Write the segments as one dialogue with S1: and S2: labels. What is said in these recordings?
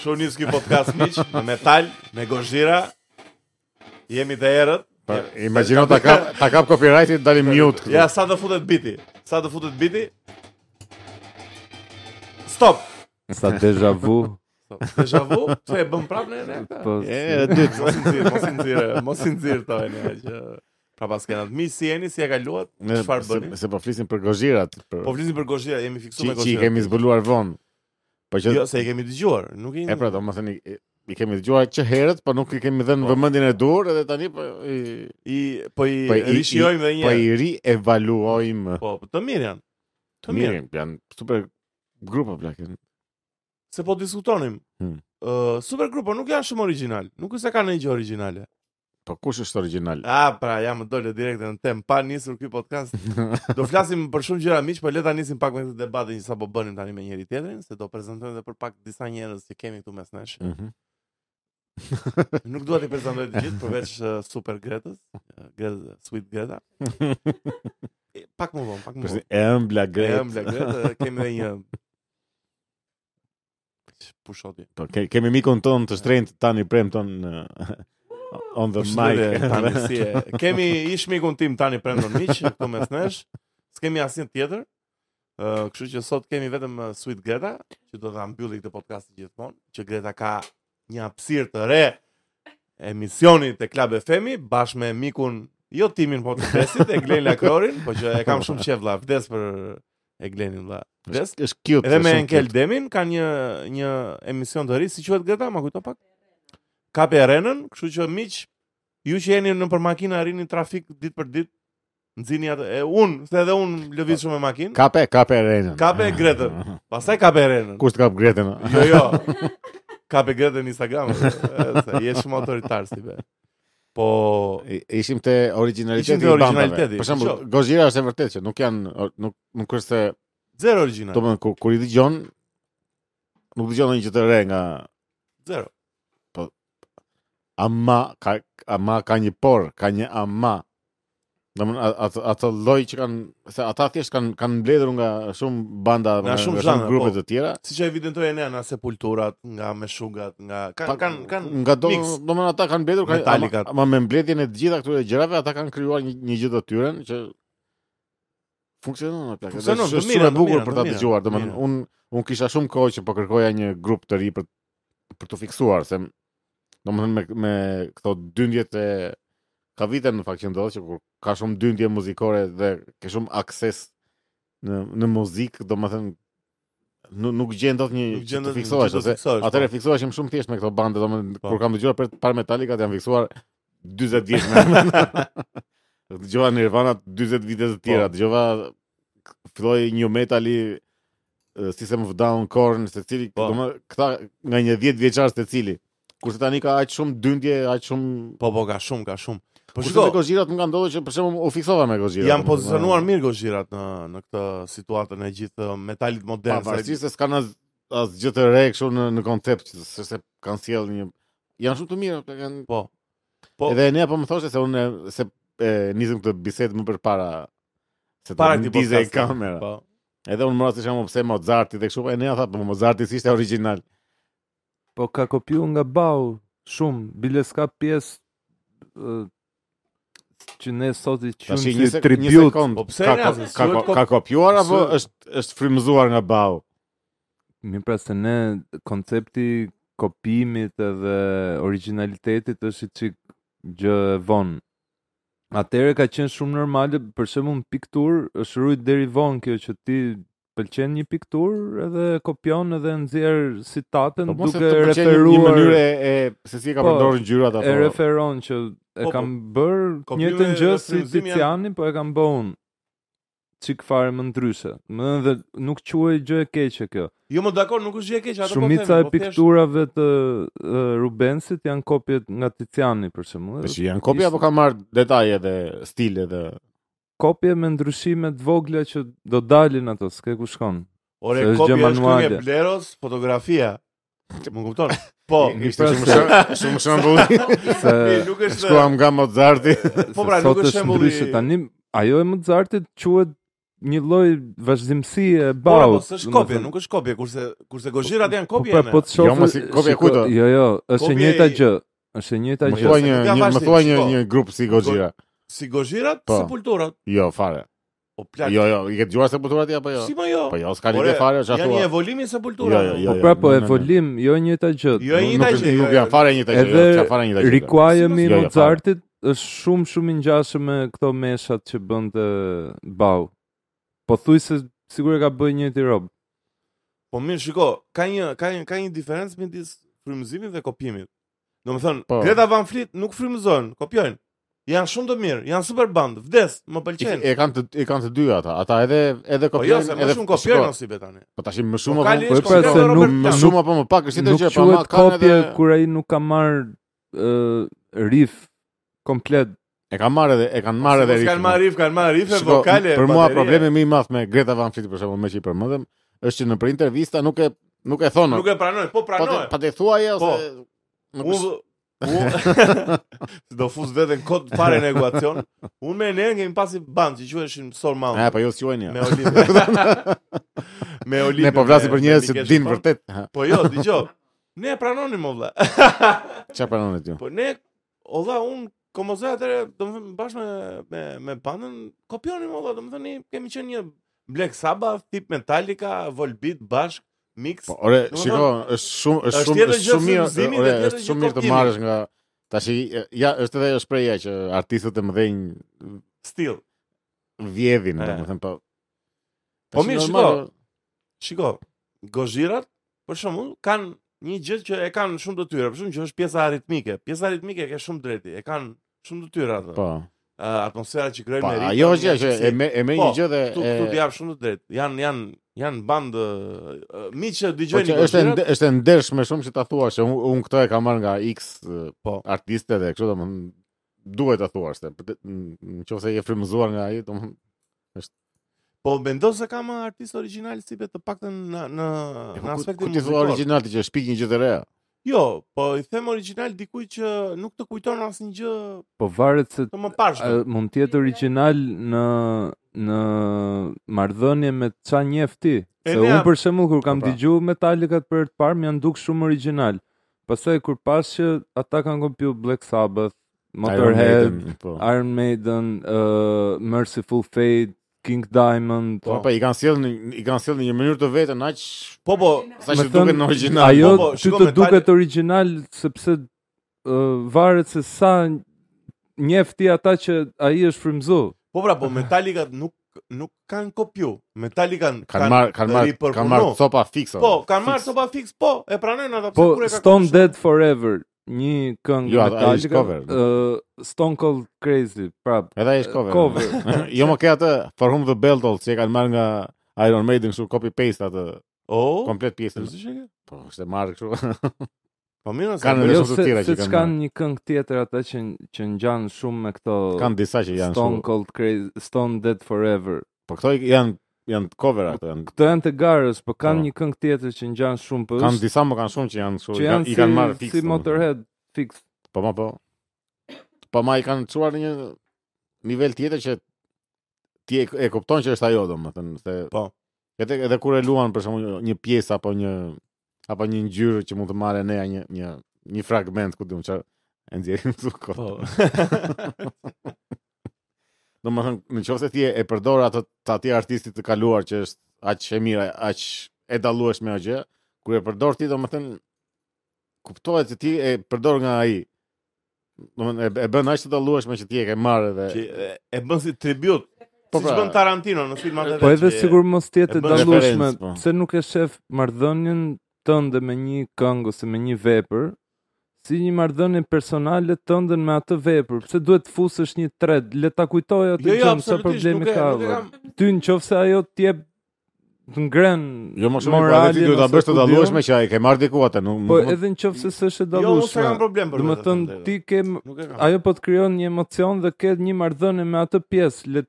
S1: Shunis ki podcast miq me metal, me gozhira. Jemi të erët.
S2: Pa, imagjino ta kap, ta kap copyrightin, dalim mute.
S1: Ja sa të futet biti. Sa të futet biti? Stop.
S3: Sa deja vu
S1: Stop. Deja vu, pse e bëm prapë ne ne? këtë?
S3: Po
S2: E, dy.
S1: Mos i nxirr, mos i nxirr, mos i nxirr to ne që pra pas kanë mi si jeni, si ja kaluat, çfarë bëni?
S2: Se po flisim për gozhirat, për
S1: Po flisim për gozhira, jemi fiksuar
S2: që
S1: me
S2: që i
S1: gozhira.
S2: kemi zbuluar vonë. Po që
S1: Jo, se i kemi dëgjuar, nuk i
S2: e pra, domethënë i- i kemi dëgjuar që herët, po nuk i kemi dhënë vëmendjen e dur edhe tani po i
S1: i po i
S2: po i- i-
S1: rishijojmë edhe
S2: po
S1: një
S2: i rievaluojmë.
S1: Po, po, të mirë janë. Të mirë.
S2: Mirë, janë super grupe plakën.
S1: Se po diskutonim.
S2: Hmm.
S1: Ë, supergrupo nuk janë shumë origjinal. Nuk është se kanë një gjë origjinale.
S2: Po kush është original?
S1: A, pra, ja më dole direkt në temë pa nisur ky podcast. Do flasim për shumë gjëra miq, por le ta nisim pak me këtë debatin që sapo po bënim tani me njëri tjetrin, se do prezantojmë edhe për pak disa njerëz që kemi këtu mes nesh.
S2: Mhm.
S1: Nuk dua t'i prezantoj të gjithë përveç uh, Super Gretës, uh, Greta, Sweet Greta. E, pak më vonë, pak më
S2: Për
S1: vonë.
S2: si- E ëmbla
S1: Ne
S2: gret.
S1: jam Black po. Greta, kemi edhe një pushoti.
S2: Po ke, kemi mikun ton të shtrenjtë tani prem ton në- on the mic.
S1: Përshëndetje, tani si e. Kemi ish mikun tim tani Brendon Miq këtu mes nesh. S'kemi asnjë tjetër. Ë, kështu që sot kemi vetëm ë, Sweet Greta, që do ta mbylli këtë podcast gjithmonë, që Greta ka një hapësirë të re emisioni te Club Femi bashkë me mikun jo timin po të besit e Glen Lakrorin, po që e kam shumë qejf vlla, vdes për e Glenin vlla. Vdes.
S2: Është- Është cute.
S1: Edhe
S2: është
S1: me
S2: shumë
S1: Enkel
S2: cute.
S1: Demin ka një një emision të ri, si quhet Greta, ma kujto pak. Kape Renën, kështu që miq, ju që jeni nëpër makina rini trafik ditë për ditë, nxini atë e un, se edhe un lëviz shumë me makinë.
S2: Kape, kape Renën.
S1: Kape Gretën. Pastaj Kape Renën.
S2: Kush të kap Gretën?
S1: Jo, jo. Kape Gretën në Instagram. e, Se je shumë autoritar si be. Po,
S2: I- Ishim te originaliteti.
S1: Ishim te
S2: i bandave.
S1: originaliteti,
S2: Për shembull,
S1: qo.
S2: Gojira është e vërtetë që nuk janë or- nuk nuk është se,
S1: zero original.
S2: domethënë kur, kur i dëgjon nuk dëgjon ndonjë gjë të re nga
S1: Zero.
S2: ama ka ama ka një por, ka një ama. Domethënë a- atë atë lloj që kanë se ata thjesht kanë kanë mbledhur nga shumë banda,
S1: Nga shumë zhanre,
S2: grupe
S1: po.
S2: të tjera.
S1: Siç e evidentojnë ne nga sepulturat, nga meshugat, nga kanë kanë kanë
S2: nga do
S1: mix.
S2: domethënë ata kanë mbledhur kanë
S1: Metallicat.
S2: ama, ama me mbledhjen e të gjitha këtyre gjërave ata kanë krijuar një, një gjë të tyren që funksionon apo
S1: Funksionon, të mira,
S2: shumë e
S1: të
S2: bukur
S1: mira,
S2: për
S1: të
S2: ta
S1: mira,
S2: dëgjuar
S1: të
S2: domethënë
S1: mira.
S2: un un kisha shumë kohë që po kërkoja një grup të ri për për të fiksuar se domethënë me me këto dyndjet e ka vite në fakt që ndodh që kur ka shumë dyndje muzikore dhe ke shumë akses në në muzikë domethënë nuk nuk gjen dot një
S1: Nuk
S2: që
S1: gjen
S2: të
S1: dot një
S2: fiksohesh
S1: që të
S2: ose
S1: fiksohesh,
S2: atëre
S1: po.
S2: fiksoheshim shumë thjesht me këto bande domethënë
S1: Po.
S2: kur kam dëgjuar për par Metallica janë fiksuar 40 vjet më. Dëgjova Nirvana 40 vite të tjera,
S1: Po.
S2: dëgjova filloi New Metali e, System of Down Korn, secili,
S1: Po.
S2: domethënë këta nga një 10 vjeçar secili. Kurse tani ka aq shumë dyndje, aq shumë
S1: Po po ka shumë, ka shumë. Po
S2: Kurse
S1: shiko,
S2: me Gojira më ka ndodhur që për shembull u fiksova me Gojira.
S1: Janë pozicionuar mirë gozhirat në në këtë situatën e gjithë uh, metalit modern. se-
S2: Pavarësisht se s'kan as asgjë të re kështu në në koncept, që se se kanë sjell një janë shumë të mirë, ata kanë
S1: Po. Po,
S2: Edhe ne apo më thoshte se unë se e, nisëm këtë bisedë më përpara se
S1: para
S2: të
S1: këtij
S2: ndize
S1: podcasti.
S2: kamera.
S1: Po.
S2: Edhe unë mora si shamo pse Mozarti dhe kështu, e ne ja tha, po Mozarti si ishte original.
S3: Po ka kopju nga bau Shumë Bile s'ka pjesë ë, Që ne sot i qëmë
S2: Tash
S3: si
S2: një, sek një
S3: tribut
S2: sekond.
S1: Po pse
S2: ka,
S1: ne,
S2: ka,
S1: se
S2: ka,
S1: duhet
S2: ka,
S1: kop-
S2: kopjuar apo
S1: Su-
S2: është është frymëzuar nga bau?
S3: Mi pra se ne Koncepti kopimit edhe originalitetit është i qik gjë e vonë Atere ka qenë shumë normale, për shembull në piktur, është rrujt deri vonë kjo që ti pëlqen një piktur edhe kopion edhe nxjerr citatën
S2: Po mos e
S3: duke
S2: të pëlqen një- një
S3: referuar
S2: mënyrë e, e se si e ka
S3: Po,
S2: përdorur ngjyrat apo.
S3: e referon që e
S1: Po, po.
S3: kam bërë
S1: Kopjime
S3: një të gjë
S1: dhe
S3: si
S1: frymëzimi janë-
S3: Tiziani, po e kam bërë unë. Çik fare më ndryshe. Më thënë dhe nuk quaj gjë e keqe kjo.
S1: Jo më dakor, nuk është gjë e keqe atë po.
S3: Shumica
S1: themi,
S3: e
S1: po thjesht-
S3: pikturave të e, Rubensit janë
S2: Po
S3: kopje nga Tiziani për shembull.
S2: Tash janë kopja apo ka marrë detaje dhe stile dhe
S3: kopje me ndryshime të vogla që do dalin ato, s'ke ku shkon.
S1: Ore,
S3: Se është
S1: kopja
S3: gjë
S1: është këngë
S3: manuale.
S1: e Bleros, fotografia. Më kupton? Po,
S2: Ishte shumë shumë shumë shembull.
S3: Se
S2: Eh,
S1: mi, nuk është
S2: Shkuam nga Mozarti.
S1: Po pra,
S3: se
S1: nuk
S3: sot
S1: është shembulli.
S3: ndryshe tani, ajo e Mozartit quhet një lloj vazhdimësie e
S1: Po,
S3: baut.
S1: po, s'është kopje, nuk është kopje, kurse kurse Gojira janë kopje.
S3: Po pra, po të shohë.
S2: Jo, mos i- kopja kujto.
S3: Jo, jo, është e
S1: Kopja
S3: njëjta
S1: i-
S3: gjë. Është e njëjta
S2: Më
S1: gjë,
S2: thua
S1: se
S2: një,
S1: nuk ja
S2: një më
S1: vazhdim,
S2: thua një
S1: shiko.
S2: një grup si Gojira.
S1: Si Gojirat,
S2: Po.
S1: si Pulturat.
S2: Jo, fare.
S1: O plak.
S2: Jo, jo, i ke dëgjuar se buturat ja apo jo?
S1: Si më jo?
S2: Po jo, s'ka
S1: Ore,
S2: lidhje fare, çfarë
S1: Janë një
S2: thua?
S1: evolimi se
S2: Jo,
S1: Pultura.
S2: jo,
S1: no?
S2: jo.
S3: Po pra, po
S2: jo, jo, jo.
S3: evolim, jo e njëjta
S1: Jo
S3: gjë.
S1: e
S3: Nuk-
S1: njëjta
S2: Nuk
S1: gjë,
S2: nuk
S1: jo, jo.
S2: janë fare një të gjë,
S3: Edhe
S2: çfarë fare një të gjë. Jo,
S3: Rikuajemi i
S2: jo, fare.
S3: Mozartit është shumë shumë i ngjashëm me këto meshat që bënte Bau. Po thuj se sigurisht ka bërë një ti rob.
S1: Po mirë, shiko, ka një ka një ka një diferencë midis frymëzimit dhe kopjimit. Domethënë,
S2: Po.
S1: Greta Van Fleet nuk frymëzojnë, kopjojnë. Janë shumë të mirë, janë super band, vdes, më
S2: I-
S1: pëlqen.
S2: E kanë të e kanë të dy ata. Ata edhe edhe
S1: Po jo,
S2: kopjojnë,
S1: se
S2: edhe
S1: më shumë kopjojnë
S2: shiko,
S1: ose be tani.
S2: Po tash më shumë
S1: Po
S2: apo
S1: kali
S3: po,
S1: është
S3: pra, se
S1: konsideruar
S3: nuk-
S1: Robert
S2: më
S1: Plant.
S2: shumë apo më pak është
S3: Nuk
S2: tjetër gjë, po ama
S3: quhet
S2: kanë
S3: kopje
S2: edhe
S3: kur ai nuk ka marr ë riff komplet.
S2: e kanë marrë edhe e kanë marrë edhe
S1: Mos Kanë
S2: ritmin.
S1: marrë riff, kanë marrë rife
S2: Shiko,
S1: vokale.
S2: Për mua
S1: baterie.
S2: problemi më i madh me Greta Van Fleet për shembull, me që i përmendëm, është që në për intervista nuk e nuk e thonë.
S1: nuk e pranoj, po
S2: pa të,
S1: pranoj.
S2: pa të thuaje
S1: Po.
S2: ose nuk
S1: Unë
S2: është-
S1: unë do fus veten kod fare në ekuacion. Unë me ne kemi pasi band që quheshin Soul
S2: E,
S1: Mountain.
S2: po jo s'juajnë.
S1: Me Olimpia. me Olimpia.
S2: Ne po flasim për njerëz që din
S1: din
S2: vërtet. Ha,
S1: Po jo, dëgjoj. Ne e pranonim më vëlla.
S2: Çfarë pranon ti?
S1: po ne o vëlla un komozoj atëre, domethënë bashkë me me me bandën kopjonim o vëlla, domethënë ne kemi qenë një Black Sabbath, tip Metallica, Volbeat bashk, mix.
S2: Po, ore,
S1: Domethënë,
S2: shiko, është shumë është
S1: është
S2: shumë
S1: tjetër
S2: është
S1: gjë
S2: shumë mirë,
S1: frymëzimi
S2: ore,
S1: dhe tjetër
S2: është
S1: gjë
S2: shumë mirë të
S1: kopjimi.
S2: marrësh nga tash i- ja, është edhe ajo shpreha që artistët e mëdhenj
S1: still.
S2: vjedhin,
S1: E.
S2: domethënë po.
S1: Po
S2: tash
S1: mirë,
S2: normal,
S1: shiko. Shiko, gozhirat për shembull kanë një gjë që e kanë shumë detyrë, për shembull që është pjesa aritmike. Pjesa aritmike e ka shumë drejti, e kanë shumë detyrë atë.
S2: Po.
S1: Ë, atmosfera që
S2: Po,
S1: krijojnë me
S2: ajo është gjë që
S1: me
S2: e me e me
S1: Po,
S2: një gjë dhe
S1: këtu
S2: e-
S1: këtu të jap shumë të drejtë. Jan janë janë band ë, ë, miq që
S2: Po
S1: dëgjojnë
S2: që është e
S1: gozhirat.
S2: nd- është e ndershme shumë që ta thuash, unë un këtë e kam marrë nga X eh,
S1: Po.
S2: artiste dhe kështu domethënë duhet ta thuash se përte- n- nëse je frymëzuar nga ai domethënë
S1: Po mendon se kam artist origjinal si be të paktën në në
S2: ku-
S1: në
S2: ku
S1: aspektin
S2: ti thua
S1: muzikor.
S2: origjinali që shpik një gjë të re.
S1: Jo, po i them origjinal dikujt që nuk të kujton asnjë gjë
S3: Po varet se
S1: të mëparshme.
S3: a, mund të jetë origjinal në në marrëdhënie me ça njeh ti.
S1: E
S3: Se
S1: ne-
S3: unë për shembull kur kam
S2: Po pra.
S3: dëgjuar Metallica për herë të parë, më janë duk shumë origjinal. Pastaj kur pas që ata kanë kopjuar Black Sabbath, Motorhead,
S2: Iron Maiden, po.
S3: Iron Maiden, uh, Merciful Fate, King Diamond.
S2: Po, po, i kanë sjellë në- i kanë sjellë në një mënyrë të vetën aq
S1: Po po,
S2: sa
S3: Me
S2: që
S3: thënë,
S2: duket në origjinal.
S3: Ajo
S1: po,
S3: ty
S1: shiko,
S3: të
S1: Metalli-
S3: duket origjinal sepse uh, varet se sa njeh ti ata që ai është frymzuar.
S1: po pra, po Metallica nuk nuk kanë kopju. Metallica kanë
S2: Kan marr kan marr
S1: ripërpunu.
S2: kan marr copa fikse.
S1: Po, kanë marrë sopa fix, po, e pranojnë ata
S3: Po
S1: pse kur e ka
S3: Stone
S1: kuptuar?
S3: Dead Forever, një këngë
S2: Jo, atë- ai është
S3: Metallica,
S2: cover.
S3: ë, Stone Cold Crazy, prap.
S2: Edhe ai është cover.
S3: Cover.
S2: jo më ke atë For Whom the Bell Tolls që e kanë marrë nga Iron Maiden kështu copy paste atë
S1: Oh,
S2: komplet pjesën.
S1: seriozisht e ke?
S2: Po, është e marrë kështu.
S1: Po mirë, se
S2: Kanë
S1: kanë
S2: edhe-
S3: Jo
S2: shumë të
S3: se
S2: tjera që
S3: se
S2: kanë
S3: kanë një këngë tjetër ata që që ngjan shumë me këto
S2: kanë disa që janë
S3: Po, Stone
S2: kështu.
S3: Cold Crazy, Stone Dead Forever.
S2: Po këto janë janë cover ato janë.
S3: Këto janë të garës, po
S2: Po.
S3: kanë një këngë tjetër që ngjan shumë po
S2: Kanë
S3: është
S2: disa më kanë shumë që janë kështu.
S3: që
S2: i kanë-
S3: janë
S2: I kanë marrë
S3: si,
S2: fikse.
S3: si Motorhead fix.
S2: Po, ma po. Po ma i kanë çuar në një nivel tjetër që ti e, e kupton që është ajo domethënë se
S1: Po.
S2: Edhe edhe kur e luan për shembull një pjesë apo një apo një ngjyrë që mund të marrë neja një një një fragment ku diun çfarë e nxjerrim këtu kot.
S1: Po.
S2: Domethënë, nëse ti e e përdor atë të atij artisti të kaluar që është aq e mirë, aq e dallueshme ajo gjë, kur e përdor ti domethënë kuptohet se ti e përdor nga ai. Domethënë e, e bën aq të dallueshme që ti e ke marrë dhe
S1: Që e- e bën si tribut.
S2: Po
S1: Po si
S2: pra.
S1: bën Tarantino në filmat e vet.
S3: Po edhe
S1: që-
S3: sigur mos tjetë
S1: e
S3: e
S1: bën
S3: dallueshme,
S2: referencë, po.
S3: pse nuk e shef marrëdhënien tënde me një këngë ose me një vepër, si një marrëdhënie personale tënde me atë vepër. Pse duhet të fusësh një tred, le ta kujtoj atë
S1: Jo, jo,
S3: gjën sa
S1: absolutisht,
S3: problemi
S1: nuk e-
S3: ka.
S1: nuk e
S3: vëlla.
S1: kam-
S3: Ty nëse ajo të jep të ngren
S2: jo më shumë po edhe ti duhet ta bësh të dallueshme që ai ke marrë diku atë, nuk
S3: Po
S2: nuk mund-
S3: edhe nëse s'është
S1: Jo, unë s'e
S3: e dallueshme.
S1: kam problem për.
S3: Do të
S1: vetë,
S3: thënë
S1: thënë
S3: ti ke
S1: drejtën. nuk e kam.
S3: ajo po të krijon një emocion dhe ke një marrëdhënie me atë pjesë, le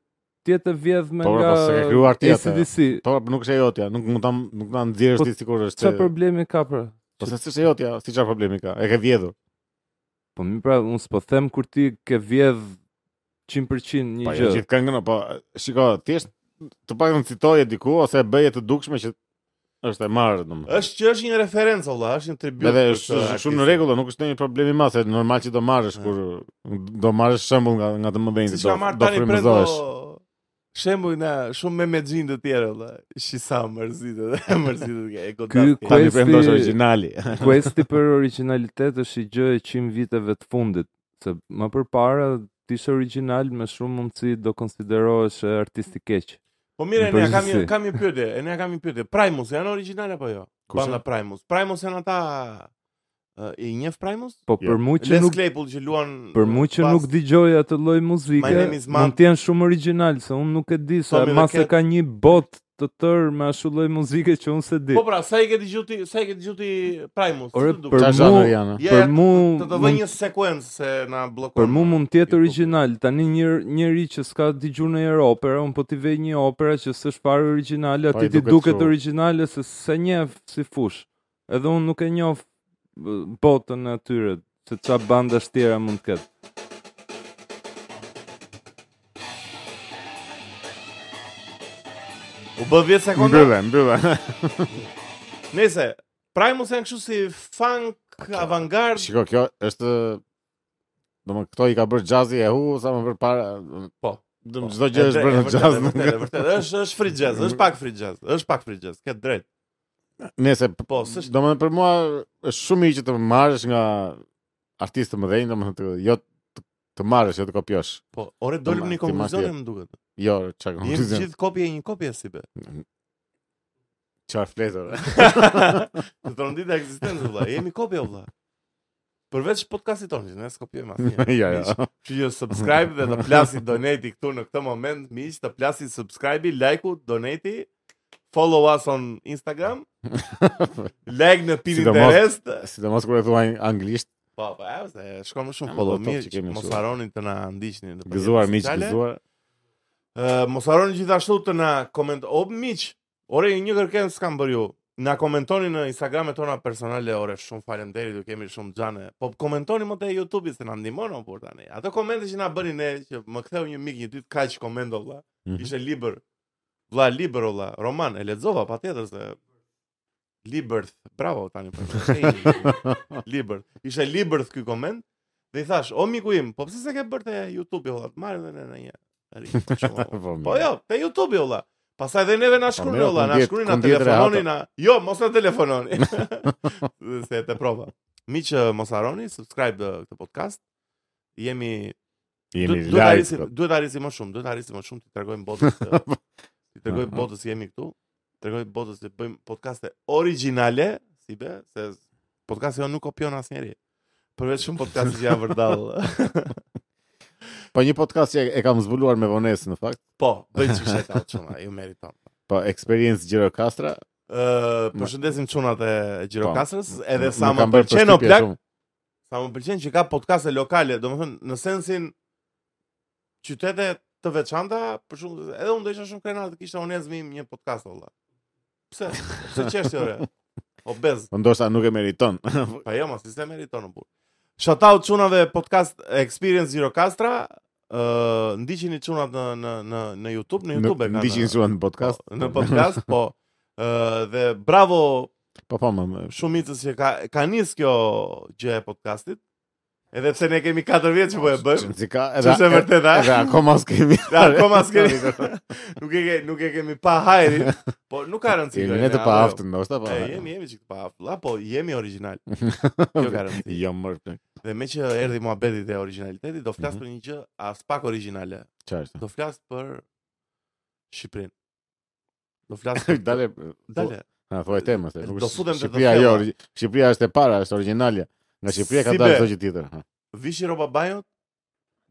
S3: tjetë e vjedhme
S2: Po,
S3: nga
S2: po, se ka krijuar tjetë.
S3: ACDC.
S2: Po, po, nuk është e jotja, nuk mund ta nuk ta nxjerrësh
S3: Po,
S2: ti sikur është.
S3: Çfarë problemi ka pra?
S2: Po se s'është e jotja, si çfarë problemi ka? E ke vjedhur.
S3: Po mi pra, unë s'po them kur ti ke vjedh 100% një
S2: Po jo
S3: gjë.
S2: gjithë këngën, po shiko, thjesht të paktën citoje diku ose e bëje të dukshme që është e marrë domethënë.
S1: Është që është një referencë valla, është një tribut.
S2: Edhe
S1: për
S2: është
S1: këtë
S2: është shumë
S1: artist.
S2: në rregull, nuk është ndonjë problem i madh, se normal që do marrësh kur do marrësh shembull nga nga të mëdhenjtë,
S1: Si
S2: do
S1: që marrë
S2: do
S1: tani prendo
S2: frymëzohesh.
S1: shembuj na shumë me mexhin të tjerë valla. Shisa mërzitet, mërzitet e
S3: Ky
S1: godat.
S3: ku-
S1: Ky
S2: Tani
S3: Questi-
S2: prendo është origjinali.
S3: Questi për originalitet është i gjë e 100 viteve të fundit, se më përpara ti ishe original me shumë mundësi do konsiderohesh e artist i keq.
S1: Po mirë, ne kam një
S3: përgjithësi.
S1: kam një pyetje, ne kam një pyetje. Primus janë origjinale apo jo?
S2: Kush
S1: Banda
S2: janë?
S1: Primus. Primus janë ata ë, i njeh Primus?
S3: Po
S2: Jo.
S3: për mua që
S1: Les
S3: nuk
S1: Claypool që luan
S3: për mua që
S1: pas-
S3: nuk dëgjoj atë lloj muzike,
S1: My name is Matt.
S3: mund të jenë shumë original, se unë nuk e di se
S1: Tommy the
S3: mas e
S1: Cat.
S3: ka një bot të tër me ashtu lloj muzike që unë se di.
S1: Po pra, sa i ke dëgjuar ti, sa i ke dëgjuar ti Primus?
S3: Ore,
S1: Si të duket?
S3: për
S2: Çfarë
S3: mu-
S2: zhanër janë?
S1: Ja,
S3: për
S1: ja,
S3: mu
S1: Të të vëj
S3: mund-
S1: një sekuencë se na um. bllokon.
S3: Për mu mund të jetë
S2: po.
S1: YouTube.
S3: original, tani një njëri që s'ka dëgjuar në një opera, un po t'i vej një opera që s'është fare origjinale,
S2: Po,
S3: aty
S2: i
S3: ti
S2: duket
S3: duket
S2: kështu.
S3: origjinale se s'e njeh si fush. Edhe un nuk e njoh b- botën e atyre, se ça banda tjera mund të ketë.
S1: U bë 10 sekonda.
S2: Mbyllë, mbyllë.
S1: Nëse Primus janë kështu si funk avantgard,
S2: Shiko, kjo është do më këto i ka bërë jazzi e hu sa më për para
S1: Po.
S2: do çdo gjë është
S1: E
S2: bërë në
S1: vërtet,
S2: jazz.
S1: e
S2: nuk-
S1: vërtet, e vërtet, është është free jazz, është pak free jazz, është pak free jazz, é ke drejt.
S2: Nëse
S1: Po, s'është
S2: do më për mua është shumë i që të marrësh nga artistë të mëdhenj, do më të jo të, të marrësh, jo të kopjosh.
S1: po, ore dolëm në
S2: Ti marrë
S1: konkluzion
S2: tjetër.
S1: më duket.
S2: Jo, çka
S1: Jemi
S2: konfuzim.
S1: gjithë kopje e é një kopje si be.
S2: Çfarë fletor?
S1: Të të rëndit e eksistencë vëlla, jemi kopje vëlla. Përveç podcastit tonë, që ne s'kopjojmë asnjë.
S2: Jo,
S1: Miq,
S2: jo.
S1: Që ju subscribe dhe të plasi donate këtu në këtë moment, miq, të plasi subscribe, like-u, donate follow us on Instagram, like në pin
S2: Sidomos-
S1: interest.
S2: Sidomos kur e thua anglisht,
S1: Po, po, e, se shkon më shumë
S2: Ama
S1: follow
S2: do të thotë
S1: mirë,
S2: që
S1: që
S2: kemi
S1: mos
S2: mësuar.
S1: harroni të na ndiqni. në
S2: gëzuar
S1: përjetës
S2: miq,
S1: sociale.
S2: gëzuar.
S1: Ë, mos harroni gjithashtu të na koment o miq. Ore një kërkesë s'kam bërë ju. Na komentoni në Instagramet tona personale, ore shumë faleminderit, ju kemi shumë xhane. Po komentoni më te YouTube-i se na ndihmon on por tani. Ato komente që na bëni ne që më ktheu një mik një ditë kaq komendo vlla.
S2: Mhm.
S1: Ishte libër. Vlla libër vlla, roman e lexova patjetër se Libert, bravo tani po. Libert. Ishte Libert ky koment dhe i thash, "O miku im, po pse s'e ke bërë te YouTube-i valla? Marrë dhe ne në një." Ri, për shembull. Po jo, te YouTube valla. Pastaj dhe neve na shkruani
S2: Po, mirë,
S1: valla, na
S2: kundjet-
S1: shkruani na
S2: kundjet
S1: telefononi
S2: rehata.
S1: na. Jo, mos na telefononi. Se te prova. Miq, eh, mos harroni subscribe eh, këtë podcast. Jemi
S2: Jemi
S1: du- duhet ta
S2: live. po.
S1: arrisim, duhet ta arrisim më shumë, duhet ta arrisim më shumë ti tregojmë botës. eh, Ti tregoj botës se jemi këtu. Tregoj botës se bëjmë podcaste origjinale, si be, se podcasti jo nuk kopjon asnjëri. Përveç shumë podcaste që janë vërdall.
S2: Po një podcast që e kam zbuluar me vonesë në fakt,
S1: po, bëj çik shaka çuna, ju meriton.
S2: po Experience Gjirokastra.
S1: Ë, përshëndesim çunat e Gjirokastrës, edhe sa
S2: Po, Nuk
S1: më
S2: kam bërë
S1: pëlqen o
S2: përshtypje
S1: plak,
S2: shumë.
S1: sa më pëlqen që ka podcaste lokale, domethënë në sensin qytete të veçanta, për shembull, edhe unë do isha shumë krenar të kishte Onezmi im një podcast olla. Pse? Pse çeshti ore? Obez.
S2: Po ndoshta nuk e meriton.
S1: Pa jo, mos se meriton në burë. Shout out çunave podcast Experience Gjirokastra, ë ndiqini çunat në në në në YouTube, në YouTube e kanë.
S2: Ndiqin shumë në podcast.
S1: po, në podcast, po. Ë dhe bravo
S2: Po po, më- më-
S1: shumicës që ka ka nis kjo gjë e podcastit. Edhe pse ne kemi 4 vjet që po e bëjmë.
S2: Që- që ka-
S1: Që se vërtet, a?
S2: Edhe akoma s'kemi.
S1: Ja, akoma s'kemi. nuk e ke, nuk e kemi pa hajrin, po nuk ka rëndësi.
S2: Jemi
S1: kjo,
S2: ne të
S1: apo
S2: pa
S1: jo.
S2: aftën, ndoshta po.
S1: E, jemi, jemi që të pa aftë. La, po, jemi original. Kjo ka rëndësi.
S2: Jo më plak.
S1: Dhe me që erdhi muhabeti te originaliteti, do
S2: Mhm.
S1: flas për një gjë as pak origjinale.
S2: Çfarë? është?
S1: Do flas për Shqipërinë. Do flas për
S2: Dale.
S1: Dale.
S2: Ha, thuaj temën se. nuk
S1: Do
S2: është-
S1: futem te të
S2: Shqipëria
S1: thema.
S2: jo, origi- Shqipëria është e para, është origjinalja. Nga Shqipëria ka
S1: Si
S2: dalë
S1: be?
S2: çdo gjë tjetër. ha.
S1: Vishi Roba Bajot,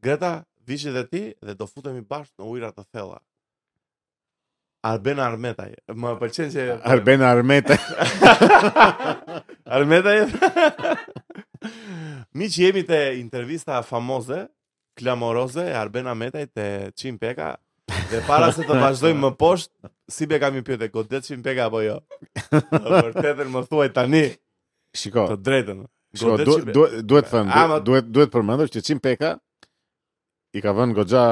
S1: Greta, vishi dhe ti dhe do futemi bashkë në ujra të thella. Arben Armetaj. Më pëlqen që
S2: Arbena Armete.
S1: Armetaj. Mi që jemi te intervista famoze, klamoroze e Arben Armetaj te Çim Peka Dhe para se të vazhdojmë më poshtë, si be kam një pyetje, godetshim Beka apo jo? Në vërtetën më thuaj tani,
S2: Shiko,
S1: të drejtën.
S2: shiko du,
S1: godetshim
S2: du, duhet të them,
S1: A, ma-
S2: du- duhet duhet përmendur që Çim Peka i ka vënë goxha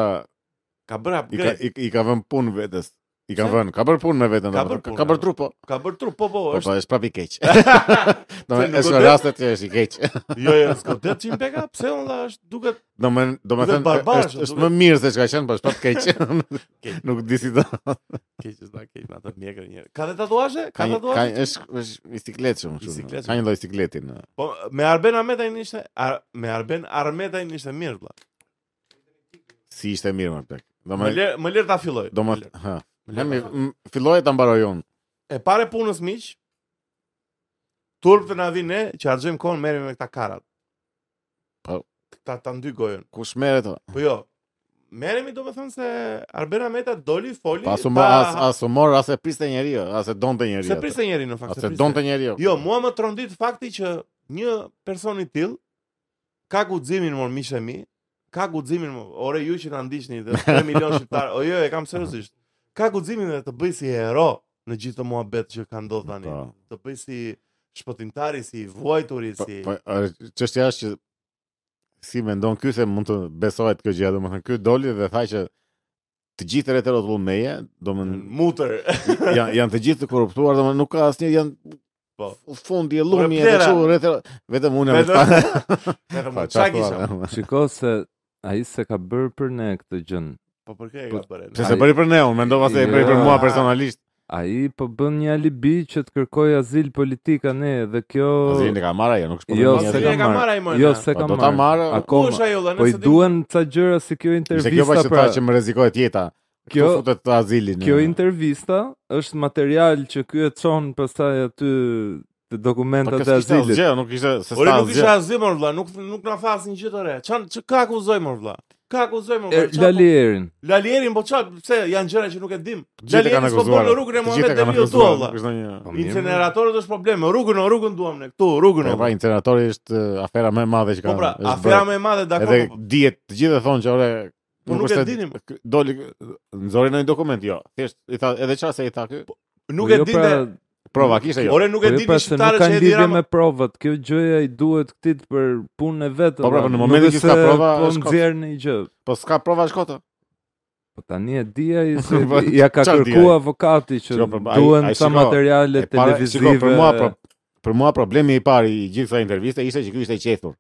S1: Ka bërë
S2: i ka
S1: upgrade,
S2: i, i ka vënë punë vetes. I ka
S1: Pse?
S2: vënë, ka bërë punë me veten,
S1: Ka
S2: domethënë,
S1: bërë punë,
S2: ka bërë
S1: domethënë.
S2: trup po.
S1: ka bërë trup, po po,
S2: Po
S1: është.
S2: po, është prapë i keq.
S1: Se nuk
S2: Domethënë, është
S1: godet-
S2: në rastet që është i keq.
S1: Jo, jo, s'godetshim Beka, pse unë la është duket
S2: Domethënë,
S1: Duket
S2: domethënë
S1: barbar,
S2: është është
S1: duket-
S2: më mirë se çka qenë, po është prapë keq.
S1: Keq.
S2: Nuk di si do.
S1: keq, s'na keq me atë mjekër një. Ka dhe tatuazhe? Ka
S2: Ka një- ka
S1: tatuazhe?
S2: një- është është i sikletshëm
S1: I
S2: kështu.
S1: sikletshëm.
S2: Ka një lloj sikleti në.
S1: Po me Arben Armeta i nishte, ar, me Arben Armeta i nishte mirë vlla.
S2: Si ishte mirë më pak.
S1: Më
S2: Domethënë,
S1: ler, më ler ta filloj.
S2: domethënë, ha.
S1: Më
S2: Ne
S1: ler- më ler ta
S2: mi- m- filloi ta mbaroj unë.
S1: E pare punës miq. Turp të na vinë ne që harxojmë kohën merrem me këta karat.
S2: Po.
S1: Ta ta ndy gojën.
S2: Kush merret? o?
S1: Po jo. Merremi domethënë se Arben Armeta doli foli. ta-
S2: Pasu më as as u mor as e priste njeriu, as e donte njeriu.
S1: Se priste njëri në fakt.
S2: As e donte njeriu. Po,
S1: Jo, mua më trondit fakti që një person i tillë ka guximin mor miqtë e mi, ka guximin mor, ore ju që na ndiqni dhe 3 milion shqiptar. O jo, e kam seriozisht. Ka guximin dhe të bëj si hero në gjithë të muhabet që ka ndodhur tani.
S2: Po.
S1: Të bëj si shpëtimtari, si vuajturi,
S2: Po,
S1: si
S2: po, e, çështja është që si mendon ky se mund të besohet kjo gjë, domethënë ky doli dhe tha që të gjithë reterot vullmeje, domethënë
S1: mutër.
S2: janë janë të gjithë të korruptuar, domethënë nuk ka asnjë janë
S1: Po.
S2: fundi e lumi e
S1: plera.
S2: kështu reterot, vetëm unë jam i
S1: Vetëm-
S2: pa-
S1: Vetëm çka
S2: pa, Po, çfarë
S1: kisha.
S2: thua,
S3: Shiko se ai se ka bërë për ne këtë gjën.
S1: Po për kë e
S3: Po,
S1: ka bërë?
S2: Se se bëri për ne, unë mendova se e bëri për
S3: Jo.
S2: mua personalisht.
S3: Ai po bën një alibi që të kërkoj azil politika ne dhe kjo
S2: Azirin e ka marrë ajo, nuk shpo.
S3: Jo,
S1: Po,
S3: se
S1: Azirin
S3: ka
S1: e ka
S3: marrë.
S1: marrë ai më.
S3: Jo,
S1: na.
S3: se
S2: Po,
S3: ka
S2: do ta marrë.
S3: marrë.
S1: Ku është
S3: Akoma.
S1: ajo vëlla?
S3: Po i duhen ca gjëra
S2: Se
S3: si kjo
S2: kjo pa
S3: intervista
S2: që tha
S3: pra.
S2: që po më rrezikohet jeta. Kjo
S3: Kjo
S2: futet të azilin.
S3: kjo
S2: e.
S3: intervista është material që ky e çon pastaj aty të
S2: Po kjo
S3: dokumentat e
S2: s'kishte
S3: azilit.
S2: asgjë, nuk ishte se
S1: Ore
S2: s'ka
S1: nuk
S2: asgjë.
S1: isha azim mor vlla, nuk nuk na fasin gjë të re. Çan çka ka akuzoj mor vlla? Ka akuzoj mor
S3: E,
S2: Er,
S1: vlla. çfarë
S2: po.
S3: Lali Er, Erin.
S1: Lalierin po çfarë, pse janë gjëra që nuk e dim.
S2: Gjithë e kanë
S1: Lalierin s'po
S2: akuzuar.
S1: bën në rrugën e
S2: Të gjithë
S1: Muhamet
S2: e kanë
S1: Deliu
S2: akuzuar,
S1: valla.
S2: nuk është ndonjë-
S3: Po mirë,
S1: Incineratorët është problem, rrugën o rrugën duam ne këtu, rrugën o.
S2: Po pra, incineratori është e, afera më e madhe që ka.
S1: Po pra,
S2: është
S1: afera
S2: bërë.
S1: më e madhe dakor.
S2: Edhe
S1: po,
S2: dihet, të gjithë e thonë që ore
S1: Po nuk e dinim.
S2: kë- Doli nxori në një dokument, jo. Thjesht i tha edhe çfarë se i tha ky.
S1: Nuk
S3: Po
S1: e
S3: jo,
S1: dinë.
S3: pra,
S2: Prova kishte jo.
S1: Ore nuk
S3: Po
S1: e
S3: jo,
S1: dinë
S3: pra, se
S1: shqiptarët
S3: nuk
S1: që
S3: kanë
S1: e dira.
S3: lidhje me provat. Kjo gjëja i duhet këtit për punën e vet.
S2: Po, pra,
S3: valla.
S2: në momentin
S3: Nuk
S2: që
S3: është
S2: s'ka
S3: se
S2: prova,
S3: po
S2: është kot.
S3: nxjerr një gjë.
S2: Po s'ka prova shkota.
S3: Po tani e di ai se
S2: Po,
S3: ja ka
S2: çfarë di
S3: kërku
S2: ai?
S3: avokati që
S2: Shiko, po, ai-
S3: duhen
S2: ai
S3: ca
S2: shiko,
S3: materiale
S2: E para,
S3: televizive.
S2: shiko, për mua pra, pro, për mua problemi i parë i gjithë kësaj interviste ishte që ky ishte i qetur.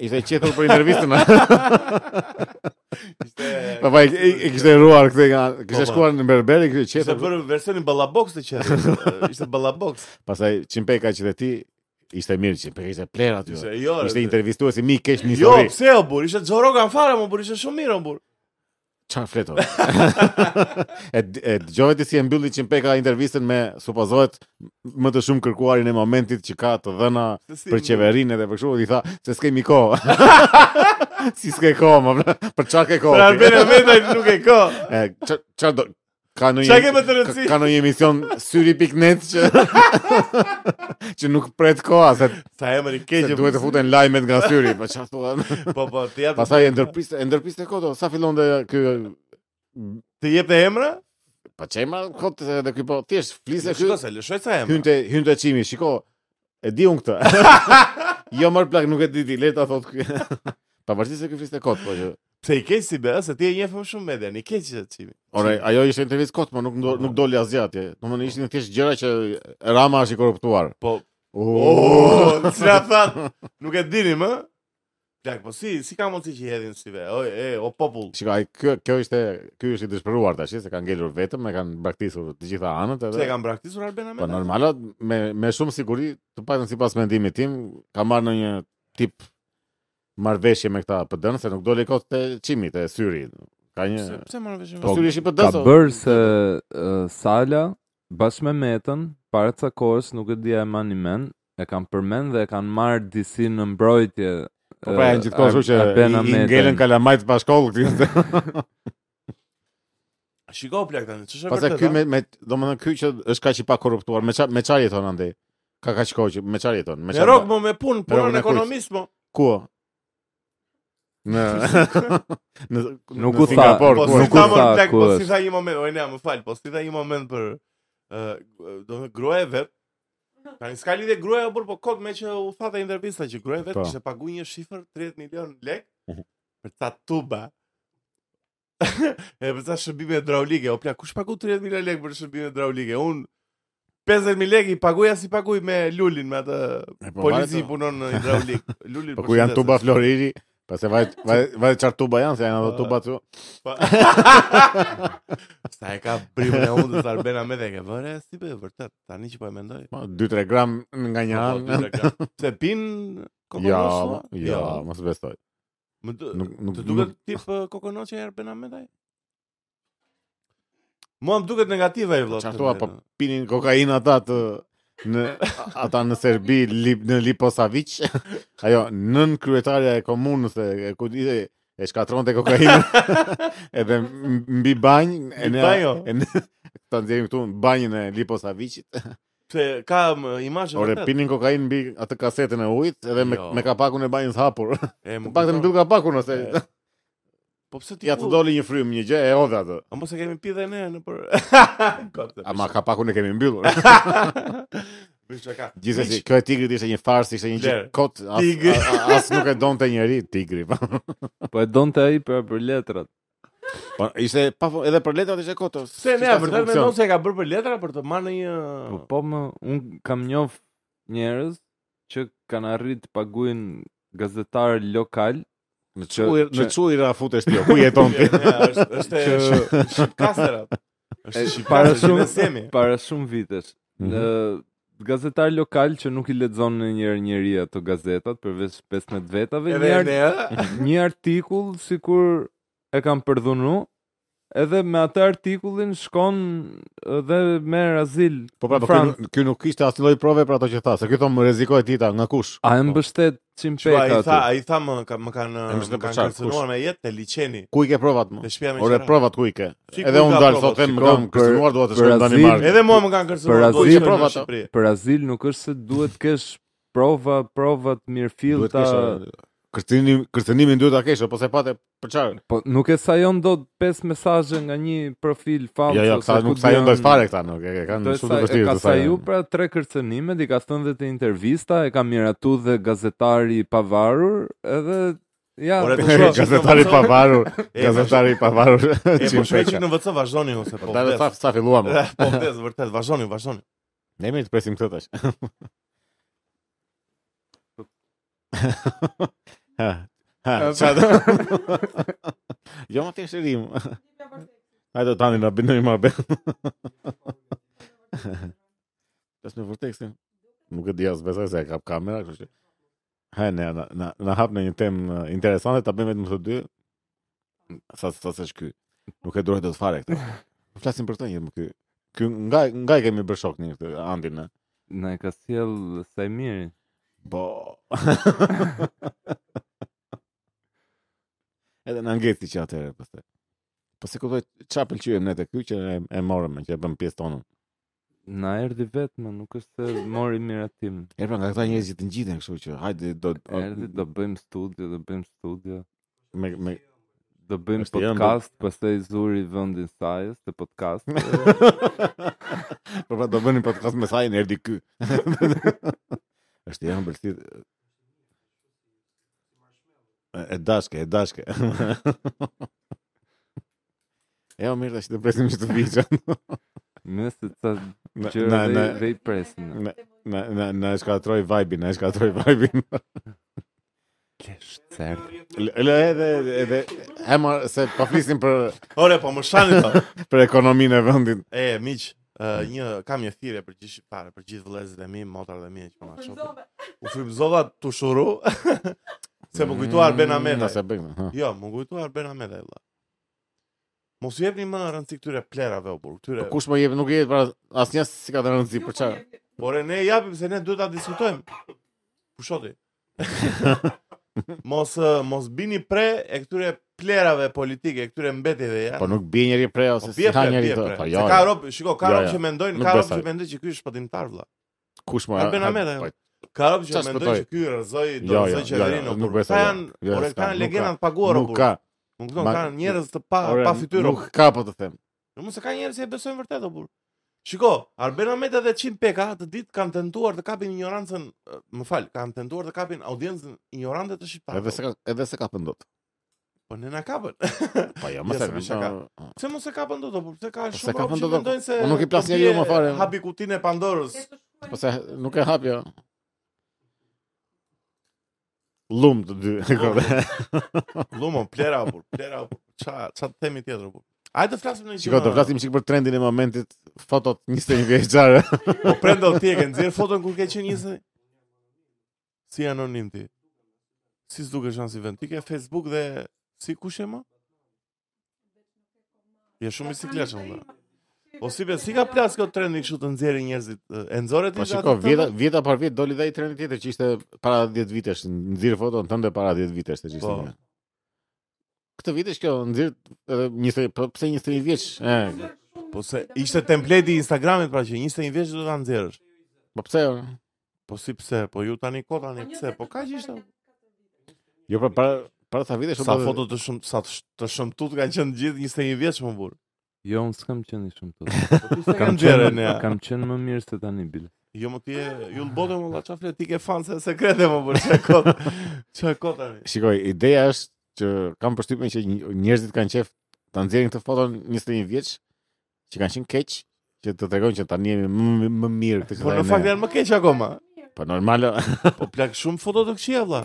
S2: Ishte i qetur për intervistën.
S1: Ishte-
S2: Po pa, e, e- e kishte ruar këtë nga kishte
S1: Po, po.
S2: shkuar në berber e kishte
S1: Ishte
S2: qetur.
S1: bërë versionin ballabox të qenë. Ishte ballabox.
S2: Pastaj Çimpeka që dhe ti ishte mirë Çimpeka ishte pler aty.
S1: Ishte jo.
S2: Ishte
S1: re,
S2: intervistuesi mi i keq në
S1: Jo,
S2: histori.
S1: pse o bur, ishte Joe Rogan fare mo bur, ishte shumë mirë o bur.
S2: Çfarë fletove? e d- e dëgjove ti si e mbylli Çimpeka intervistën me supozohet më të shumë kërkuarin e momentit që ka të dhëna
S1: Se si-
S2: për qeverinë edhe për kështu i tha se s'kemi kohë. si s'ke kohë, më vla, për çfarë ke kohë?
S1: Pra
S2: ti?
S1: Arben Armeta nuk e ka.
S2: E ç- çfarë do ka në
S1: Çka ke më të rëndësi?
S2: ka në një emision syri.net që që nuk pret koha se,
S1: Sa emri keq.
S2: se
S1: e-
S2: duhet të futen lajmet nga syri, po çfarë thua?
S1: Po po, të jap.
S2: Pastaj e ndërpriste e ndërpriste kodo, sa fillonte ky
S1: Të jep të emra?
S2: pa çema kot edhe ky po thjesht fliste ky
S1: Shikoj se lëshoj sa emra.
S2: hynte hynte çimi, shiko. E di unë këtë. jo mor plak nuk e di ti, le ta thot ky. Pavarësisht se ky fliste kot, po që
S1: Pse i keq si be, se ti e njeh më shumë median, i keq që çimi.
S2: Ore, ajo ishte intervistë kot, po nuk ndo, nuk doli asgjë atje. Domethënë ishin thjesht gjëra që Rama është i korruptuar.
S1: Po,
S2: Oh,
S1: oh, çfarë tha? Nuk e dini më? Plak, po si, si ka mundësi që i hedhin si be? O, e, o popull.
S2: Shikoj, ai kjo kjo ishte ky është i dëshpëruar tash, se kanë ngelur vetëm, e kanë braktisur të gjitha anët
S1: Pse e
S2: edhe.
S1: kanë braktisur Arben
S2: Po
S1: Ameta?
S2: normala me me shumë siguri, të paktën sipas mendimit tim, ka marrë ndonjë tip marrveshje me këta PD-n se nuk doli kot te çimi te syri. Ka një
S1: Pse, pse marrë vesh?
S2: Po syri është i
S3: ka
S2: PD-s. o.
S3: bërë se e, Sala bashkë me Metën para ca kohës nuk e dia e mani men, e kanë përmend dhe e kanë marrë disi në mbrojtje.
S2: Po pra janë gjithkohë
S3: eh,
S2: kështu që i- i ngelen kalamajt pa shkollë këtu.
S1: Shiko plak tani, ç'është
S2: Pastaj
S1: vërtet?
S2: ky
S1: a?
S2: me me domethënë ky që është kaq i pa korruptuar, me çfarë me çfarë jeton andej? Ka kaq kohë që me çfarë jeton?
S1: Me rok mo me punë,
S2: rrogën
S1: punën
S2: e kujt?
S1: ekonomist mo.
S2: Ku? o? Në në
S3: Nuk
S2: në
S3: u tha,
S2: Singapur,
S1: po
S2: ku
S3: nuk
S1: si
S2: është?
S3: u
S1: tha më
S3: tha
S1: plak,
S3: ku
S1: po si
S3: është.
S1: tha një moment, oj nea, më fal, po si tha një moment për ë do të gruaja e vet. Tani s'ka lidhje gruaja por po kot me që u tha te intervista që gruaja e vet
S2: Po.
S1: kishte paguar një shifër 30 milion lek
S2: Mhm.
S1: për ta tuba. e për ta shërbime hidraulike, o plak, kush pagu 30 milion lek për shërbime hidraulike? Un 50000 lek i paguaj as i paguaj me Lulin me atë
S2: E, po,
S1: polici
S2: vajtë,
S1: punon në hidraulik. Lulin.
S2: Po ku janë
S1: përshëndes.
S2: tuba Floriri, pastaj vaj vaj vaj çfarë tuba janë, se janë ato
S1: Po.
S2: tuba këtu.
S1: Pa. Sa e ka brimën e hundës Arbena me dhe ke vëre, si be, vërtet, tani që po e mendoj.
S2: Po 2-3 gram nga një
S1: Po, po, dy
S2: anë.
S1: reklama. Se pin
S2: Ja,
S1: kokonosë?
S2: ja,
S1: jo.
S2: mos bestoj.
S1: Më dë,
S2: Nuk nuk
S1: të
S2: nuk
S1: duket tip uh, kokonos që e Arbena me dhe? Mua më duket negative e vëllot.
S2: Çfarë thua, po pinin kokainë ata të në ata në Serbi lip, në Liposavic ajo nën kryetarja e komunës e, e ku di e, e shkatronte kokainën edhe m- mbi banjë
S1: Mbi jo.
S2: e ne
S1: banjo.
S2: e ne ta nxjerrim këtu në banjën e Liposavicit
S1: Se ka më imazhe
S2: ore
S1: vërtet.
S2: pinin kokainë mbi atë kasetën e ujit edhe me
S1: Jo.
S2: me kapakun e banjës hapur
S1: E, më
S2: pak të
S1: kujton.
S2: mbyll kapakun ose
S1: E, Po pse ti
S2: ja të
S1: ku?
S2: doli një frym një gjë e hodha atë
S1: A mos e kemi pi dhe ne në për... Kote,
S2: ama kapakun e kemi mbyllur
S1: Bish që ka.
S2: Gjithsesi, kjo e tigrit ishte një farsë, ishte një gjë
S1: Vlerë.
S2: kot, as,
S1: Tigri.
S2: a- a- as nuk e donte njëri tigri. Po
S3: Po e donte ai për për letrat.
S2: Po, ishte pa fu- edhe për letrat ishte kot. o,
S1: Se ne
S2: s'ishte asnjë
S1: vërtet
S2: funksion.
S1: mendon se e ka bërë për letra për të marrë një
S3: Po
S2: Oh.
S3: po më un kam njoh njerëz që kanë arrit të paguajnë gazetar lokal
S2: Në
S3: që-
S2: çuj- në
S3: që-
S2: çujra futesh ti, o, jo. ku jeton ti?
S1: Ja, ja, Jo, është është
S3: Që-
S1: shqipkastera.
S3: E,
S1: Është
S3: para
S1: shqipkastera
S3: shumë
S1: me semi.
S3: para shumë vitesh.
S2: Mhm.
S3: Në gazetar lokal që nuk i lexon në njëri njëri ato gazetat përveç 15 vetave,
S1: Edhe
S3: një, ar
S1: ne
S3: një artikull sikur e kam përdhunu, edhe me atë artikullin shkon dhe merr azil.
S2: Po pra,
S3: në
S2: po
S3: Francë.
S2: ky- ky nuk kishte asnjë lloj prove për ato që tha, se ky thonë rrezikoj tita nga kush.
S3: A e
S2: Po,
S3: mbështet
S1: Shua, ai
S3: Cimpeka
S1: tha,
S3: aty?
S1: ai tha më ka- më kanë
S2: E mësh në
S1: më kanë
S2: përçar,
S1: kërcënuar me jetë te liçeni,
S2: Ku i ke provat
S1: te
S2: më?
S1: shtëpia me
S2: Ore pra-
S1: qira.
S2: provat ku i ke.
S1: Si, ku
S2: Edhe
S1: i
S2: unë
S1: ka
S2: dal
S1: provat?
S2: sot them,
S3: si,
S2: më kam
S3: për-
S2: kërcënuar dua të
S3: për
S2: shkoj në
S3: azil.
S2: Danimarkë.
S1: Edhe mua më kanë kërcënuar
S3: Për
S1: do
S3: azil
S1: të shkoj
S2: prova
S1: në
S2: ato.
S1: Shqipëri.
S3: Për azil nuk është se duhet kesh prova, provat
S2: Duhet
S3: mirëfillta.
S2: kisha kërcënim kërcënimin duhet ta kesh, po se pate për çfarë?
S3: Po nuk e sajon do pesë mesazhe nga një profil falso.
S2: Jo, jo, këta nuk sa janë fare këta, nuk e e kanë
S3: Do
S2: shumë të
S3: e
S2: vështirë.
S3: ka
S2: të
S3: saju
S2: sajojnë.
S3: pra tre kërcënime, i ka thënë dhe të intervista, e ka miratu dhe gazetari i pavarur, edhe ja,
S1: Ore,
S3: po,
S1: shua.
S2: Gazetari i pavarur,
S1: E,
S2: gazetari i pavarur.
S1: E po shpejt
S2: Çimsheka.
S1: në VC vazhdoni ose po.
S2: Ta dhe sa
S1: vdes.
S2: sa filluam. o.
S1: Po vdes vërtet, vazhdoni, vazhdoni.
S2: Ne mirë të presim këtë tash. Ha. Ha. Çfarë? do- Jo më thjesht rim. Hajde tani na bëjmë më bë. Tas me vortexin. Nuk e di as besoj se e kap kamera, kështu që Ha ne na na, na hap në një temë eh, interesante, ta bëjmë vetëm të dy. Sa sa s'është ky. Nuk e duroj dot fare këtë. Po flasim për këtë një më ky. Ky nga nga e kemi bërë shok një këtë Andin. ne?
S3: na e ka sjell Sajmirin.
S2: Po. Edhe në angeti që atëherë pastaj. Po se kuptoj çfarë pëlqyem ne te ky që e, e morëm që e bëm pjesë tonën.
S3: Na erdhi vetëm, nuk është se mori miratim.
S2: E pra nga këta njerëz që të ngjiten kështu që hajde do o,
S3: Erdhi do bëjmë studio, do bëjmë studio.
S2: me me
S3: Do bëjmë
S2: Është janë,
S3: podcast, pastaj zuri vendin sajës te podcast.
S2: Po pra do bënim podcast me sajin erdhi ky. Është janë bërtit E e dashke, e dashke. Jo, mirë, tash të presim që të vijë. që-
S3: Më se ca
S2: Na-
S3: gjëra
S2: na-
S3: dhe,
S2: na-
S3: dhe i presin.
S2: Na, na, na, na e shkatroj vibe-in, na e shkatroj vibe-in.
S3: Kesh, cert.
S2: Lë edhe, edhe, hema, se pa flisim për,
S1: Ore, po më shani to.
S2: për ekonominë e vendit.
S1: E, miq, ë, një kam një thirrje për gjithë shqiptarët, për gjithë vëllezërit e mi, motrat e mi që po na shohin. U frymzova tu shuru. se po më kujtu Arben Ameta.
S2: Mm, Nëse bëjmë, ha.
S1: Jo, më kujtu Arben Ameta vëlla. Mos u jepni më rëndësi këtyre plerave o burr, këtyre.
S2: Po Kush më jep, nuk jep, pra, asnjë si ka të rëndësi për çfarë.
S1: Por e ne japim se ne duhet ta diskutojmë. Pushoti. mos ë, mos bini pre e këtyre plerave politike, e këtyre mbetjeve ja.
S2: Po nuk bie njëri pre ose
S1: Po
S2: si
S1: bie
S2: ka
S1: pre,
S2: njëri
S1: bie
S2: të.
S1: pre.
S2: Po
S1: Se
S2: jo.
S1: Ka rob, shiko, ka
S2: Jo,
S1: rob
S2: jo.
S1: që mendojnë,
S2: Nuk
S1: ka rob
S2: besoj.
S1: që mendojnë që ky është shpëtimtar vëlla.
S2: Kush më?
S1: Arben
S2: ha-
S1: Ameta, jo.
S2: po,
S1: Ka rob që
S2: Qa
S1: mendoj
S2: s'pëtoj?
S1: që ky rrezoi do të
S2: Jo, jo,
S1: rrezoj
S2: jo,
S1: qeverinë.
S2: jo,
S1: o
S2: nuk
S1: burr.
S2: besa,
S1: Ka
S2: jo.
S1: janë,
S2: Jo,
S1: ore
S2: s'ka,
S1: kanë
S2: nuk
S1: legenda
S2: ka.
S1: të paguara
S2: Nuk
S1: burr.
S2: ka.
S1: Nuk do
S2: Ma-
S1: kanë njerëz të pa
S2: Ore,
S1: pa fytyrë.
S2: Nuk ka po të them.
S1: Jo, mos e ka njerëz që e besojnë vërtet o burr. Shiko, Arben Ahmed edhe Çim Peka të ditë kanë tentuar të kapin ignorancën, eh, më fal, kanë tentuar të kapin audiencën ignorante të
S2: Edhe se
S1: shqiptarëve.
S2: ka edhe se ka pendot.
S1: Po ne na kapën.
S2: Po jo,
S1: Ja,
S2: më po,
S1: se
S2: se
S1: bëj shaka. Pse mos e kapën dot, o burr? Pse ka
S2: Po, se
S1: shumë
S2: ka
S1: rob
S2: kapën
S1: që
S2: dot, o.
S1: mendojnë se
S2: Po, nuk i plas
S1: po
S2: njeriu,
S1: bie-
S2: më fare.
S1: Hapi kutinë e Pandorës.
S2: Po se nuk e hap jo. Lum të dy.
S1: Lumo, plera o burr, plera o burr. Ça ça të themi tjetër o burr? Hajde të flasim në një
S2: Shiko, do flasim sik për trendin e momentit, fotot 21 vjeçare.
S1: Po prendo ti e ke nxjerr foton kur ke qenë 20. Si anonim ti? Si s'dukesh as i vend? Ti ke Facebook dhe si kush e më? Je shumë i sikletshëm. valla. Po si be, si ka plas kjo trendi kështu të nxjerrin njerëzit? E nxorë ti?
S2: Po
S1: atë
S2: shiko,
S1: të-
S2: vjeta vjeta par vjet doli dhe ai trendi tjetër që ishte para 10 vitesh, nxirr foton tënde para 10 vitesh të ishte.
S1: Po.
S2: një. Këtë vit është kjo nxirr edhe 20 po pse 21 vjeç? E,
S1: Po se ishte templeti i Instagramit pra që 21 vjeç do ta nxjerrësh.
S2: po pse? o?
S1: Po si pse? Po ju tani ko tani pse? Po kaq ishte.
S2: Jo pra para para sa vitesh
S1: Sa foto të shumë sa të sh- të shëmtut kanë qenë gjithë 21 vjeç më burr.
S3: Jo, unë s'kam qenë i shumë të.
S2: Po
S1: Kam
S3: Kam
S1: nxjerrë
S3: qenë,
S1: ne.
S3: kam qenë më mirë se tani bile.
S1: Jo më tje, ju lë bote më la qa flet, ti ke fanë se sekrete më për qa kot, qa kot tani.
S2: Shikoj, ideja është që kam përshtypjen që nj- njerëzit kanë qef ta nxjerrin këtë foton 21 vjeç që kanë qenë keq, që të tregojnë që tani jemi më, më, më mirë këtë që
S1: Po në
S2: tani
S1: fakt
S2: ne.
S1: janë më keq akoma,
S2: Po normal,
S1: po plak shumë foto të këqia vlla.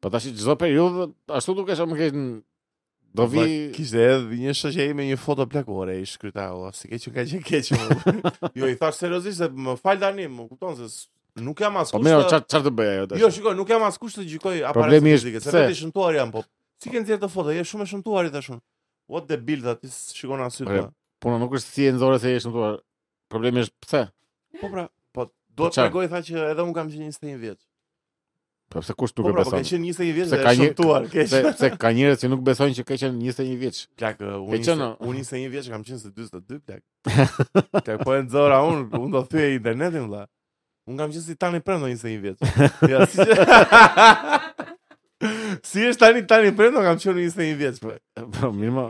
S2: po tash çdo periudhë ashtu dukesh më keq në-
S1: Po
S2: do vi
S1: Vlla, Kishte edhe një shoqe ime një foto plak, ore, i shkryta, vlla, si keq që ka qenë keq. më. jo, i thash seriozisht se më fal tani, më kupton se s- nuk jam
S2: Po
S1: askush.
S2: mirë,
S1: të-
S2: çfarë çfarë të bëj ajo tash?
S1: Jo, shikoj, nuk jam askush të gjykoj aparatin
S2: Problemi është
S1: fizike, se
S2: pse?
S1: vetë i shëmtuar jam, po. Si ke nxjerrë të foto? Je shumë e shëmtuar i tashun. What the build aty shikon asyt.
S2: Ore,
S1: vlla.
S2: Puna nuk është si e nxorë se je shëmtuar. Problemi është pse?
S1: Po pra, po do
S2: Po
S1: të
S2: çfarë?
S1: tregoj tha që edhe un kam qenë 21 vjeç.
S2: Po pse kush
S1: Po
S2: nuk e
S1: pra, po
S2: beson?
S1: ke qenë 21 vjeç
S2: Se
S1: dhe
S2: ka
S1: e
S2: një-
S1: shëmtuar, ke
S2: Se
S1: qenë.
S2: se ka njerëz që nuk besojnë që ka qenë 21 vjeç.
S1: Plak, uh, unë
S2: Ke qenë,
S1: ishte- unë 21 vjeç kam qenë se 42 plak. Plak, po e nxora unë, unë do thyej internetin vlla. Unë kam qenë si tani prendo 21 vjeç. Ja, si që... Si është tani tani prendo kam qenë 21 vjeç. plak.
S2: Po mirë, ma,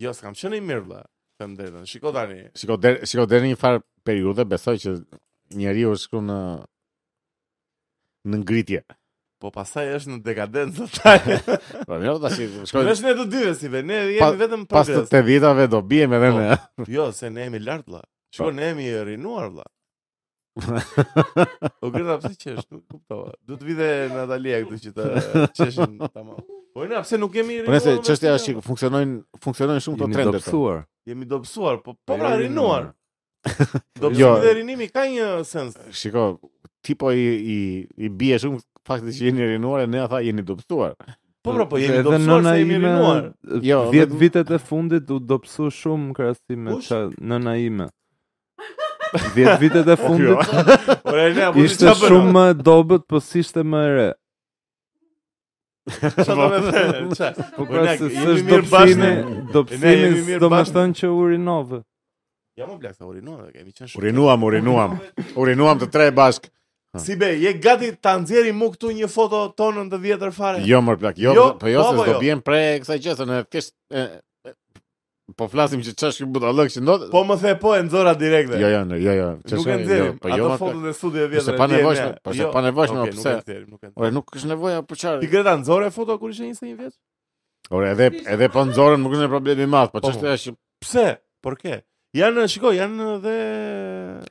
S1: Jo, s'kam qenë i mirë vlla. Them drejtën. Shiko tani.
S2: shiko der, shiko deri në një farë periudhe besoj që njeriu është shku në në ngritje.
S1: Po pastaj është në dekadencë tani.
S2: Po mirë, tash shkoj
S1: Vesh ne të dyve si ve, ne
S2: Pa-
S1: jemi vetëm
S2: pas të
S1: progres.
S2: 80-tave do bijem edhe
S1: Po.
S2: ne.
S1: Jo, se ne jemi lart vlla. Shiko,
S2: Po.
S1: ne jemi rinuar vlla. O gërda pse qesh, nuk kuptova. Do të vide Natalia këtu që të qeshin tamam. Po na pse nuk jemi
S2: Po
S1: rinuar?
S2: nëse
S1: me
S2: çështja
S1: këtë
S2: është që funksionojnë funksionojnë shumë këto
S3: Jemi
S2: trende. po.
S3: dobësuar.
S1: gjë? jemi dobësuar, po po
S3: Jo,
S1: pra
S3: jemi
S1: rinuar.
S3: rinuar.
S1: Dobësimi
S2: Jo.
S1: dhe rinimi ka një sens.
S2: Shiko, ti po i i, i bie shumë fakti që jeni rinuar e ne ata jeni dobësuar.
S1: Po pra, po
S3: Edhe
S1: jemi dobësuar
S3: nëna
S1: se jemi
S3: ime,
S1: rinuar.
S2: Jo,
S3: 10
S2: vetëm-
S3: vitet e fundit u dobësu shumë në krahasim me
S1: Kush?
S3: ça- nëna ime. 10 vitet e fundit
S1: Ora ne Po, jo, apo
S3: ishte shumë më dobët, po si ishte më e re.
S1: çfarë do të them? Qa?
S3: Po
S1: Po,
S3: pra
S1: ne
S3: se
S1: jemi
S3: s'është
S1: mirë bashkë,
S3: dobësimi,
S1: ne- ne
S3: dobësimi
S1: jemi mirë
S3: do më
S1: bashkë. Po,
S3: thënë që u rinove.
S1: Ja më blaq, u rinuar, kemi qenë
S2: U
S1: shumë.
S2: rinuam, u rinuam. U rinuam të tre bashk.
S1: Si be, je gati ta nxjerrim mu këtu një foto tonën të vjetër fare?
S2: Jo mor plak, jo,
S1: Jo,
S2: po jo
S1: po,
S2: se
S1: po,
S2: do
S1: jo.
S2: bien pre kësaj gjëse në thjesht e, e, po flasim që ç'është ky budallëk që ndodh.
S1: Po më the po e nxora direkte.
S2: Jo, jo, jo, jo.
S1: Nuk
S2: ç'është,
S1: e
S2: jo,
S1: nxjerrim.
S2: Po jo
S1: Ato
S2: mor plak.
S1: fotot e studio
S2: Është
S1: vjetër.
S2: e panevojshme, po është e panevojshme, po
S1: pse?
S2: pse?
S1: Nuk e nxjerrim, nuk e nxjerrim.
S2: Ore nuk është nevoja për
S1: Ti
S2: çfarë.
S1: Greta nxore foto kur ishe 21 vjeç?
S2: Ore edhe edhe po nxorën nuk është një problem i madh, po
S1: Po, po.
S2: ç'është është
S1: Pse? Por ke? Janë, shikoj, janë edhe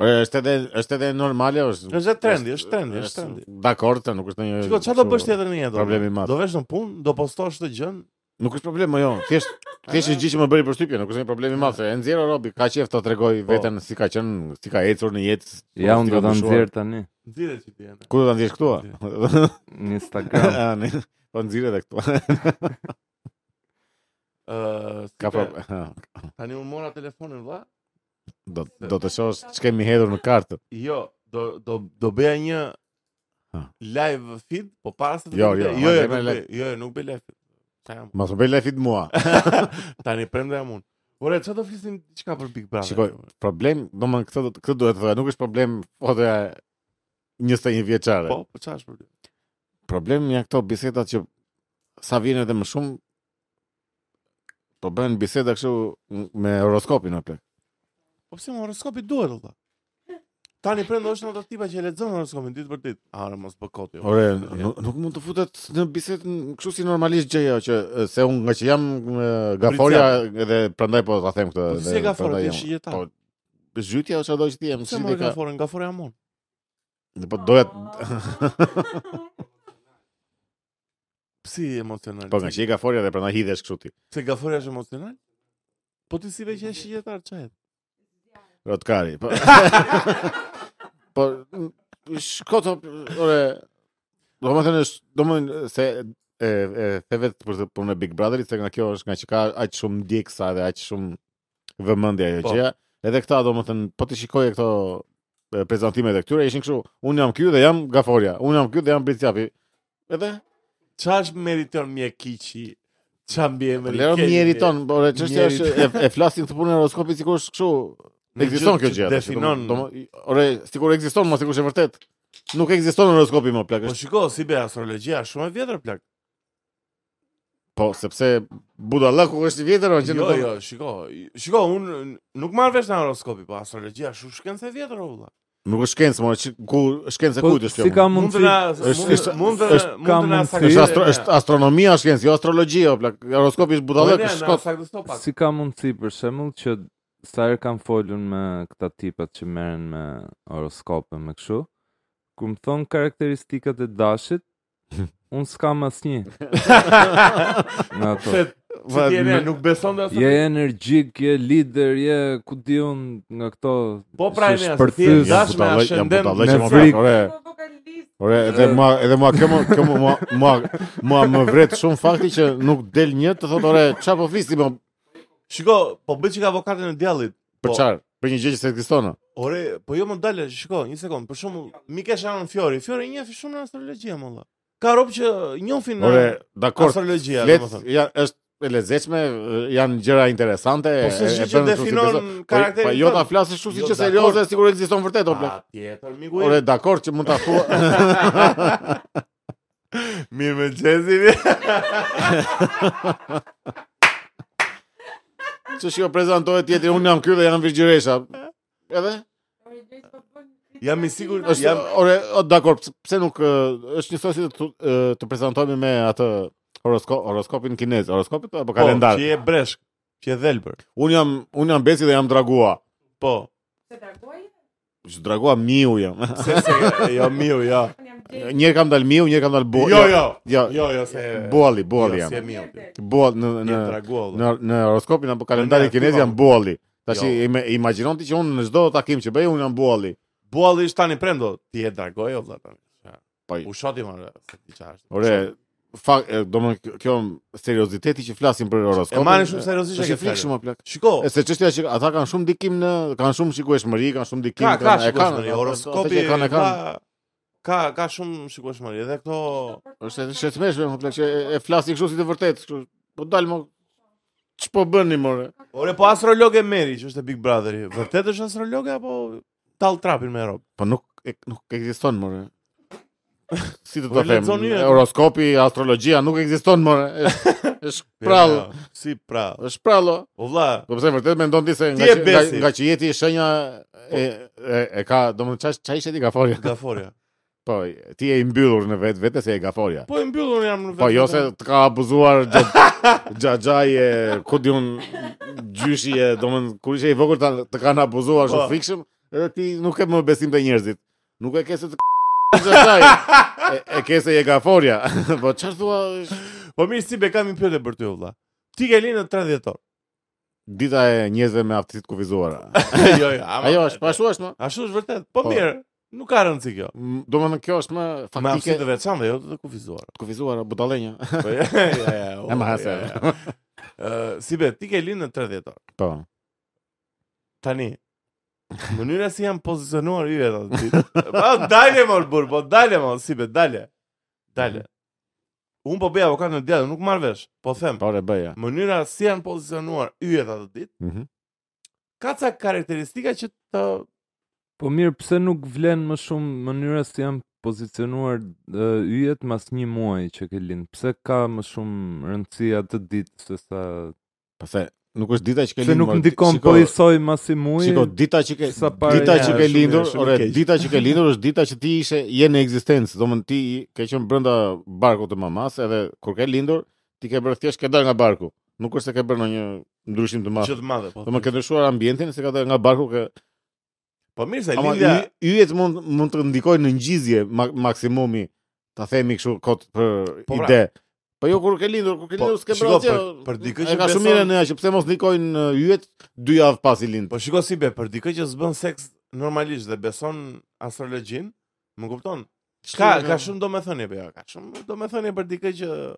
S2: ore është edhe është edhe normale është.
S1: Është trendi, është trendi, është trendi.
S2: Dakor, të nuk është ndonjë.
S1: Shikoj, çfarë do bësh tjetër në jetë? o?
S2: Problemi i madh.
S1: Do vesh në punë, do postosh këtë gjën.
S2: Nuk është problem, jo. Thjesht thjesht është gjë që më bëri përshtypje, nuk është një problem i madh. se E nxjerr Robi, ka qejf ta tregoj
S1: Po.
S2: veten si ka qenë, si ka ecur në jetë. po,
S3: Ja,
S2: si
S3: unë
S2: ka
S3: do ta
S2: ndryshuar.
S3: nxjerr tani
S1: Nxire që ti janë.
S2: Ku do ta ndjesh këtu? a?
S3: në Instagram.
S2: A, ne, Po nxirë edhe këtu.
S1: Ë, si
S2: Ka
S1: be,
S2: problem. Ha,
S1: Tani unë mora telefonin vlla.
S2: Do do të shohësh ç'kemi hedhur në kartë.
S1: Jo, do do do bëja një
S2: Ha.
S1: live feed, po para se të
S2: Jo,
S1: bëj-
S2: jo,
S1: jo,
S2: ma
S1: jo,
S2: bëjmë
S1: nuk
S2: live.
S1: bëj- jo, jo, nuk bëj live. feed. Qa jam?
S2: Mos u bëj lefit mua.
S1: Tani prende jam unë. Ore, çfarë do flisim diçka për Big Brother?
S2: Shikoj, problem, domethënë këtë këtë duhet të thoya, nuk është problem fotoja 21 vjeçare.
S1: Po, po çfarë është problemi?
S2: Problemi janë këto bisedat që sa vjen edhe më shumë po bën biseda kështu me horoskopin apo.
S1: Po pse më horoskopi duhet valla? Tani prendo është në ato tipa që e lexon horoskopin ditë për ditë. Are mos jo. bë koti. o.
S2: Ore, nuk, nuk mund të futet në bisedë në- kështu si normalisht gjëja që e, se unë nga që jam e, gaforja edhe prandaj po ta them këtë.
S1: Po si
S2: edhe
S1: e ka forë
S2: prandaj
S1: ti
S2: jam-
S1: shigjetar?
S2: Po, zhytja është ajo që ti jam.
S1: Pse
S2: si
S1: më
S2: ti
S1: ka Ah, forë, nga forë amon.
S2: Po doja
S1: Si emocional.
S2: po nga që i gaforja dhe prandaj hidhesh kështu ti.
S1: Se gafori është emocional? Po ti si
S2: Mm.
S1: veç e shigjetar çaj.
S2: Rotkari. Po. po shko të ore do më thënë është- do më thënë se e e the vetë për të punën e Big Brotherit se nga kjo është nga që ka aq shumë ndjeksa dhe aq shumë vëmendje ajo
S1: Po.
S2: gjëja. Edhe këta do më thënë po ti shikoje këto e, prezantimet e këtyre ishin kështu unë jam ky dhe jam Gaforia, unë jam ky dhe jam Bricjapi. Edhe
S1: Çfarë është meriton mjekiçi? Çfarë mbi emri?
S2: Lero
S1: keni?
S2: mjeriton, por e çështja
S1: Mjerit.
S2: është e, e flasin këtë punën e horoskopit sikur është kështu
S1: Në
S2: Ekziston
S1: gjë
S2: kjo
S1: që
S2: gjë. atë, që
S1: Definon.
S2: do- do- Ore, sikur ekziston, mos sigurisht e vërtet. Nuk ekziston horoskopi më plak.
S1: Po
S2: është-
S1: shiko, si be astrologjia është shumë e vjetër plak.
S2: Po, sepse budallahu është i vjetër, o, Po, që
S1: Jo,
S2: nuk.
S1: jo, shiko. Shiko, unë nuk marr vesh në horoskopi, po astrologjia është shumë shkencë e vjetër o vëlla.
S2: Nuk është shkencë, mo, që- ku shkencë e
S3: Po
S2: kujt është kjo?
S3: si
S2: mo?
S3: ka
S1: Mund të
S3: mundësi
S1: na
S2: Është-
S1: mund-
S2: është-
S1: mund të
S2: është-
S1: mund të na
S3: ka
S2: Është,
S3: mundësi-
S1: saktësojnë,
S2: astro,
S1: ja.
S2: është astronomia është shkencë, jo astrologji, o plak. Horoskopi është
S1: Po,
S2: budallëk,
S1: ne, na
S2: është shkot.
S1: saktësoj pak.
S3: si ka mundësi për shembull që sa herë kam folur me këta tipat që merren me horoskope me kështu, kur më thon karakteristikat e dashit, un s'kam asnjë nga ato.
S1: Se se ti e ne,
S2: me-
S1: nuk beson dhe
S3: Je
S1: astrologjia.
S3: energjik, je lider, je ku di un nga këto
S1: Po pra ne, se ti e
S3: shpërthys.
S1: dash me
S2: Jam budallëq, jam
S1: ashenden.
S2: budallëq,
S3: me
S2: mo, plak,
S3: frikë.
S2: Ore, Ore, edhe
S3: Eh.
S2: mua, edhe mua këmo, këmo mua, mua, mua më vret shumë fakti që nuk del një të thotë, ore, çfarë po flisni më
S1: Shiko, po bëj çka avokatën e djallit.
S2: për
S1: Po.
S2: çfarë? Për një gjë që s'e ekziston. o.
S1: Ore, po jo më dalë, shiko, një sekond, për shembull, mi ke shanon Fiori. Fiori një shumë në astrologji, më valla. Ka rob që njohin në
S2: Ore, dakor,
S1: astrologjia,
S2: Flet,
S1: domethënë.
S2: ja, është e lezetshme, janë gjëra interesante.
S1: Po se
S2: e-
S1: shi
S2: e
S1: që
S2: bën kështu si
S1: definon
S2: beso. Po,
S1: karakterin.
S2: Po jo ta
S1: tënd.
S2: flasësh kështu
S1: Jo,
S2: siç është
S1: dakor. Ah,
S2: serioze, sikur ekziston vërtet o plak.
S1: Pa, tjetër, miku.
S2: Ore, dakor që mund ta thua.
S1: mirë me Jezi.
S2: Që shiko prezantohet tjetri, unë jam ky dhe jam Virgjiresha. Edhe
S1: Jam i sigurt
S2: është
S1: jam
S2: ore, o, dakor, pse- pse nuk ë, është njësoj si të thu- ë, të prezantohemi me atë horoskop horoskopin kinez, horoskopit apo
S1: po,
S2: kalendar.
S1: që je breshk, që je dhelbër.
S2: Unë jam unë jam Besi dhe jam Dragua.
S1: Po,
S2: Që Dragua miu jam.
S1: se se jo miu, jo.
S2: Njëherë kam dal miu, njëherë kam dal bo.
S1: Jo, jo.
S2: Jo,
S1: Jo, jo, se
S2: Bualli, bualli
S1: jo,
S2: jam.
S1: si e miu.
S2: Buall në
S1: Në
S2: në
S1: draguolla.
S2: në në horoskopin apo kalendarin
S1: Ne,
S2: kinez
S1: thua.
S2: janë bualli. Tash
S1: Jo.
S2: i me- imagjinon ti që unë në çdo takim që bëj unë jam bualli.
S1: Bualli është tani prendo, ti je dragoj o vëlla tani.
S2: Po.
S1: U shoti më, se ti çfarë. është.
S2: Ore, fakt, domthon kjo serioziteti që flasin për
S1: E
S2: horoskopin.
S1: marrin shumë seriozisht
S2: Është
S1: e
S2: i frikë shumë o plak.
S1: Shiko,
S2: E se çështja që ata kanë shumë dikim në kanë shumë shikueshmëri, kanë shumë dikim,
S1: ka ka
S2: e
S1: shikueshmëri,
S2: ata-
S1: horoskopi
S2: ata që e kanë e
S1: ka
S2: kanë.
S1: ka ka shumë shikueshmëri. Edhe këto
S2: Është edhe shëtmeshme, më plak që e, e flasin kështu si të vërtetë, kështu. Po dal më ç'po bëni more?
S1: Ore po astrologe Meri, që është e Big Brotheri, vërtet është astrologe apo tall trapin me rob?
S2: Po nuk e, nuk ekziston more. Si të
S1: Po e
S2: të them,
S1: lexon një,
S2: horoskopi, astrologjia nuk ekziston more. Është është prall,
S1: Jo, jo, Si prall.
S2: është prallo.
S1: O vlla,
S2: Do të them vërtet mendon ti se
S1: Ti
S2: nga
S1: je
S2: që, nga,
S1: besi. Po.
S2: nga që jeti shenja e e, e ka, domethënë çaj çaj sheti gaforia.
S1: gaforia.
S2: Po, ti je i mbyllur në vetë vetë se je gaforia.
S1: Po e mbyllur jam në vetë.
S2: Po jo se të ka abuzuar gja- xhaxhaj e ku diun gjyshi e domethënë kur ishe i vogël ta të kanë abuzuar
S1: Po.
S2: shumë frikshëm, edhe ti nuk ke më besim te njerëzit. Nuk e ke se të xhaxhaj. E, e ke se je gaforia. po çfarë thua është
S1: Po mirë si be kam një pyetje për ty o vlla. Ti ke linë në 30 orë.
S2: dita e njerëzve me aftësi të kufizuara.
S1: Jo, jo, ama.
S2: Ajo është, po ashtu është më.
S1: Ashtu është vërtet. Po
S2: Po.
S1: mirë, nuk ka rëndësi kjo.
S2: Domethënë kjo është më
S1: Me aftësi
S2: faktike
S1: të veçantë jo të të kufizuar.
S2: të kufizuara budallenja.
S1: Po ja, ja, ja. o,
S2: E ma hase.
S1: ja, ja. Ë, si be, ti ke linë në 30 orë.
S2: Po.
S1: Tani Mënyra si janë pozicionuar ju ato ditë. Po dale mor bur, po dale mor, si be, dale. Dale.
S2: Mhm.
S1: Un po bëj avokat në ditë, nuk marr vesh. Po them,
S2: Po re bëja.
S1: mënyra si janë pozicionuar yjet ato ditë,
S2: Mhm.
S1: ka ca karakteristika që të
S3: Po mirë, pse nuk vlen më shumë mënyra si janë pozicionuar e, yjet mas një muaj që ke lind? Pse ka më shumë rëndësi atë ditë se sa
S2: Pastaj nuk është dita që ke
S3: pse nuk
S2: mor,
S3: ndikon
S2: shiko,
S3: po i soj mas i muaj?
S2: Shiko, dita që ke
S3: sa pare
S2: dita
S1: ja,
S2: që
S1: është
S2: ke
S1: shumë-
S2: lindur,
S1: shumë
S2: ore,
S1: keq.
S2: dita që ke lindur është dita që ti ishe je në ekzistencë, domthon ti ke qenë brenda barkut të mamas, edhe kur ke lindur, ti ke bërë thjesht ke dalë nga barku. Nuk është se ke bërë ndonjë ndryshim të madh.
S1: Gjë të madhe, po.
S2: Do më ke ndryshuar ambientin se ka dalë nga barku ke
S1: Po mirë se
S2: Ama
S1: lindja,
S2: y- yjet mund mund të ndikojnë në ngjizje ma- maksimumi, ta themi kështu kot për
S1: Po, pra.
S2: ide. Po jo kur ke lindur, kur ke
S1: Po,
S2: lindur s'ke
S1: shiko,
S2: bërë asgjë.
S1: për- për dikë
S2: e
S1: që
S2: ka shumë
S1: beson-
S2: mirë ne që pse mos ndikojnë uh, yjet dy javë pas i lind.
S1: po shiko si be, për dikë që s'bën seks normalisht dhe beson astrologjin, më kupton? Ka ka shumë domethënie për ja, ka shumë domethënie për dikë që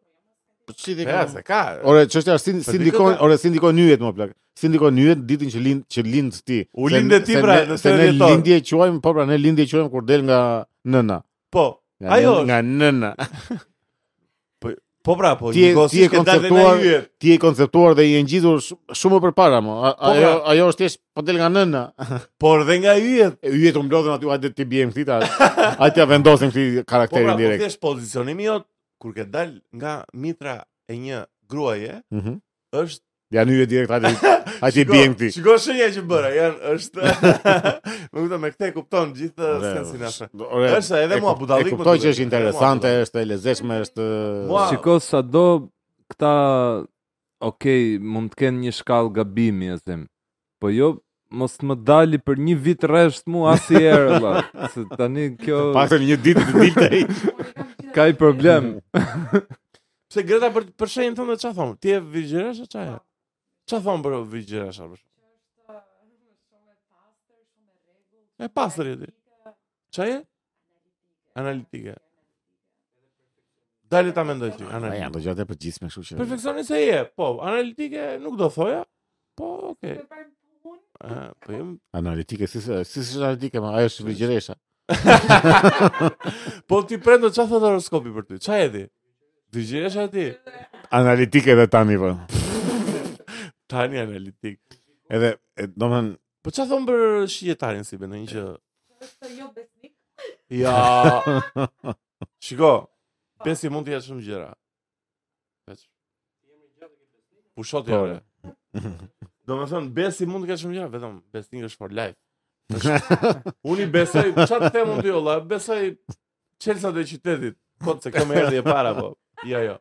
S2: çiti
S1: ja, se po, ka.
S2: Ore, çështja është si-
S1: Për
S2: si
S1: dikë
S2: ndikojnë,
S1: ka-
S2: ore si ndikojnë yjet më plak. Si ndikojnë yjet ditën që lind që lind ti.
S1: U
S2: Se-
S1: linde ti,
S2: se
S1: pra,
S2: ne-
S1: në
S2: se ne
S1: 30 orë.
S2: lindje quajmë, po pra ne lindje quajmë kur del nga nëna.
S1: Po,
S2: Nga
S1: Ajo
S2: nëna- nga nëna.
S1: po pra, po
S2: Ti je-
S1: Niko
S2: ti je
S1: si ke dalë në
S2: konceptuar-
S1: yjet.
S2: Ti je konceptuar dhe je ngjizur sh- shumë përpara mo. A-
S1: Po,
S2: Ajo
S1: pra.
S2: ajo është thjesht po del nga nëna.
S1: Por Po, dhe nga yjet.
S2: E, Yjet u mblodhen aty, hajde ti bjem këtita. Hajde ja vendosim
S1: Po
S2: këti
S1: pra,
S2: karakterin
S1: po
S2: direkt.
S1: thjesht pozicionimi jot kur ke dal nga mitra e një gruaje
S2: Mhm.
S1: është
S2: Ja në yjet direkt hajde. Hajde ti
S1: Shiko,
S2: bjem këti.
S1: Shiko shenja që bëra, janë është më kupton me këtë e kupton gjithë sensin asaj.
S2: Ore,
S1: Është edhe
S2: e
S1: mua
S2: kup-
S1: budallik
S2: E
S1: më
S2: kuptoj që
S1: duhet,
S2: është
S1: edhe mua
S2: interesante,
S1: budallik.
S2: është e lezetshme, është
S1: Mua-
S3: Po,
S2: Po,
S3: Shiko sa do këta Okej, mund të kenë një shkallë gabimi e them. Po jo mos më dali për një vit rresht mu asnjëherë valla. Se tani kjo
S2: paktën një ditë të dilte ai.
S3: ka i problem.
S1: Pse Greta për për shenjën tënde çfarë thon? Ti je virgjëresha çaja? Çfarë thon për virgjëresha? për shemb? E pastër je ti. Çfarë je? Analitike. Dale ta mendoj ti,
S2: Ja, janë
S1: analitike.
S2: do gjatë e përgjithshme, kështu që.
S1: Perfeksioniste je, po, analitike nuk do thoja, po, okay. Eh, Po jem
S2: Analitike, si se- si si analitike, ma ajo është virgjëresha.
S1: Po ti prendo çfarë thot horoskopi për ty? Çfarë jeti? Dëgjesh ti?
S2: Analitike edhe tani po.
S1: Tani analitik.
S2: Edhe e, domethënë
S1: Po çfarë thon për shijetarin si bën një që
S4: Jo besnik.
S1: ja. Shiko, besi mund të jetë shumë gjëra. Veç. Pushot
S2: Po,
S1: ja. Do me thënë, besi mund të ketë shumë gjëra, vetëm besnik është for life. Unë i besoj, çfarë të them unë ty olla, besoj Chelsea të qytetit. Po se kam erdhi e para po. Jo, jo.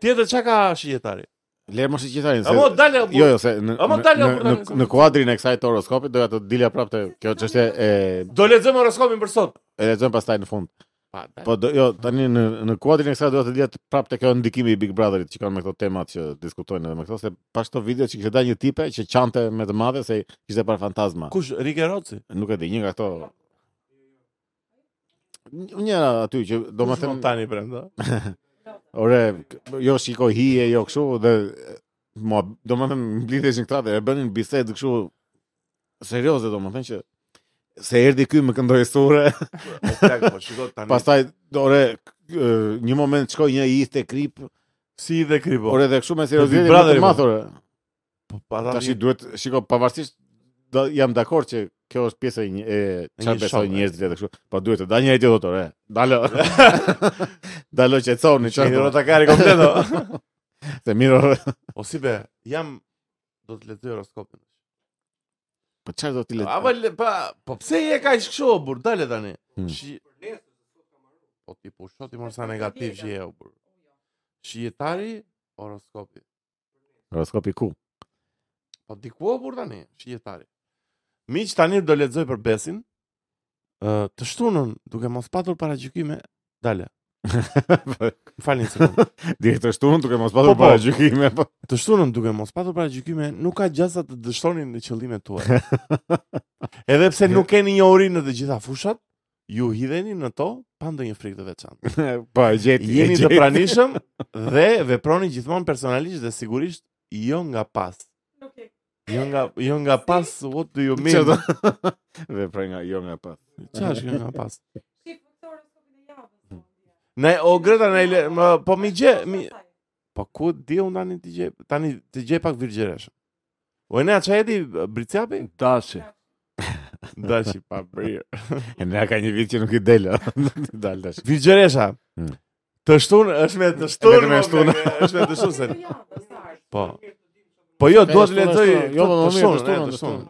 S1: Tjetër çka ka shijetari?
S2: lërë mos i qitarin.
S1: Amo dale.
S2: Jo, jo, se në,
S1: A mo
S2: në-
S1: dalë,
S2: në,
S1: po,
S2: në,
S1: dalë.
S2: në kuadrin e kësaj të horoskopit doja të dilja prapë te kjo çështje e
S1: Do lexojmë horoskopin për sot.
S2: e lexojmë pastaj në fund.
S1: Pa, dale.
S2: Po do, jo, tani në në kuadrin e kësaj doja të dilja të- prapë te kjo ndikimi i Big Brotherit që kanë me këto temat që diskutojnë edhe me këto se pas këto video që kishte dalë një tipe që qante me të madhe se kishte parë fantazma.
S1: Kush Rike Roci?
S2: Nuk e di, një nga ato Një aty që do më
S1: Kush
S2: thënë
S1: tani brenda.
S2: Ore, k- jo shiko hije, jo kështu dhe e, mua, do më thënë, mblidheshin këta dhe e bënin bisedë kështu serioze, do më thënë që se erdi ky më këndoi sure,
S1: O plak, po shiko tani.
S2: pastaj ore k- e, një moment shkoi një i te krip,
S1: si i dhe kripo.
S2: ore dhe kështu me seriozitetin më
S1: Brother,
S2: të madh, ore.
S1: po pa ta
S2: Tash
S1: shi
S2: duhet, shiko, pavarësisht do, jam dakord që kjo është pjesa e një- e
S1: një
S2: çfarë besojnë
S1: shoku, e.
S2: njerëzit edhe kështu, po duhet të dalë njëri tjetër, ore. Dalo. Dalo qetësoni
S1: Çfarë
S2: çfarë. do-
S1: rota kari kompleto.
S2: Se mirë. ore.
S1: O si be, jam do të lexoj horoskopin.
S2: Po çfarë do ti le?
S1: Ava le- pa, po pse je kaq kështu o burr, dale tani.
S2: Hmm.
S1: Shi Po ti po shoti mor sa negativ që je o burr. Shijetari horoskopi.
S2: Horoskopi ku?
S1: Po diku o burr tani, shijetari. Miq tani do lexoj për besin. Ë, të shtunën, duke mos patur paragjykime, dale. Më falni po. sekond.
S2: Direktor shtunën duke mos
S1: Po,
S2: pasur
S1: po.
S2: para gjykime. Po.
S1: Të shtunën duke mos patur paragjykime, nuk ka gjasa të dështonin në qëllimet tuaja. Edhe pse nuk keni një uri në të gjitha fushat, ju hidheni në to pa ndonjë frikë të veçantë.
S2: Po, e gjeti. e
S1: Jeni të
S2: gjeti.
S1: pranishëm dhe veproni gjithmonë personalisht dhe sigurisht jo nga pas.
S4: Nuk e
S1: Jo nga jo nga pas what do you mean?
S2: Çfarë do? Dhe pra nga jo nga pa.
S1: Çfarë është kjo nga pas?
S4: ke faktorë sot në javë.
S1: Ne Hmm. o Greta ne le- më- po mi gje mi po ku di un tani të gjej tani të gjej pak virgjëresh. O ne çajeti Briciapi?
S3: Dashi.
S1: Dashi.
S2: pa prirë. E ne ka një vit që nuk i del. a. Dal tash.
S1: Vigjeresha.
S2: Hmm.
S1: Të shtun është me të shtun.
S2: vetëm e
S1: mo,
S2: shtun.
S1: blerë, Është me të shtun se. Po. Po
S4: Po
S1: jo,
S2: E,
S1: dua të
S2: shtun,
S1: lexoj.
S2: shtun. Jo,
S1: të-
S2: po,
S1: të
S2: më mirë, të
S1: shtunën,
S2: shtunën,
S1: e,
S2: të
S1: të
S2: shtunën.
S1: shtunën.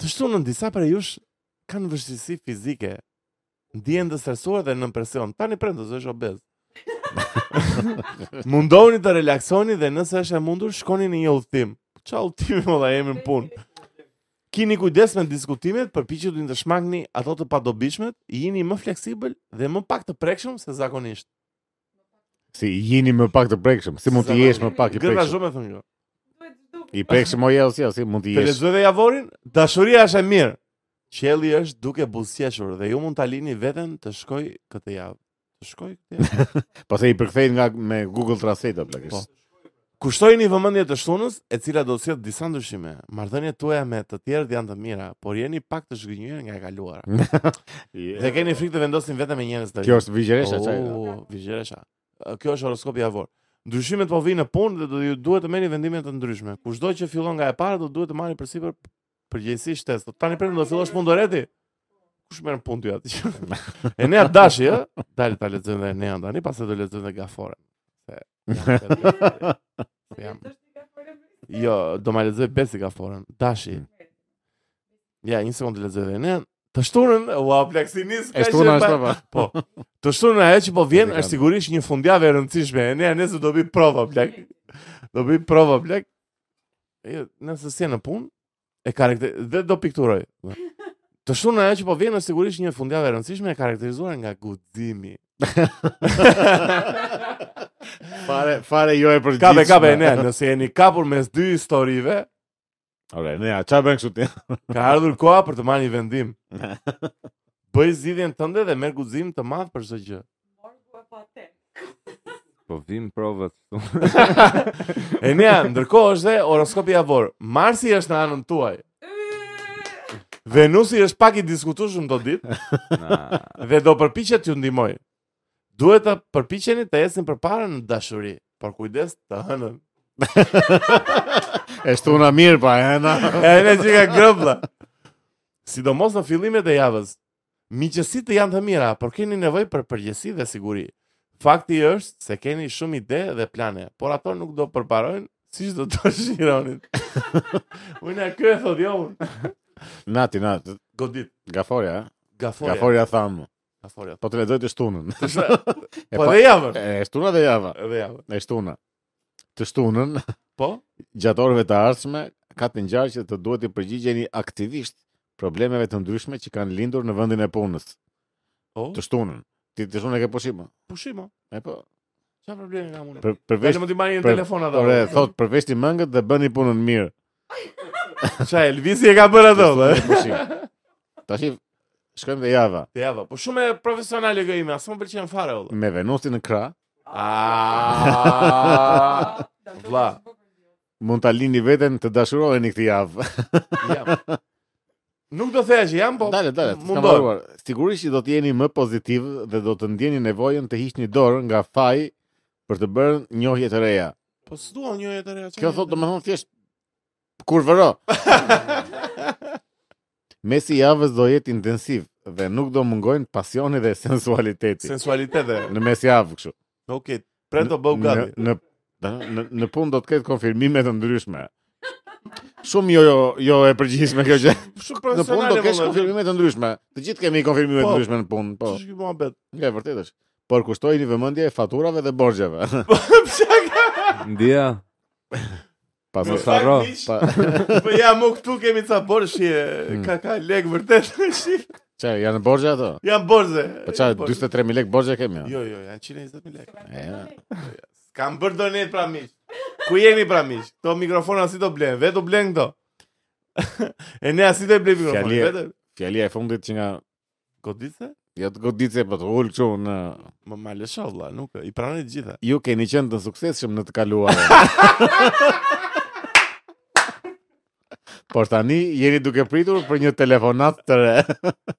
S1: Të shtunën disa për jush kanë vështirësi fizike. Ndihen të stresuar dhe në presion. Tani prendës është obez. Mundohuni të relaksoni dhe nëse është e mundur shkoni në një udhtim. Qa udhtimi më dha jemi në punë. Kini kujdes me diskutimet, përpiqeni të ndëshmangni ato të padobishmet, jini më fleksibël dhe më pak të prekshëm se zakonisht.
S2: Si jini më pak të prekshëm, si mund të jesh më pak i
S1: Gërra
S2: prekshëm?
S1: shumë e thënë kjo.
S2: I prekshëm o jo, si, si mund
S1: Të
S2: të jesh?
S1: lexoj dhe Javorin, dashuria është e mirë. Qielli është duke buzëqeshur dhe ju mund ta lini veten të shkoj këtë javë. Të shkoj këtë javë.
S2: Pastaj Po i përkthejnë nga me Google Translate apo
S1: Po.
S2: plagës.
S1: Kushtojini vëmendje të shtunës, e cila do të sjellë disa ndryshime. Marrëdhëniet tuaja me të tjerët janë të mira, por jeni pak të zhgënjur nga e kaluara. Dhe keni frikë të vendosin vetëm me njerëz të
S2: Kjo është vigjeresha çaj.
S1: Oh, Vigjeresha. Ë, Kjo është horoskopi javor. Ndryshimet po vinë në punë dhe do ju duhet të merrni vendime të ndryshme. Kushdo që fillon nga e para do duhet të marrni përsipër përgjegjësi shtesë. Do tani prandaj do fillosh punë doreti. Kush merr në punë ty atë? e nea dashi, ë? Dali ta lexojmë dhe nea tani, pastaj do lexojmë dhe gafore. Se jam- jam. Jo, do ma lexoj Besi gaforen. Dashi.
S2: Mm.
S1: Ja, një sekondë të lexoj dhe nea. Të shtunën, ua, plaksinis
S2: E shtuna është pa.
S1: Po. Të shtunën ajo që po vjen
S2: Nuk e kam.
S1: është sigurisht një fundjavë e rëndësishme. E ne nesër do bëj prova plak. Do bëj prova plak. E nëse si në punë e karakter dhe do pikturoj. Të shtunën ajo që po vjen është sigurisht një fundjavë e rëndësishme e karakterizuar nga guximi.
S2: Fare, fare jo e përgjithshme.
S1: Kape kape e ne, nëse jeni kapur mes dy historive,
S2: Ore, ne, a çfarë bën kështu ti?
S1: ka ardhur koha për të marrë një vendim. Bëj zgjidhjen tënde dhe merr guxim të madh për çdo gjë.
S3: Po vim provat.
S1: E nea, ndërkohë është dhe horoskopi javor. Marsi është në anën tuaj. Venusi është pak i diskutueshëm do ditë
S3: Na,
S1: dhe do përpiqet t'ju ndihmoj. Duhet të përpiqeni të ecni përpara në dashuri, por kujdes të hënën.
S2: E shtuna mirë pa, e na.
S1: E ne çka grëmbla. Sidomos në fillimet e javës. Miqësitë janë të mira, por keni nevojë për përgjegjësi dhe siguri. Fakti është se keni shumë ide dhe plane, por ato nuk do përparojnë siç do të shironit. Unë e ky e thot jo unë.
S2: Nati, nat.
S1: Godit.
S2: Gaforja, eh?
S1: Gaforia.
S2: Gaforja tham.
S1: Gaforia.
S2: Po të lexoj të shtunën.
S1: Të shë-
S2: E
S1: Po
S2: pa-
S1: dhe javën.
S2: E shtuna dhe java.
S1: Dhe javën.
S2: E shtuna. Të shtunën,
S1: Po?
S2: gjatë orëve të ardhshme, ka të ngjarë që të duhet të përgjigjeni aktivisht problemeve të ndryshme që kanë lindur në vendin e punës.
S1: Po.
S2: Të shtunën. Ti të shtunën e ke pushim. o?
S1: Pushimo.
S2: E po.
S1: Çfarë problemi kam unë?
S2: Për, përveç
S1: Vetëm mund të marrë një
S2: për-
S1: telefon atë.
S2: Ore, thot përveç ti mëngët dhe bëni punën mirë.
S1: Çfarë Elvisi e ka bërë atë? vëlla, e?
S2: Tash shkojmë dhe java
S1: Te java, po shumë e profesionale kjo ime, as më pëlqen fare valla.
S2: me Venusin në krah,
S1: Ah. Vlla.
S2: mund ta lini veten të dashuroheni këtë javë.
S1: Jam. Nuk do theja që jam, po.
S2: dale, dale, s'ka
S1: mundohem.
S2: marruar. Sigurisht që do të jeni më pozitiv dhe do të ndjeni nevojën të hiqni dorë nga faji për të bërë njohje të reja.
S1: Po s'dua një jetë re.
S2: Kjo thotë domethënë thjesht kur vëro. Mesi i javës do jetë intensiv dhe nuk do mungojnë pasioni dhe sensualiteti.
S1: sensualitete.
S2: Në mes javë kështu.
S1: Okej, pret të bëu gati.
S2: Në në da- në, në punë do të ketë konfirmime të ndryshme. Shumë jo jo, jo e përgjithshme kjo gjë.
S1: Shumë
S2: Në punë do
S1: profesionale.
S2: kesh
S1: valla.
S2: konfirmime të ndryshme. Të gjithë kemi konfirmime të
S1: Po.
S2: ndryshme në punë, po.
S1: Ç'është ky muhabet?
S2: Nga e vërtetë është. Por kushtojini vëmendje faturave dhe borxheve.
S3: Ndija,
S2: Pas
S3: Mos harro.
S2: pa Hmm.
S1: Po ja, mo këtu kemi ca borshi, e, ka ka lek vërtet. shi.
S2: çfarë janë borxhe ato?
S1: Jam borze.
S2: Po çfarë
S1: Borze.
S2: 43000 lekë borxhe kemi? Jo.
S1: Jo, jo, janë 120.000 lekë.
S2: Ja.
S1: Kam bërë donet pra miq. Ku jeni pra miq? Këto mikrofona si do blen? Vetë u blen këto. e ne si do i blen mikrofonin?
S2: Fjalie-
S1: Vetë
S2: Fjalia e fundit që nga
S1: goditse?
S2: jo të godice po të ul kështu në
S1: Më malesha valla, nuk e- i pranoj të gjitha.
S2: ju keni qenë të suksesshëm në të kaluar. Por tani jeni duke pritur për një telefonat të re.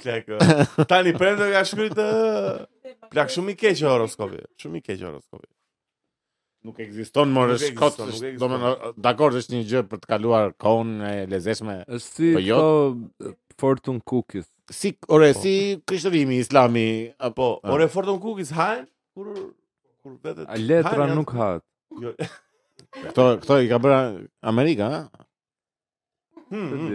S1: Plak. e, Tani prende ka shkruajt e, plak shumë i keq horoskopi. Shumë i keq horoskopi.
S2: nuk ekziston more
S1: Nuk ekziston,
S2: shkot.
S1: nuk
S2: është-
S1: ekziston.
S2: Domethënë, dakor është një gjë për të kaluar kohën e lezetshme.
S3: Është si
S2: Po jo.
S3: këto fortune cookies.
S2: Si ore
S1: Po.
S2: si krishtërimi, islami apo
S1: Po, ore Fortune Cookies hajnë kur kur vetë
S3: A letra
S1: hajnë,
S3: nuk hahet.
S1: Jo.
S2: këto këto i ka bërë Amerika, ha?
S1: Hmm,
S3: Mm.
S1: hmm.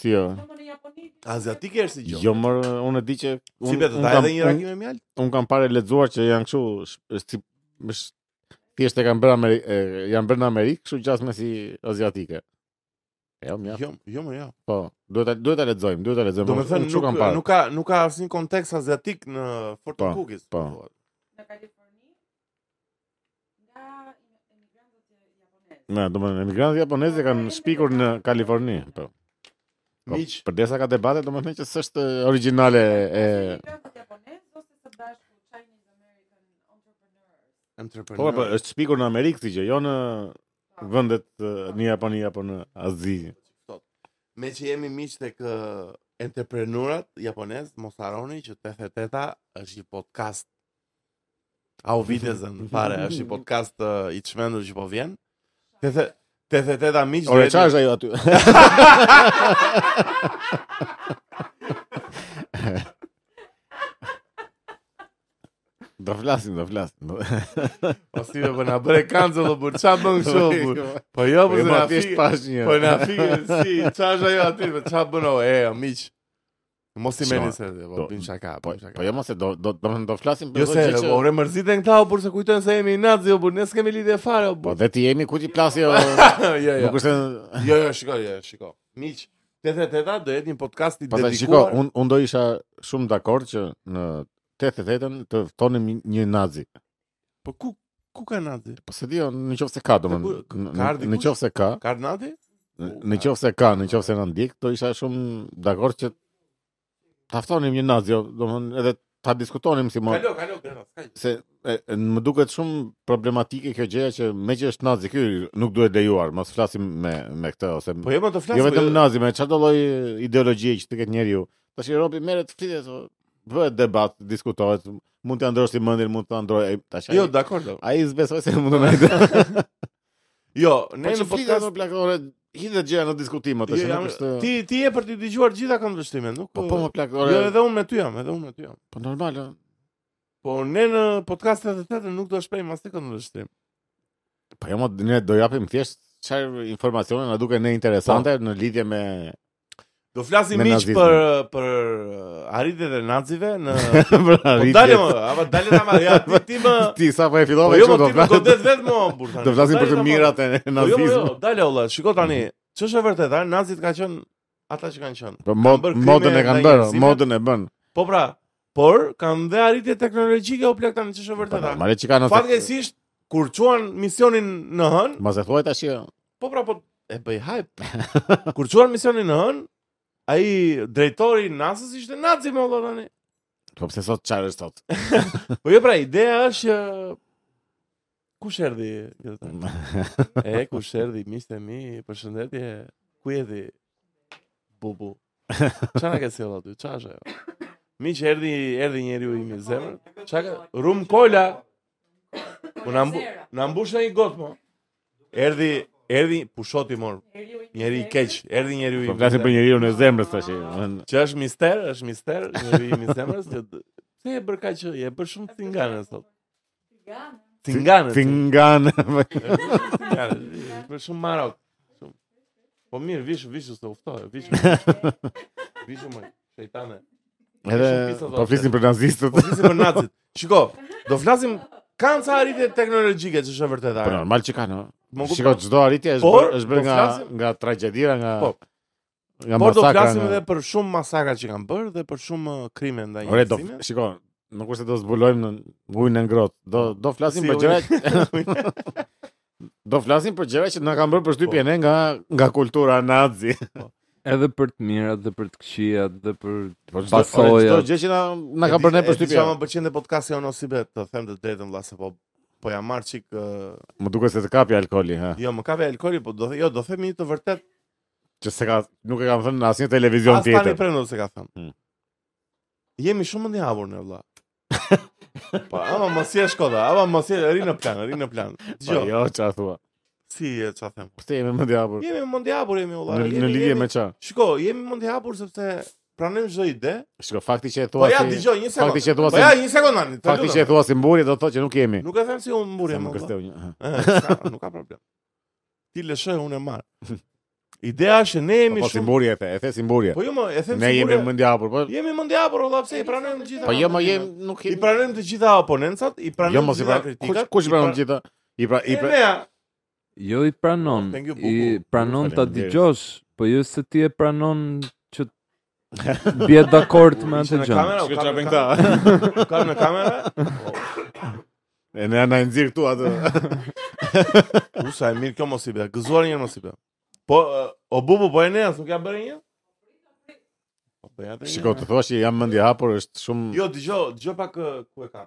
S2: Si jo.
S4: Domethënë në Japoni.
S1: Aziatike është si gjë.
S2: Jo, më unë e di që
S1: si
S2: unë-
S1: vetë
S2: unë
S1: ta
S2: kam-
S1: edhe një
S2: unë-
S1: rakim me mjalt.
S2: un kam parë lexuar që janë kështu sh- si sh- thjesht e kanë bërë Ameri- e, janë bërë në Amerikë, kështu gjatë me si aziatike. Jo, mjaft.
S1: Jo, jo më jo.
S2: Po, duhet ta duhet ta lexojmë, duhet ta lexojmë.
S1: Do
S2: unë-
S1: me thënë
S2: unë kështu
S1: nuk,
S2: kam parë.
S1: nuk ka nuk ka asnjë kontekst aziatik në Fortune
S2: Po,
S1: Cookies.
S2: po.
S1: thuhet.
S4: në Kaliforni nga emigrantët japonesë.
S2: Na, do të thënë emigrantët japonezë kanë shpikur në Kaliforni, po. Po,
S1: Miq,
S2: Përdesa ka debate, do të thënë që s'është origjinale e
S4: Ose Emigrantët japonesë ose së bashku Chinese American entrepreneurs.
S2: Po,
S1: entrepreneur.
S2: po, është shpikur në Amerikë këtë gjë, jo në vendet e, në Japoni apo në Azi.
S1: Me që jemi miq tek ë, entreprenurat japonez, mos harroni që 88-a është një podcast Au vitezën fare, është një podcast ë, i çmendur që po vjen. 88 88-a miq.
S2: Ore
S1: drejt-
S2: çfarë është ajo aty? Do flasim, do flasim. do-
S1: Po si do po na bëre kanxo do bur, ç'a bën kështu? bur? Po jo,
S2: Po
S1: po se
S2: ma
S1: na
S2: thjesht
S1: fik.
S2: pash një.
S1: Po na fik si ç'a është ajo aty, po ç'a bën o e miq. Mos i merrni
S2: Shiko,
S1: se po
S2: do-
S1: bën çaka,
S2: Po,
S1: po çaka.
S2: po jo mos e do do do, do flasim për
S1: Jo
S2: çdo
S1: se,
S2: gjë që-
S1: ore mërziten këta, o burse kujtojnë se jemi nazi, o burse ne s'kemi lidhje fare, o
S2: Po
S1: burse.
S2: dhe ti jemi ku ti plasi o.
S1: jo, jo.
S2: Po, Nuk është
S1: Jo, jo, shiko, jo, shiko. Miq, 88 do jetë një podcast i
S2: Pastaj
S1: dedikuar.
S2: Po, shiko, un un do isha shumë dakord që në 88-ën të ftonim një- një nazi.
S1: Po ku ku ka Nadi?
S2: Po se di, o, në qoftë se ka domon.
S1: ku- ka
S2: Në
S1: ardhi
S2: në
S1: kush?
S2: qoftë se ka,
S1: Ka Nadi?
S2: Në- Në qoftë se ka, në qoftë se na ndjek, do isha shumë dakord që ta ftonim një nazi, jo, domthon edhe ta diskutonim si më
S1: Kalo, kalo, kalo.
S2: se e, e, më duket shumë problematike kjo gjëja që me që është nazi ky nuk duhet lejuar, mos flasim me me këtë ose
S1: Po jo më të flas.
S2: jo vetëm
S1: po-
S2: nazi, me çfarë do lloj ideologjie që të ketë njeriu. Tash Europi merret flitet, o, bëhet debat, diskutohet, mund të ndrosh si mendin, mund të ndroj e, tash.
S1: Jo,
S2: Jo,
S1: dakor. dakor.
S2: ai zbesoj se mund të Po ndaj.
S1: Jo, ne
S2: Ne
S1: në
S2: në flitet
S1: podcast
S2: në plakore, hidhet gjëja në diskutim atë,
S1: Jo,
S2: po, që
S1: jam,
S2: nuk është.
S1: ti ti je për të dëgjuar gjitha këndvështrimet, nuk
S2: Po po më plak, ore.
S1: Jo, edhe unë me ty jam, edhe unë me ty jam.
S2: Po normal. ë.
S1: Po ne në podcast 88 nuk do shpejm as të këndvështrim.
S2: Po jo, mo, ne do japim thjesht çfarë informacione na duken ne interesante
S1: Po.
S2: në lidhje me
S1: Do flasim
S2: Me
S1: miq
S2: nazizmin.
S1: për për uh, arritjet e nazive në
S2: për
S1: Po
S2: arritje.
S1: dalem, apo dalem ama ja ti ti më
S2: Ti sa po e
S1: Po
S2: fillove
S1: jo,
S2: kështu
S1: po
S2: do
S1: ti më
S2: flasim.
S1: godet vetëm o burtani.
S2: Do flasim për
S1: Dalje
S2: të
S1: ama-
S2: mirat
S1: Po
S2: e
S1: jo, po jo,
S2: nazizmit.
S1: dale olla, shiko tani. Ç'është e vërteta, nazit kanë qenë ata që kanë qenë.
S2: Po mod,
S1: bërë krime
S2: modën e kanë
S1: ndaj
S2: bërë,
S1: njerëzimit.
S2: modën e bën.
S1: Po pra, por kanë dhe arritje teknologjike o plak tani ç'është e
S2: Po
S1: vërteta.
S2: normale që kanë ose.
S1: Fatkeqësisht kur quan misionin në hën,
S2: Mos e thuaj tash. jo.
S1: po pra po e bëj hype. Kur quan misionin në hën, ai drejtori i NASA-s ishte nazi më valla tani.
S2: Po pse sot çfarë është sot?
S1: Po jo pra, ideja është që kush erdhi këtë tani? E, ku shërdi, mishte mi, përshëndetje, ku jeti, bubu. Qa në ke sjell aty, qa është ajo? Mi që erdi, erdi njeri u i mi zemër, qa ka, rum kola, u në mbu, në mbush po. në i gotë, mo. Erdi, erdi, pushoti po mor, njeri i keq, erdi njeri u i
S2: Po
S1: mi
S2: flasim për
S1: zemër.
S2: njeriu në zemrës tash.
S1: Ah.
S2: jo.
S1: Që është mister, është mister, njeri i mi zemërës, që d- pse e bërë ka që, e bërë shumë cingane, sot.
S4: Tigane.
S1: Cingane,
S2: Fingan.
S1: Ja, për shumë marok. Shumë. Po mirë, vishu, vishu se uftoj, vishu. Vishu më, shejtane.
S2: Edhe
S1: Shumë pisa do
S2: po flisim për nazistët.
S1: Po flisim për nacit. Shiko, do flasim kanë ca arritje teknologjike që është e vërtetë.
S2: Po
S1: are.
S2: normal që kanë. ë.
S1: Më kupton.
S2: Shiko çdo arritje është
S1: Por,
S2: bërë është bërë
S1: do
S2: nga
S1: flasim-
S2: nga tragjedira nga
S1: Po.
S2: nga
S1: Por do
S2: masakra.
S1: flasim
S2: nga-
S1: edhe për shumë masakra që kanë bërë dhe për shumë uh, krime ndaj
S2: Ore do
S1: njerëzimit.
S2: shiko, nuk është se do zbulojmë në ujin e ngrohtë. Do do flasim
S1: Si
S2: për
S1: ujin-
S2: gjëra do flasim për gjëra që na kanë bërë përshtypje ne nga nga kultura nazi.
S3: Edhe për të mirat dhe për të këqijat dhe për
S2: Po çdo-
S3: Pasoja.
S2: ore, çdo gjë që na na ka bërë ne përshtypje.
S1: Sa më pëlqen te podcasti on Osibet, të them të drejtën vëlla se po po ja marr çik uh,
S2: Më duket se të kapi alkooli, ha.
S1: jo më ka ve alkooli, po do the- jo do themi të vërtet
S2: Që se ka nuk e kam thënë në asnjë televizion
S1: As tani
S2: tjetër.
S1: prendo se ka thënë.
S2: Mm.
S1: Jemi shumë ndjavur ne vëlla. Po, ama mos je Shkoda, ama mos je ri në plan, ri në plan.
S2: Po
S1: Dgjoj.
S2: jo, çfarë thua?
S1: Si e çfarë them?
S2: Pse jemi më djapur?
S1: Jemi mondjapur jemi vëlla.
S2: Në,
S1: jemi-
S2: në lidhje
S1: jemi-
S2: me çfarë?
S1: Shiko, jemi mondjapur sepse pranojmë çdo ide.
S2: Shiko, fakti që e
S1: Po
S2: thua
S1: ja,
S2: si
S1: dëgjoj një sekond.
S2: fakti që thua
S1: Po
S2: si-
S1: ja, një sekond tani. të
S2: fakti
S1: lutem.
S2: që e thua si mburje do të thotë që nuk jemi.
S1: Nuk e them si unë mburje
S2: Sa
S1: më. vëlla.
S2: më kërsteu një. aha.
S1: Eh, s'ka, Nuk ka problem. Ti lëshoj unë e marr. Ideja është ne jemi
S2: Po si
S1: shumë.
S2: mburje e the, e the si mburje.
S1: Po jo më, e them
S2: Ne
S1: si
S2: jemi
S1: mburje.
S2: më djapur, po.
S1: Jemi mondjapur vëlla, pse i pranojmë të gjitha.
S2: Po jo, më jemi nuk
S1: I pra-
S2: jemi.
S1: pranojmë të gjitha oponencat, i pranojmë
S2: Jo mos i
S1: të
S2: pra.
S1: gjitha
S2: Kush
S1: kritikat.
S2: kush
S1: i
S2: i pranon gjithë? I pra i
S1: E,
S2: pra.
S1: nea,
S3: Jo i pranon,
S1: Thank you, Bubu.
S3: i pranon ta
S2: Faleminderit.
S3: dëgjosh, po jo se ti e pranon që bie dakord me
S1: Ishte
S3: atë
S1: në
S3: gjë.
S1: kamera, u
S2: Shkoj
S1: kam
S2: çfarë
S1: në
S2: bën këta.
S1: kamera, u kam në kamera.
S2: E ne na e nxirr këtu atë.
S1: U sa e mirë kjo mos i bë. Gëzuar një herë mos i bë. Po ë, o bubu po e ne as nuk ja bëri një? Po bëja atë. një.
S2: Shiko, të thuash që jam më ndjapur është shumë
S1: Jo, dëgjoj, dëgjoj pak ë, ku e kam.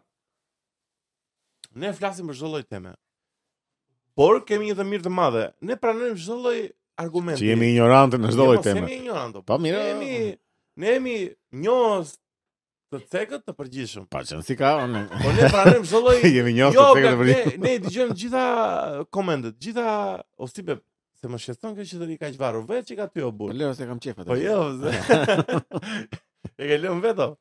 S1: Ne flasim për çdo lloj teme. Por kemi një të mirë të madhe. Ne pranojmë çdo lloj argumenti.
S2: që jemi ignorantë në çdo lloj
S1: Jo, mos
S2: teme.
S1: Jemi ignorantë.
S2: Po, mirë.
S1: Ne jemi ne jemi njohës të cekët të përgjithshëm.
S2: Pa çan si ka unë.
S1: Po ne pranojmë çdo lloj
S2: Jemi njohur
S1: Jo,
S2: se
S1: plak,
S2: këtë vërtet.
S1: ne, ne i dëgjojmë gjitha komendet, gjitha o stipe, se më shqetëson kjo qytetari ka varur vetë që ka ty o burr.
S2: leo se kam qef atë.
S1: Po jo. zë. e ke lënë vetë. o.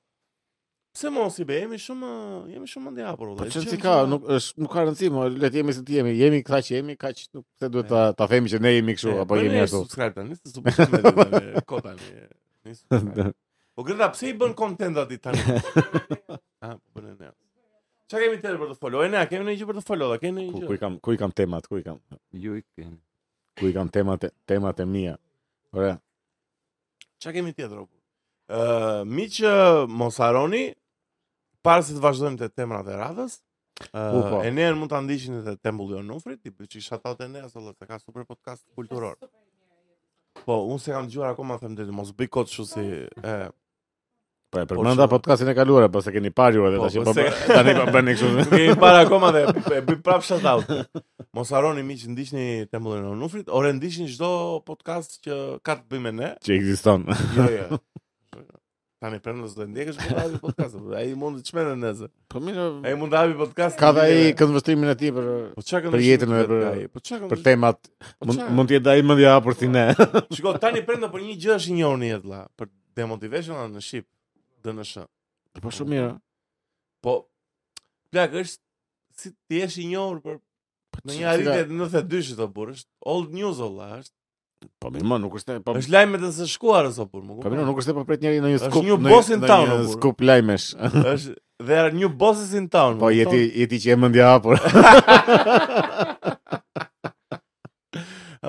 S1: Pse mos i be, jemi shumë jemi shumë ndjapur
S2: Po
S1: vëllai.
S2: çan
S1: Dëgjojmë
S2: si ka,
S1: gjitha-
S2: nuk është nuk ka rëndësi, mo, le të jemi si ti jemi, jemi këta që jemi, kaq nuk se duhet ta ta themi që ne jemi kështu
S1: E,
S2: apo
S1: bëj
S2: jemi
S1: një
S2: ashtu.
S1: Subscribe tani, se subscribe me kota tani. e, një subscribe. Po Greta, pse i bën content aty tani? Ah, po bën e ne. Çka kemi tjetër për të folur? E ne, a kemi ndonjë gjë për të folur? A keni
S2: Ku
S1: ndonjë
S2: ku i
S1: gjë?
S2: kam ku i kam temat, ku i kam
S3: Ju i keni.
S2: ku i kam temat e- temat e mia. Ora,
S1: Qa kemi tjetër, opu? Uh, miqë, mos haroni, parë se të vazhdojmë të temrat e radhës,
S2: U,
S1: uh,
S2: po.
S1: e njerën mund të ndishin edhe Tembulli Onufrit, i për që i shatat e njerë, sëllë, se ka super podcast kulturor. Po, unë se kam dëgjuar akoma them drejtë, mos bëj kot kështu si e,
S2: po e përmenda
S1: Po,
S2: podcastin e kaluar, po se keni parë ju edhe
S1: Po,
S2: tash
S1: po,
S2: po
S1: se-
S2: bë- tani po bëni kështu.
S1: Nuk kemi para akoma dhe e bëj prap shout out. Mos harroni miq ndiqni Tembullin e Onufrit, ore ndiqni çdo podcast që ka të bëjë me ne.
S2: Që ekziston.
S1: Jo, jo. Tani prendës do e ndjekësh po ta hapi podcastin. Ai mund të çmendë nëse.
S2: Po mirë.
S1: Ai mund të hapi podcast.
S2: Ka dhe ai këndvështrimin e tij për
S1: Po çka kanë
S2: për
S1: ndëshim
S2: jetën
S1: të
S2: edhe
S1: vetë
S2: për-
S1: ka ai? Po çka kanë
S2: për temat
S1: Po
S2: mund
S1: qa?
S2: mund të jetë ai mendja hapur si ne.
S1: ndëshim? po Shiko, tani prendë për një gjë është i njohur në jetë vlla, për demotivation në shqip, DNSH.
S2: Po shumë mirë.
S1: Po plak është si ti je i njohur për në një arritje të 92-shit o burr, është old news o vlla, është
S2: Po mirë, mo, nuk është e- po
S1: është lajme të së shkuarës o burr, më
S2: po
S1: kupton?
S2: mirë, nuk është e po pret njëri në një
S1: Është
S2: skup.
S1: një
S2: në-
S1: boss in
S2: në
S1: town,
S2: një
S1: o, burr.
S2: Skup lajmesh.
S1: Është dhe are new bosses in town.
S2: Po
S1: më
S2: jeti
S1: kupton?
S2: jeti që e mendja hapur.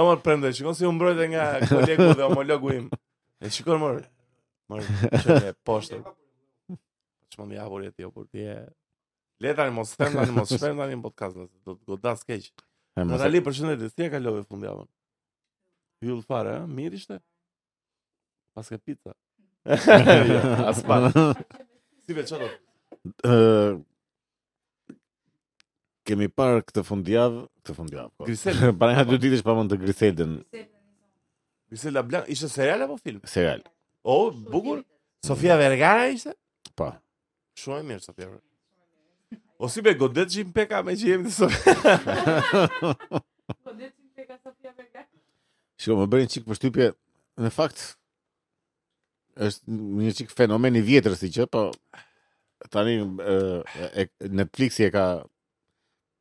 S1: Ama prende, shikon si u mbrojtë nga kolegu dhe homologu im. E shikon mor. Mor, çfarë poshtë. Çmon ja por ti apo ti e. Le tani mos them tani mos shpem tani në podcast nëse do të godas keq.
S2: E, mos e-
S1: Natali, përshëndetje, si e kalove fundjavën? Hyll fare, ëh, mirë ishte. Pas ka pizza. Jo, As pak. Si vetë çfarë?
S2: Ë, kemi parë këtë fundjavë, këtë fundjavë. po.
S1: Grisel,
S2: Para nga dy ditësh pamën të Griselden
S1: Grisel la Blanc, ishte serial apo film?
S2: serial.
S1: O, bukur. Sofia Vergara ishte?
S2: Po.
S1: Shumë e mirë sa pjerë. O si be godet që impeka me që jemi të sot.
S4: Po dhe ti tek Sofia Vergara.
S2: Shiko, më bërin çik përshtypje, në fakt është një çik fenomen i vjetër si që, po tani ë, e, Netflixi e ka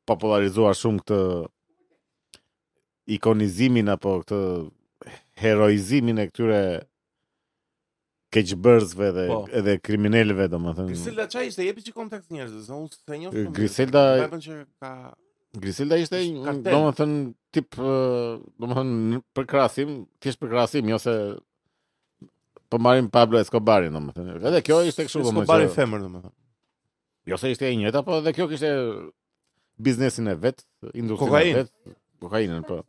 S2: popularizuar shumë këtë ikonizimin apo këtë heroizimin e këtyre keqbërzve dhe
S1: Po.
S2: edhe kriminalëve domethënë.
S1: Griselda çaj ishte jepi që kontekst njerëzve, se unë se njoh shumë.
S2: Griselda
S1: mirë. Vajpën që ka
S2: Griselda ishte
S1: Ishte
S2: një-
S1: kartel.
S2: domethënë tip ë, domethënë në- për krahasim, thjesht për krahasim, jo se po marrim Pablo Escobarin domethënë. Edhe kjo ishte kështu
S1: Escobar i
S2: domethënë. që-
S1: femër domethënë.
S2: Jo se ishte e njëjta, po edhe kjo kishte biznesin e vet, industrinë e
S1: Kokainë.
S2: vet, kokainën po.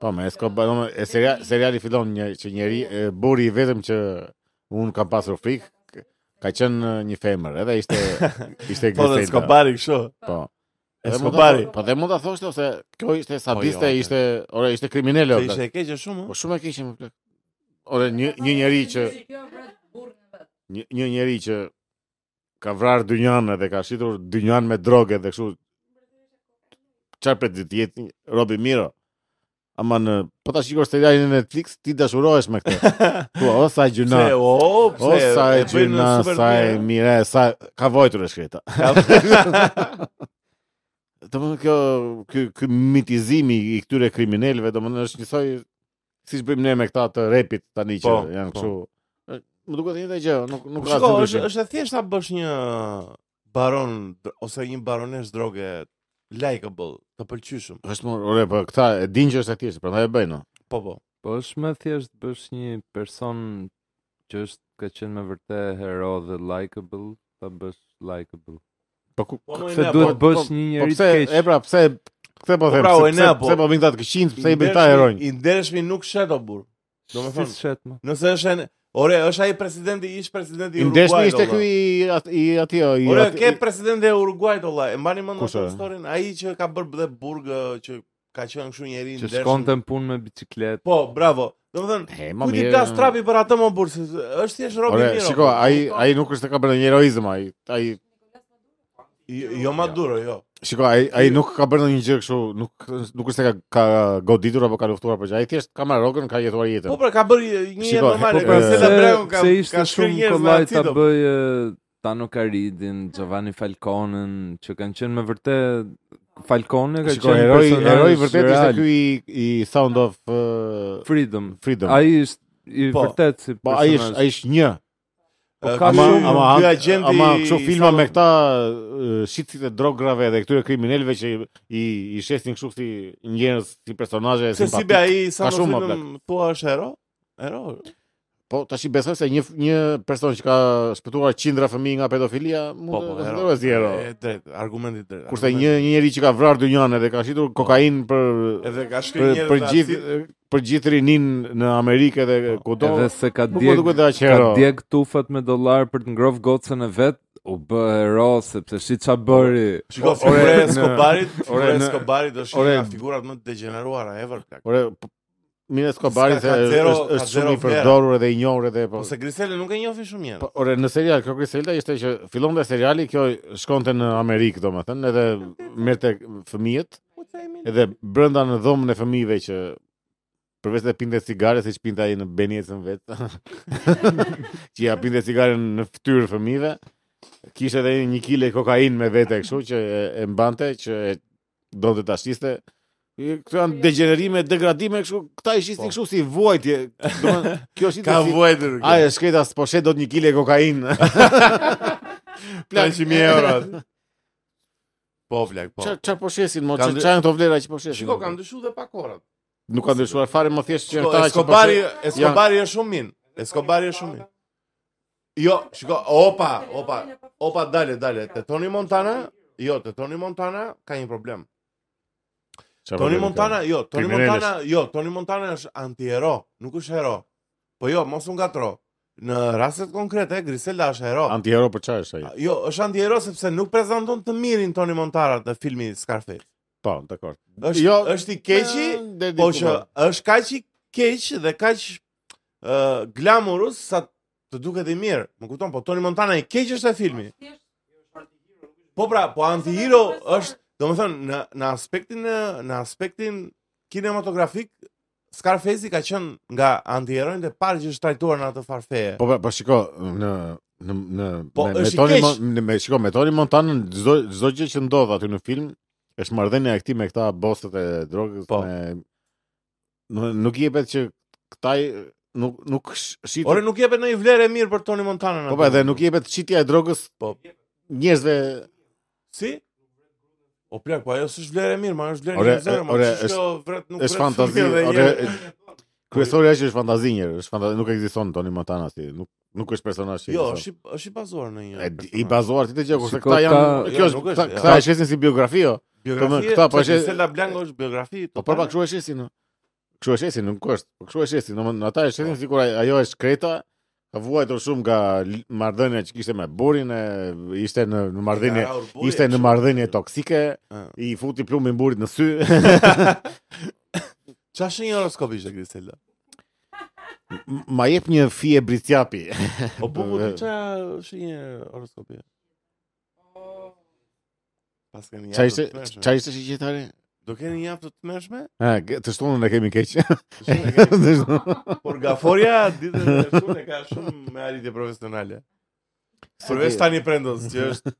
S2: Po, me Escobar, domethënë e seria, seriali fillon një që njeri e, burri i vetëm që un kam pasur frikë ka qenë një femër, edhe ishte ishte
S1: Po dhe
S2: Griselda.
S1: Escobari kështu.
S2: Po.
S1: Edhe
S2: mund ta
S1: Escobari.
S2: tho- Po dhe mund ta thosh thoshte se kjo ishte
S1: Po
S2: sadiste,
S1: jo,
S2: ishte, ore, ishte kriminale.
S1: Se
S2: o,
S1: ishte
S2: plak.
S1: e keqe shumë.
S2: Po
S1: ë?
S2: shumë e keqe më plak. Ore, një një njerëz që
S4: Kjo vret burrë në vet.
S2: një, një njerëz që ka vrarë dynjan edhe ka shitur dynjan me droge dhe kështu çfarë pret të jetë Robi Miro. Ama në, po ta shikosh serialin në Netflix, ti dashurohesh me këtë. Thua, o sa gjuna.
S1: Pse, o, pse,
S2: O sa
S1: e
S2: e
S1: bëjnë
S2: gjuna,
S1: super
S2: sa e
S1: mirë.
S2: mire, sa ka vojtur e shkreta. Të më kjo, kjo, kjo mitizimi i këtyre kriminelëve, do më në është njësoj, si që bëjmë ne me këta të repit tani që
S1: Po,
S2: janë
S1: po.
S2: kështu. Më duket një dhe gjë, nuk, nuk ka
S1: Shiko,
S2: asnjë
S1: është
S2: ndryshim.
S1: është e thjeshtë ta bësh një baron dr- ose një baronesh droge likeable, të pëlqyeshëm.
S2: është më, ore, po këta e din që është e thjeshtë, prandaj e bëjnë. no.
S1: Po po.
S3: Po është më thjesht bësh një person që është ka qenë me vërtet hero dhe likable, ta bësh likable.
S2: Po ku,
S1: Po,
S3: Se
S1: ne,
S3: duhet
S1: po-
S3: bësh
S2: po-
S3: një
S2: po
S3: njerëz
S2: pse,
S3: të keq.
S2: e pra, pse, pse po
S1: Po,
S2: them,
S1: pra, o, e
S2: pse,
S1: ne,
S2: pse,
S1: po.
S2: pse po bëjnë këta të këqinj, pse i bëjnë këta
S1: ndershmi-
S2: heronj.
S1: I ndershmi nuk shet o burr. Do me
S3: Si
S1: thënë,
S3: shet më.
S1: nëse është en- ore, është ai presidenti, ish presidenti i
S2: I
S1: Uruguay.
S2: ndeshmi ishte ky i at- i atij, o, i
S1: Ore,
S2: ati-
S1: ke presidenti e Uruguay të vllai. E mbani mend
S2: Kush
S1: atë
S2: e?
S1: historinë, ai që ka bërë dhe burg ë, që ka qenë kështu njëri i
S3: Që
S1: ndershëm.
S3: shkonte në punë me bicikletë.
S1: Po, bravo. Domethënë,
S2: He, ma
S1: ku ti
S2: mirë.
S1: gas trapi për atë më burr, se është thjesht Robi
S2: Ore,
S1: Miro.
S2: shiko, ai
S1: po.
S2: ai nuk është e ka bërë ndonjë heroizëm ai. Ai
S1: Jo- Jo Maduro, jo.
S2: shiko, ai ai nuk ka bërë ndonjë gjë kështu, nuk nuk është se ka ka goditur apo ka luftuar për gjë. Ai thjesht ka marrë rrogën, ka jetuar
S1: Po
S2: jetën.
S1: pra ka bërë një jetë
S2: Shiko,
S1: normale,
S2: po,
S1: po
S2: pra,
S1: se la
S2: se-
S1: bregun ka
S3: pse ishte
S1: ka shkruar
S3: shumë
S1: njerëz me
S3: kollaj ta
S1: acidom.
S3: bëj e, Tano Karidin, Giovanni Falconen, që kanë qenë me vërtet Falcone ka
S2: Shiko,
S3: qenë
S2: heroi
S3: personazh
S2: heroi vërtet ishte
S3: real.
S2: ky i, i Sound of uh,
S3: Freedom.
S2: Freedom.
S3: Ai është i
S1: Po,
S3: vërtet si
S2: po ai është ai
S3: personazh.
S2: është një.
S1: Ë,
S3: ka
S2: Ama
S3: shumë-
S2: ama
S1: ky
S2: han-
S1: agenti
S2: ama
S1: i
S2: kështu filma
S1: Salon-
S2: me këta uh, shitësit e drograve dhe këtyre kriminalëve që i i shesin kështu si njerëz si personazhe
S1: Se si be
S2: simpatik.
S1: ai sa
S2: Ka
S1: më
S2: shumë, ma
S1: film thua është hero? Hero.
S2: Po tash i besoj se një një person që ka shpëtuar qindra fëmijë nga pedofilia mund të konsiderohet si hero.
S1: Po, E drejt, argumenti i drejt.
S2: Kurse
S1: argumenti.
S2: një një njerëz që ka vrarë dynjan edhe ka shitur kokainë për
S1: Po. edhe ka shkruar
S2: për,
S1: njerëz
S2: për gjithë për gjithë rinin në Amerikë dhe
S1: Po,
S2: kudo.
S3: Edhe se ka
S2: Nuk më
S3: djeg
S2: duket dhe aq
S3: ka
S2: hero.
S3: djeg tufat me dollar për të ngroh gocën e vet, u bë hero sepse si ça bëri.
S1: Shiko,
S2: Ore,
S1: figura e
S2: në-
S1: Escobarit, figura e
S2: në-
S1: Escobarit është
S2: ore,
S1: një nga figurat më të degeneruara ever. plak.
S2: Ore po, Mine Skobari
S1: Ska-
S2: se
S1: ka zero-
S2: është,
S1: ka
S2: është
S1: zero
S2: shumë i
S1: vlera.
S2: përdorur edhe i njohur edhe po.
S1: Po se Griseli nuk e njohin shumë mirë.
S2: Po, ore, në serial, kjo Griselda ishte që fillonte seriali, kjo shkonte në Amerikë, do më thënë, edhe merte fëmijët,
S1: Po themi.
S2: edhe brenda në dhomën e fëmijëve që përveç se pinte cigare, siç pinte ai në Benjecën vetë. që ja pinte cigaren në fytyrë fëmijëve. Kishte edhe një kile kokainë me vete kështu që e, e mbante që e donte ta shiste. I- Këto janë degenerime, degradime kështu, këta i
S1: Po.
S2: shisnin kështu si vuajtje. Domethënë, kjo është
S1: Ka vuajtur.
S2: A e shketa s'po shet do të një kile kokainë.
S1: plan 100 euro. Po vlak, po.
S2: Qa, qa po shesin, mo,
S1: Kam
S2: qa
S1: dy-
S2: qa janë këto vlera që po shesin?
S1: Shiko, kam dyshu dhe pak orat.
S2: Nuk kanë dyshuar fare më thjesht që
S1: Shiko,
S2: ata që po
S1: Escobari,
S2: shesin.
S1: Escobari është shumë min. Escobari është shumë min. Jo, shiko, opa, opa, opa, dale, dale. Te Tony Montana, jo, te Tony Montana ka një problem.
S2: Qa po
S1: Tony
S2: shesin?
S1: Montana, jo, Tony
S2: Kriminales.
S1: Montana, jo, Tony Montana është antihero, nuk është hero. Po jo, mos u ngatro. Në rastet konkrete, Griselda është hero.
S2: Antihero për qa është ai?
S1: Jo, është antihero sepse nuk prezanton të mirin Tony Montana në filmi Scarface.
S2: Po, dakor.
S1: Është
S2: Jo,
S1: është i keqi,
S2: Dhe
S1: Po
S2: diku
S1: që
S2: më.
S1: është kaq i keq dhe kaq uh, glamurus sa të duket i mirë. Më kupton, po Tony Montana i keq është e filmi. Po pra, po antihero është, domethënë në në aspektin e- në aspektin kinematografik Scarface ka qenë nga antiheroin e parë që është trajtuar në atë farfeje.
S2: Po, po, po, shiko, në në në
S1: Po,
S2: me, me
S1: është i
S2: Toni
S1: keq.
S2: Mon- në- me shiko me Toni Montana çdo çdo gjë që ndodh aty në film është marrëdhënia e këtij me këta bosët e drogës
S1: Po.
S2: me N- nuk jepet që këtaj nuk nuk sh- shit
S1: Ore nuk jepet ndonjë vlerë e mirë për Tony Montana. në
S2: Po
S1: atë
S2: pra, dhe
S1: film.
S2: nuk jepet shitja e drogës
S1: Po.
S2: njerëzve
S1: si O plak, po ajo s'është vlerë e mirë, ma është vlerë
S2: Ore,
S1: e zërë, ma
S2: ore,
S1: është kjo vret nuk
S2: është
S1: vret
S2: fantazi,
S1: fëmijë dhe
S2: ore,
S1: njerë-
S2: kryesorja është që është fantazi njerë, është fantazi, nuk ekziston Toni Montana si, nuk nuk është personazh që
S1: Jo,
S2: ekziston.
S1: është i- është i bazuar në një.
S2: E di- i
S1: personazh.
S2: bazuar ti të gjë kurse
S3: Shiko,
S2: këta janë
S3: ka-
S2: kjo
S1: Jo,
S2: është
S1: nuk është,
S2: këta,
S1: ja.
S2: këta e shesin si biografi jo.
S1: Biografi.
S2: këta po është-
S1: Sela Blanco është biografi.
S2: Po
S1: totale.
S2: po pa kështu e shesin. no. Kështu e shesin, nuk është. Po kështu e shesin, domethënë ata
S1: Po.
S2: e shesin sikur ai- ajo është kreta, ka vuajtur shumë nga l- marrëdhënia që kishte me burrin, e ishte në në marrëdhënie
S1: Ka Raul Buri,
S2: ishte në
S1: kështu.
S2: marrëdhënie toksike,
S1: Ah.
S2: i futi plumbin burrit në sy.
S1: Qa është një horoskop ishte Grisela?
S2: Ma jep një fije britjapi.
S1: O buku ti
S2: Eh.
S1: qa është një horoskop je? Pas keni
S2: Qa
S1: javë
S2: ishte,
S1: të tmerrshme.
S2: qa ishte shqitari?
S1: Do keni javë të tmerrshme?
S2: Ha, g- të shtunën e kemi keq.
S1: Të shumë e keni.
S2: Të shtunën.
S1: Por gaforia ditën e shtunë e ka shumë me arritje profesionale. Përveç tani prendos që është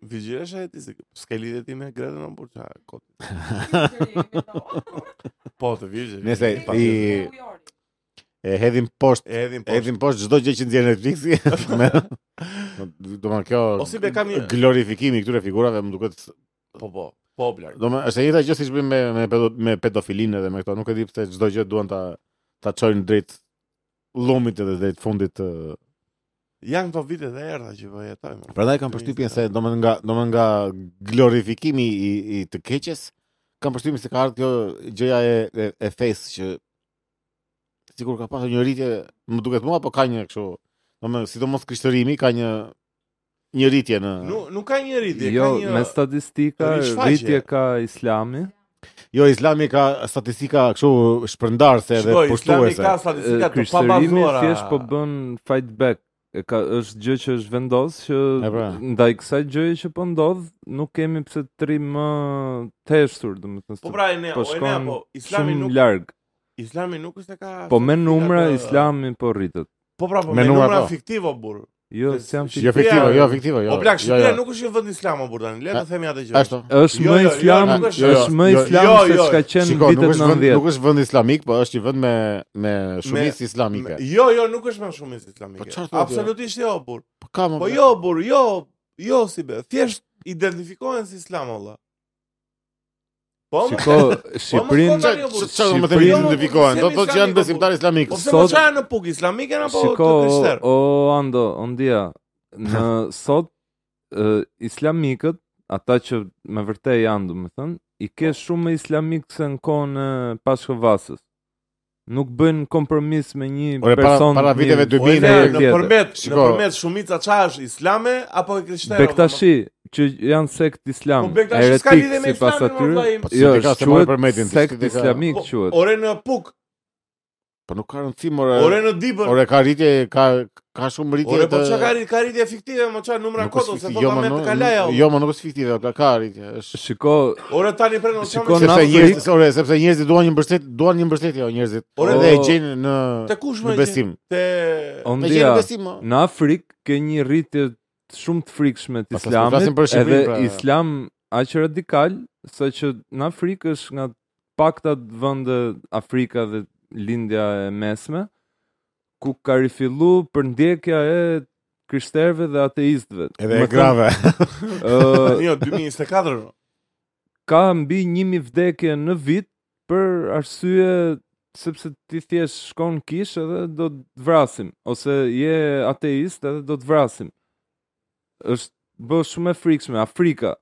S1: Vigjiresha e ti se s'ke lidhje ti me Gretën o burqa kot. Po të virgjë.
S2: Nëse
S1: pa
S2: i
S1: tjetër.
S2: e hedhim poshtë,
S1: e hedhin
S2: e
S1: po.
S2: hedhim poshtë çdo gjë që nxjerr Netflixi. Me do të kjo
S1: Ose Po, be kam një
S2: glorifikimi i këtyre figurave më duket
S1: po po. Po blaq.
S2: do më është e njëjta gjë siç bëjmë me me, pedo, me pedofilinë edhe me këto, nuk e di pse çdo gjë duan ta ta çojnë drejt llumit edhe drejt fundit të
S1: Janë këto vitet e erdha që po jetojmë.
S2: Prandaj kam përshtypjen se domethënë nga domethënë nga glorifikimi i, i të keqes, kam përshtypjen se ka ardhur kjo gjëja e e, e fesë që sikur ka pasur një rritje, më duket mua, apo ka një kështu, domethënë sidomos krishtërimi ka një një rritje në
S1: Nuk nuk ka një rritje,
S3: Jo,
S1: ka një
S3: me statistika,
S1: rishfaqje.
S3: rritje ka islami.
S2: Jo, Islami ka statistika kështu shpërndarse edhe
S1: Shkoj, Islami
S2: pushtuese.
S1: ka statistika të
S3: Krishterimi
S1: pabazuara.
S3: thjesht po bën fight back. E ka është gjë që është vendos që
S2: E pra.
S3: ndaj kësaj gjëje që po ndodh, nuk kemi pse të trim më të heshtur, domethënë.
S1: Po pra e ne, po
S3: po
S1: e ne
S3: shkon
S1: po Islami
S3: shumë
S1: nuk
S3: larg.
S1: Islami nuk është e ka
S3: Po me
S1: statistika
S3: numra
S1: të-
S3: Islami po rritet.
S1: Po pra, po
S2: Me
S1: me
S2: numra,
S1: numra
S2: po.
S1: fiktivo burr.
S3: Jo,
S1: Dhe
S3: si jam
S1: si-
S2: Jo fiktive, jo fiktive, jo.
S1: O plak,
S2: jo,
S1: Shqipëria
S2: jo.
S1: nuk është një vend islam o burr tani. Le
S2: A-
S1: të themi atë gjë.
S2: Ashtu.
S3: është
S1: Jo,
S3: më
S1: jo, jo,
S3: islam,
S1: nuk
S2: është-
S3: është më
S2: jo, jo,
S3: islam
S1: jo,
S3: se
S1: jo.
S3: çka qenë
S2: Shiko, nuk
S3: vitet
S2: është vend,
S3: 90.
S2: nuk është vend islamik, po është një vend me me shumicë islamike.
S1: Jo, jo, nuk është më shumë islamike.
S2: Po çfarë thotë,
S1: Absolutisht jo burr.
S2: Po ka më.
S1: Po jo burr, jo, jo si be. Thjesht identifikohen si islam olla. Po më.
S3: Shiko, Shqipërinë
S1: s'ka
S2: Çfarë çfarë më të
S3: Shqipërinë-
S2: identifikohen? Do të thotë që janë
S1: Islamik,
S2: besimtar islamik.
S1: Po pse
S3: sot-
S1: po çajnë në puk islamike apo të
S3: Shiko,
S1: krishter?
S3: o, o Ando, Ondia, në sot e, islamikët, ata që me vërtet janë, do të thënë, i ke shumë më islamik se në kohën e Pashkovasës. Nuk bëjnë kompromis me një
S2: Ore, para-
S3: person
S2: para
S3: mirë.
S2: viteve 2000
S1: Po e ne,
S3: Njëri
S1: në
S3: tjetër.
S1: përmet, në
S2: Shiko.
S1: përmet shumica çfarë është islame apo e krishterë?
S3: Bektashi, që janë sekt
S1: Po
S3: islam,
S1: Bektashi s'ka
S3: heretik
S1: lidhje me
S3: si pas
S1: islamin,
S3: atyre,
S1: vëllai im.
S2: Po, si
S3: jo,
S2: ti ka se mori për metin,
S3: është
S2: ti
S3: sekt
S2: s'ti ka-
S3: islamik
S1: Po,
S3: quhet.
S1: Ore në puk,
S2: Po nuk ka rëndësi more.
S1: ore në dibër,
S2: Ore ka rritje, ka ka shumë rritje
S1: Ore po çka ka rit, ka rritje fiktive, mo çka numra
S2: Nuk
S1: kot
S2: është
S1: ose
S2: fiktive,
S1: po
S2: jo,
S1: ta
S2: mo,
S1: merr
S2: nuk-
S1: të kalaja. o.
S2: Jo, më nuk është fiktive, o, ka rritje. Është
S3: Shiko,
S1: Ore tani prendo
S3: Shikon-
S1: çamë.
S2: sepse
S3: Afrikë-
S2: njerëzit, ore, sepse njerëzit duan një mbështet, duan një mbështetje o njerëzit.
S1: Ore,
S2: Edhe
S3: o-
S2: e gjejnë në
S1: Te kush më
S2: në
S1: e gjen?
S2: besim.
S1: Te
S2: E gjejnë
S3: Ondia,
S2: në besim. o.
S3: Në Afrikë ke një rritje shumë të frikshme të
S2: Pas tas po
S3: islamit,
S2: flasim për Shqipërinë,
S3: edhe
S2: pra.
S3: islam aq radikal sa që në Afrikë është nga pakta vende Afrika dhe lindja e mesme ku ka rifillu përndjekja e krishterëve dhe ateistëve.
S2: Edhe
S3: Më
S2: e grave.
S3: thënë, ë,
S1: jo 2024.
S3: ka mbi 1000 vdekje në vit për arsye sepse ti thjesht shkon kish edhe do të vrasim ose je ateist edhe do të vrasim. Është bë shumë e frikshme Afrika,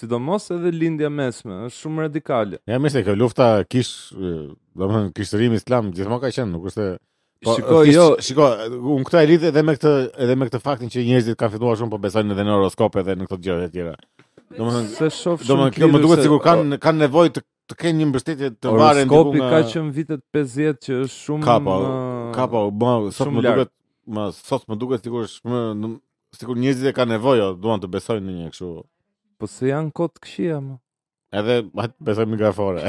S3: sidomos edhe lindja mesme, është shumë radikale.
S2: Ja mirë se kjo lufta kish, e, domethënë kishtërimi islam gjithmonë ka qenë, nuk është se Po,
S3: Shiko,
S2: kish-
S3: jo,
S2: shiko, unë këtë e lidh edhe me këtë edhe me këtë faktin që njerëzit kanë filluar shumë po besojnë edhe në horoskope dhe në këto gjëra të tjera. Domethënë,
S3: se shoh shumë.
S2: domethënë kjo më
S3: klirë
S2: duket
S3: se-
S2: sikur kanë kanë nevojë të të kenë një mbështetje të varen diku
S3: Horoskopi
S2: nga
S3: ka qenë vitet 50 që është shumë
S2: Ka po,
S3: ë,
S2: Ka po, më sot
S3: Shumë
S2: më
S3: larg.
S2: duket, më sot më duket sikur është më në- sikur njerëzit e kanë nevojë, o, duan të besojnë në një kështu.
S3: po se janë kot këshia më.
S2: Edhe hajt besojmë nga fore.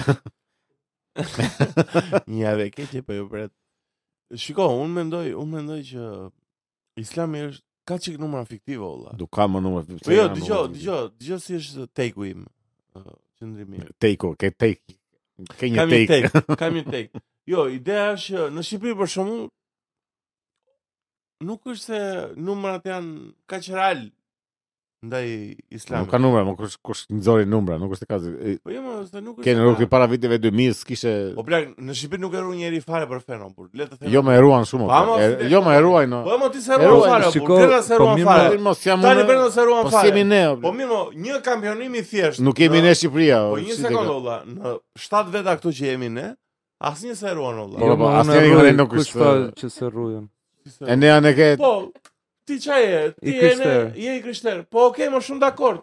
S1: Një javë e keqe po ju pret. Shiko, unë mendoj, unë mendoj që Islami është ka çik numra fiktive olla.
S2: Du ka më numër.
S1: Po jo, dëgjoj, dëgjoj, dëgjoj si është take-u im. ë, Qëndrimi. im.
S2: Take, ke take. Ke një
S1: Kam një
S2: take.
S1: take, kam një take. Jo, ideja është që në Shqipëri për shembull nuk është se numrat janë kaq real ndaj
S2: Nuk
S1: Islamit.
S2: ka numra, nuk kush kush nxori numra, nuk është e ka. e,
S1: Po jo, më se nuk është.
S2: Ke në
S1: se ka-
S2: rrugë para viteve 2000 s'kishe
S1: Po plak, në Shqipëri nuk e ruan njëri fare për fenon, por le të them.
S2: Jo më ruan shumë.
S1: Pa, mos,
S2: e-
S1: le-
S2: Jo më ruajnë. no.
S1: Po mo ti se
S2: E
S1: ruan
S2: ruajnë,
S1: fare, po
S3: shiko,
S1: Brenda se
S3: po
S1: ruan
S3: mirë,
S1: fare.
S2: Mos jam
S1: Tani
S2: unë-
S1: Brenda se ruan
S2: Po si jemi
S1: fare.
S2: ne. o,
S1: Po mirë, mo, një kampionim i thjeshtë.
S2: Nuk jemi
S1: në-
S2: ne Shqipëria. o,
S1: Po një
S2: si te
S1: sekondë
S2: ka-
S1: olla, në 7 veta këtu që jemi ne, asnjë se ruan olla.
S2: Po, po,
S3: më
S2: asnjëri
S3: Jo, unë e
S2: nga ne
S3: rruj,
S2: nuk
S3: kush
S2: është-
S3: tha që se rrujën.
S1: Si se
S2: E ne janë e ke.
S1: Po, ti qa je? Ti
S3: I
S1: je
S3: krishter.
S1: ne, je i krishter. Po, okej, më shumë dakord.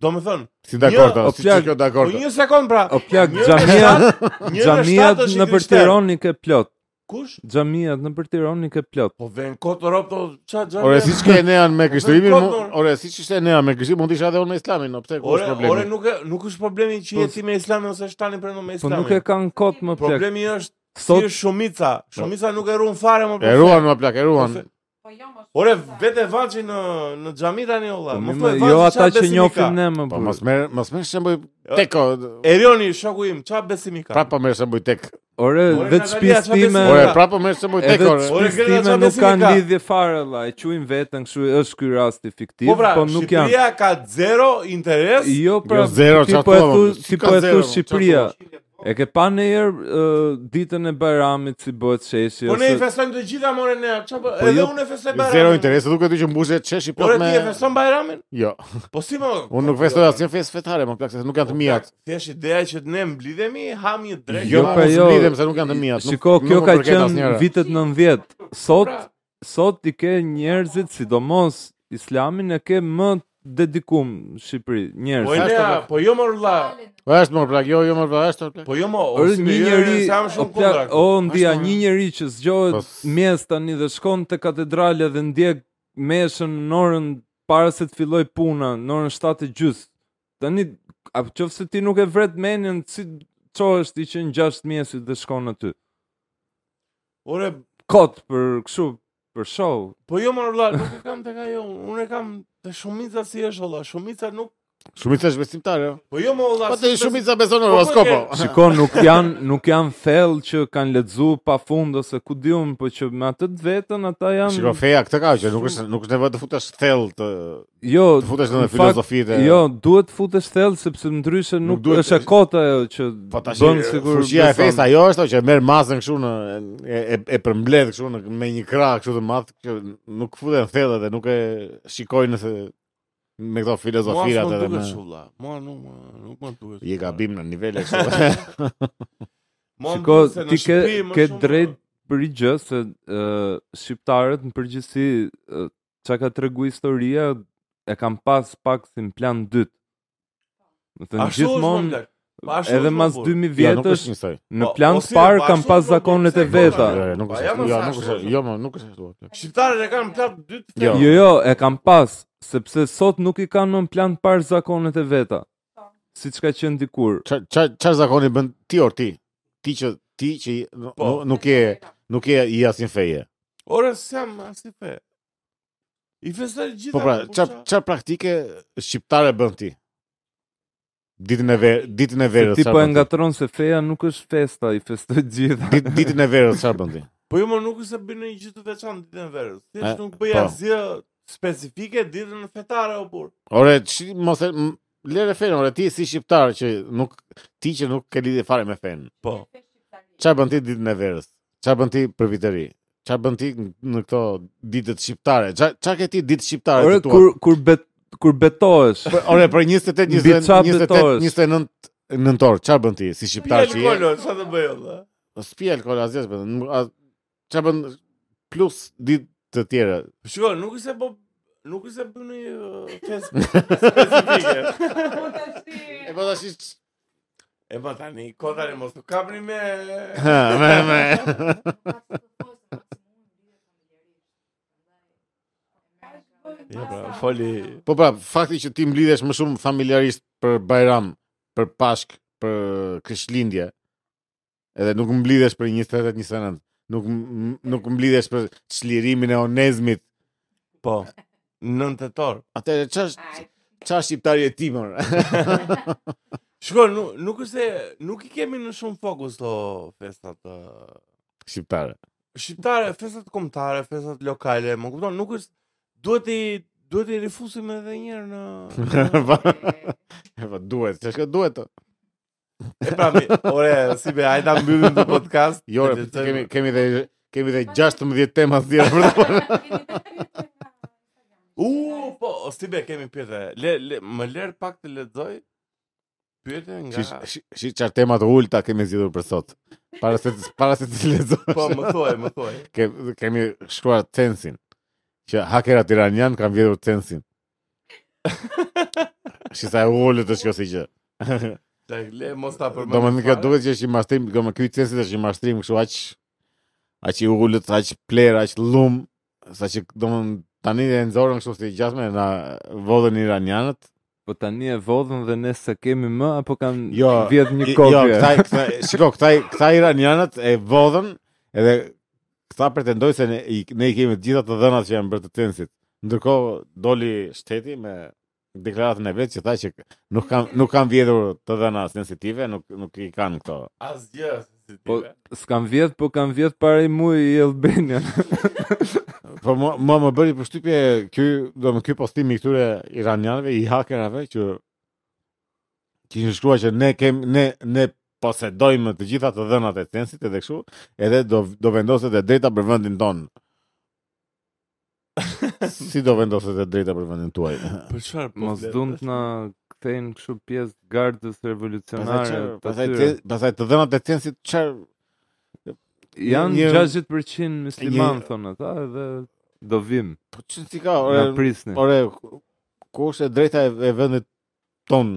S1: Do me thënë,
S2: Si dakord,
S1: Një-
S2: o,
S3: o,
S2: si
S3: plak-
S1: po
S2: çka dakord.
S1: një sekond pra.
S3: O plak
S1: Një në
S3: xhamia,
S1: shtat- një në
S3: xhamia
S1: shtat është i
S3: në për
S1: krishter.
S3: Tiranë i ke plot.
S1: Kush?
S3: Xhamiat nëpër Tiranë i ke plot.
S1: Po vën kot në Europë, to ça xhanë.
S2: Ore siç ke nean
S1: po,
S2: me kështrimin,
S1: Vetëm
S2: mu-
S1: kotor.
S2: ore siç ishte nean me kështrimin, mund të isha edhe unë islamin, no pse ku
S1: Ore,
S2: është
S1: ore
S2: problemi?
S1: nuk e- nuk është problemi që
S3: Po,
S1: je ti me Islamin ose shtani pranon me
S3: Po
S1: Islamin.
S3: nuk e kanë kot më plot.
S1: Problemi është si
S3: Sot
S1: është shumica. Shumica nuk e ruan fare më
S2: Po. E ruan më plak, e ruan.
S1: Po,
S4: Po jo më shumë.
S1: Ore, vetë vaçi në në xhami tani olla.
S3: Po,
S1: Mos
S3: mi
S1: më
S3: më-
S1: vaçi.
S3: jo ata që njohim ne më
S2: Po
S3: burr.
S2: mos merr, mos merr shembuj
S1: Jo.
S2: teko.
S1: Erioni, shoku im, ç'a besimi ka?
S3: Pra, po,
S2: Prapa po merr shembuj tek.
S3: Ore,
S1: Ore,
S3: vetë
S1: Natalia,
S3: shtëpisë
S1: çfarë
S3: time,
S1: besimi
S2: Ore pra-
S1: ka?
S2: prapa merr shembuj tek.
S3: edhe
S2: Ore.
S1: Ore,
S3: shtëpisë
S1: Greta,
S3: time
S1: çfarë
S3: nuk
S1: besimi
S3: kanë
S1: ka?
S3: lidhje fare valla. E quajnë veten, kështu është ky rasti fiktiv,
S1: Po pra,
S3: po nuk janë.
S1: Shqipëria ka zero interes.
S3: Jo,
S2: Jo,
S3: pra,
S2: zero,
S3: ti
S2: çfarë
S3: po e
S2: thua,
S3: thu,
S2: si
S3: ti
S2: ka
S3: po e
S2: zero,
S3: thu
S2: çfarë
S3: Shqipëria. E ke pa në herë ë, ditën e Bajramit si bëhet sheshi
S1: Po ne i
S3: ose
S1: festojmë të gjitha more ne, ç'a bë-
S3: jo, Po
S1: edhe
S3: jo,
S1: unë e festoj Bajramin.
S2: Zero interese, duket ty që mbushet çeshi
S1: Ore
S2: plot
S1: ti
S2: me.
S1: e feston Bajramin?
S2: Jo,
S1: Po si më?
S2: unë nuk festoj asnjë festë fetare, më plak, se nuk janë të mijat.
S1: Thjesht ideja që ne mblidhemi, ham një drekë.
S2: Jo,
S3: Jo,
S2: ma,
S3: pra,
S2: mos
S3: jo.
S2: mblidhem se nuk janë të mijat. nuk-
S3: Shiko,
S2: nuk
S3: kjo
S2: më
S3: ka
S2: përket
S3: qenë
S2: asnjëra.
S3: vitet 90. Sot
S1: Pra.
S3: sot i ke njerëzit, sidomos islamin e ke më dedikum në Shqipëri,
S1: Po
S2: e-
S3: njerëz.
S1: ne, po jo më rrla.
S2: Po është më plak, jo, jo më plak, është më plak.
S1: Po jo më, o
S3: Ore
S1: si
S3: një
S1: me-
S3: njeri,
S1: se jam
S3: o,
S1: shumë
S3: pla-
S1: kundra.
S3: o ndia
S2: Ashtu-
S3: një njeri që
S2: Po
S3: zgjohet
S2: s-
S3: mes tani dhe shkon te katedrale dhe ndjek meshën në orën para se të filloj puna, në orën 7 e gjys. Tani a qofse ti nuk e vret menjen si çohesh ti që në 6 mjesit dhe shkon aty.
S1: Ore,
S3: Kot për kështu për show.
S1: po jo më rrla, nuk e kam tek ajo. Unë e kam te shumica si është olla, shumica nuk
S2: Shumica është besimtare. jo.
S1: Po jo më olla.
S2: Po
S1: si
S2: te
S1: bes-
S2: shumica beson në
S1: po,
S2: horoskopo.
S1: po,
S3: Shiko, nuk janë nuk janë thellë që kanë lexuar pafund ose ku diun, po që me atë të vetën ata janë
S2: Shiko feja këtë ka që nuk është nuk është nevojë të futesh thellë të
S3: jo,
S2: të futesh në
S3: fakt,
S2: filozofitë.
S3: Jo, duhet të futesh thellë sepse ndryshe nuk,
S2: duhet-
S3: është e kota ajo që
S2: po tash
S3: bën sigur
S2: fuqia e
S3: beson.
S2: festa ajo është o, që merr masën kështu në e e, e përmbledh kështu në me një krah kështu të madh që nuk futen thellë dhe nuk e shikojnë nëse me këto
S1: Mua s'më
S2: filozofirat edhe
S1: duket
S2: me
S1: kështu, vlla. Mua nuk më- nuk më duket.
S2: je gabim në nivele kështu.
S1: Mua më
S3: Shiko,
S1: duket se në
S3: ti ke
S1: Shqipëri më
S3: ke
S1: shumë-
S3: drejt për i gjë se uh, shqiptarët në përgjithësi ë, çka ka tregu historia e kanë pas pak si në plan dytë. Do të thënë
S1: Ashtu është më
S3: gjithmonë
S1: blek. Po, ashtu
S3: edhe
S1: është,
S3: mas
S1: më burr.
S2: Ja,
S3: 2000
S2: Jo, nuk
S3: vjetësh
S2: është njësoj.
S3: në
S1: Po,
S3: plan
S1: po,
S3: të
S1: si,
S3: parë
S1: po,
S3: kanë
S1: ashtu
S3: pas
S1: është, po,
S3: zakonet
S1: pse
S3: e
S1: e
S3: veta.
S1: kota?
S2: Jo, jo, nuk
S1: Po,
S2: është.
S1: ja,
S2: ashtu.
S1: mos
S2: Jo,
S1: ashtu
S2: nuk është.
S1: është.
S2: Jo, mo, nuk është. ashtu.
S1: Shqiptarët e kanë plot dy të
S2: Jo.
S1: tjerë.
S3: Jo, jo, e kanë pas, sepse sot nuk i kanë në plan të parë zakonet e veta. Siç ka qenë dikur.
S2: Qa- qa- Çfarë zakoni bën ti or ti? Ti që ti që i- nu-
S1: Po.
S2: nu- nuk je nuk je i asnjë feje.
S1: Ore, s'jam as i fe. I festoj gjithë.
S2: Po pra, çfarë çfarë praktike shqiptare bën ti? Ditën e verë, ditën e verës.
S3: Ti
S2: çfarë
S3: po e
S2: bën ti?
S3: ngatron se feja nuk është festa, i festoj gjitha.
S2: Dit- Ditën e verës çfarë bën ti?
S1: Po jo, më nuk është se bëj një gjë të veçantë ditën e verës.
S2: E,
S1: Thjesht nuk bëj
S2: po.
S1: asgjë specifike ditën fetare o burr.
S2: Ore, çi mos e m- lere fen, ore ti si shqiptar që nuk ti që nuk ke lidhje fare me fen.
S1: Po.
S2: Çfarë bën ti ditën e verës? Çfarë bën ti për vitëri? Çfarë bën ti në këto ditët shqiptare? Çfarë çfarë ke ti ditë shqiptare
S3: Ore
S2: të tua?
S3: kur kur bet kur betohesh.
S2: Për- Ore, për 28,
S3: Mbi
S2: 28,
S3: çfarë
S2: 28,
S3: betohesh?
S2: 29 nëntor, çfarë bën ti si shqiptar që je?
S1: Alkool, çfarë të bëj olla?
S2: Spi alkool asgjë s'bën. nuk- as- Çfarë bën plus ditë të tjera?
S1: Shiko, nuk është se po nuk është se bëj një uh, fest specifike.
S4: Po tash ti.
S2: E po tash ish-
S1: e po tani kota ne mos u kapni me
S2: Ha, me me.
S1: Jo, pra, foli.
S2: Po pra, fakti që ti mblidhesh më shumë familjarisht për Bajram, për Pashk, për Krishtlindje, edhe nuk mblidhesh për 28, 29, nuk m- nuk mblidhesh për çlirimin e Onezmit.
S1: Po. Nën tetor.
S2: Atëherë ç'është ç'është shqiptari e timor?
S1: Shiko, nuk nuk është se nuk i kemi në shumë fokus to festat uh,
S2: Shqiptare.
S1: shqiptare, festat kombëtare, festat lokale, më kupton, nuk është duhet i duhet i rifusim edhe një herë në
S2: E po duhet, ç'është duhet. o.
S1: E pra, mi, ore, si be, hajta mbyllim të podcast.
S2: Jo,
S1: Të
S2: re,
S1: lexojmë.
S2: kemi kemi dhe kemi dhe 16 tema të tjera për të.
S1: U, po, si be, kemi pyetje. Le, le, më lër pak të lexoj. Pyetje nga
S2: Shi shi- shi çfarë tema të ulta kemi zgjedhur për sot. Para se para se të lexosh.
S1: Po, më thuaj, më thuaj.
S2: Ke- kemi shkruar censin që hakerat iranian kanë vjedhur censin. Shi sa e ulët është kjo si gjë.
S1: Le, le mos ta përmend.
S2: Do më thënë kjo duket që është i mashtrim, do më ky censi është i mashtrim kështu aq aq i ulët, aq player, aq lum, saqë domthon tani e nxorën kështu si gjasme na vodën iranianët.
S3: Po tani e vodhën dhe ne se kemi më apo kanë
S2: Jo,
S3: vjedh një
S2: I- Jo,
S3: kopje.
S2: këta, këta, shiko, këta, këta iranianët e vodhën edhe këta pretendojnë se ne, i, ne i kemi të gjitha të dhënat që janë bërë të tensit. Ndërkohë doli shteti me deklaratën e vet që tha që nuk kanë nuk kanë vjedhur të dhëna sensitive, nuk nuk i kanë këto.
S1: Asgjë. sensitive.
S3: Po, s'kan vjedh, po kanë vjedh para i muaj i Albanian.
S2: Po mua mua më bëri përshtypje ky, domethënë ky postim i këtyre iranianëve, i hakerave që që ishin shkruar që ne kem ne ne posedojmë të gjitha të dhënat e censit edhe kështu, edhe do do vendoset e drejta për vendin ton. si do vendoset e drejta për vendin tuaj?
S1: Për çfarë? po
S3: Mos
S1: flet,
S3: duan
S1: është?
S3: të na kthejnë kështu pjesë të gardës
S2: Pastaj
S3: revolucionare.
S2: Po që-
S3: të
S2: pastaj
S3: atyre.
S2: te- pastaj të dhënat e censit çfarë
S3: janë
S2: një-
S3: 60% musliman
S2: një-
S3: thonë ata edhe do vim.
S2: po çfarë si ka?
S3: Na
S2: Ore,
S3: prisni.
S2: Ore, ku- ku është e drejta e, e vendit ton?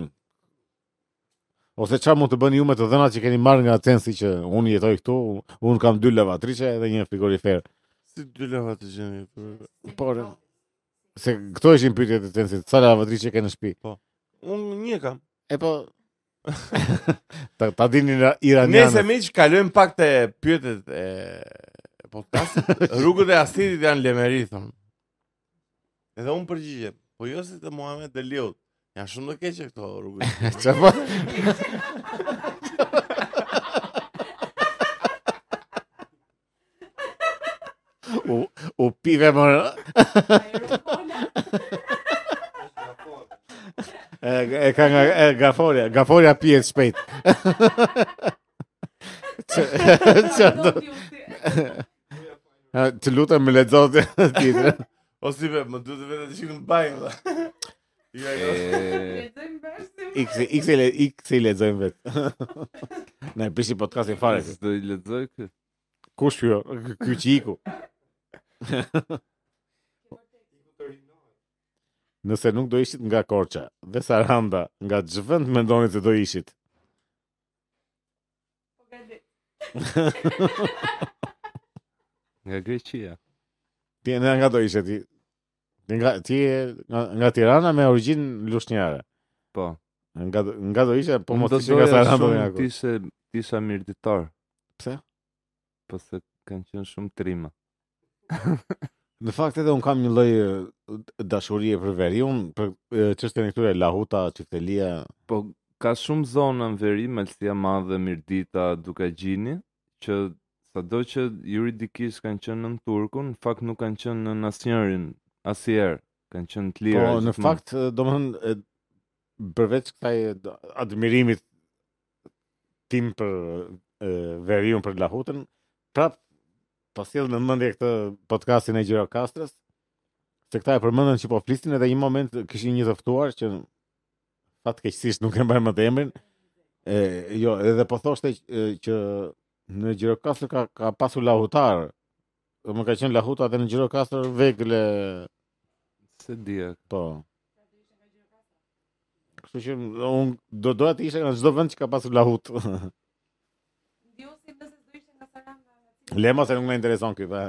S2: Ose çfarë mund të bëni ju me të dhënat që keni marrë nga Atensi që unë jetoj këtu, unë kam dy lavatriçe dhe një frigorifer.
S1: Si dy lava të gjeni. për-
S2: Por se këto ishin pyetjet e Atensit, sa lavatriçe keni në shtëpi?
S1: Unë një kam.
S2: E po ta, ta dini ira-
S1: Nëse
S2: iranianët.
S1: miq kalojmë pak te pyetjet e podcastit. Rrugët e Asirit janë lemeri thon. Edhe unë përgjigjem. Po jo si te Muhamet dhe Liut. Janë shumë të keqe këto rrugët.
S2: Çfarë po? u, u pive më E, e ka nga e, gaforia, gaforia pihet shpejt. Çfarë do? Ha, Të lutem më lexo të tjetër.
S1: O si be, më duhet vetë të shikoj në bajin. dhe. Jo, jo.
S3: E,
S2: X X le X i lexojmë vet. Na e prishi podcastin fare. kë.
S3: s'do i lexoj kë.
S2: Kush ky? Ky- Ky që iku. Nëse nuk do ishit nga Korça dhe Saranda, nga ç'vend mendoni se do ishit?
S3: Nga Greqia.
S2: Ti e nga do ishe ti? Ti Nga ti je nga, nga Tirana me origjinë lushnjare.
S3: Po.
S2: Nga do- nga do ishe, po
S3: Unë
S2: mos
S3: do
S2: ishe nga
S3: doja
S2: Saranda dhe
S3: shumë
S2: nga
S3: të
S2: Korça.
S3: ishe të isha mirëditor.
S2: Pse?
S3: Po se kanë qenë shumë trima.
S2: Në fakt edhe un kam një lloj e, dashurie për veri, un për e, çështjen e këtyre lahuta, çiftelia,
S3: Po ka shumë zona në veri, Malsia Madhe, Mirdita, Dukagjini, që sado që juridikisht kanë qenë në Turkun, në fakt nuk kanë qenë në asnjërin, asnjëherë. Kanë qenë të lira.
S2: Po, në
S3: gjithmonë.
S2: fakt, domethënë e, përveç kësaj e, d- admirimit tim për e, veriun për Lahutën, prap po sjell në mendje këtë podcastin e Gjirokastrës, se këta e përmendën që po flisnin edhe një moment kishin një të ftuar që fatkeqësisht nuk e mbaj më të emrin. E, jo, edhe po thoshte që- e, që në Gjirokastrë ka ka pasur lahutar. Më ka qenë lahuta edhe në Gjirokastrë vegle
S3: se dia.
S2: Po. Kështu që un do doja të isha në çdo vend që ka pasur lahut. Lema se nuk më intereson ky. pa.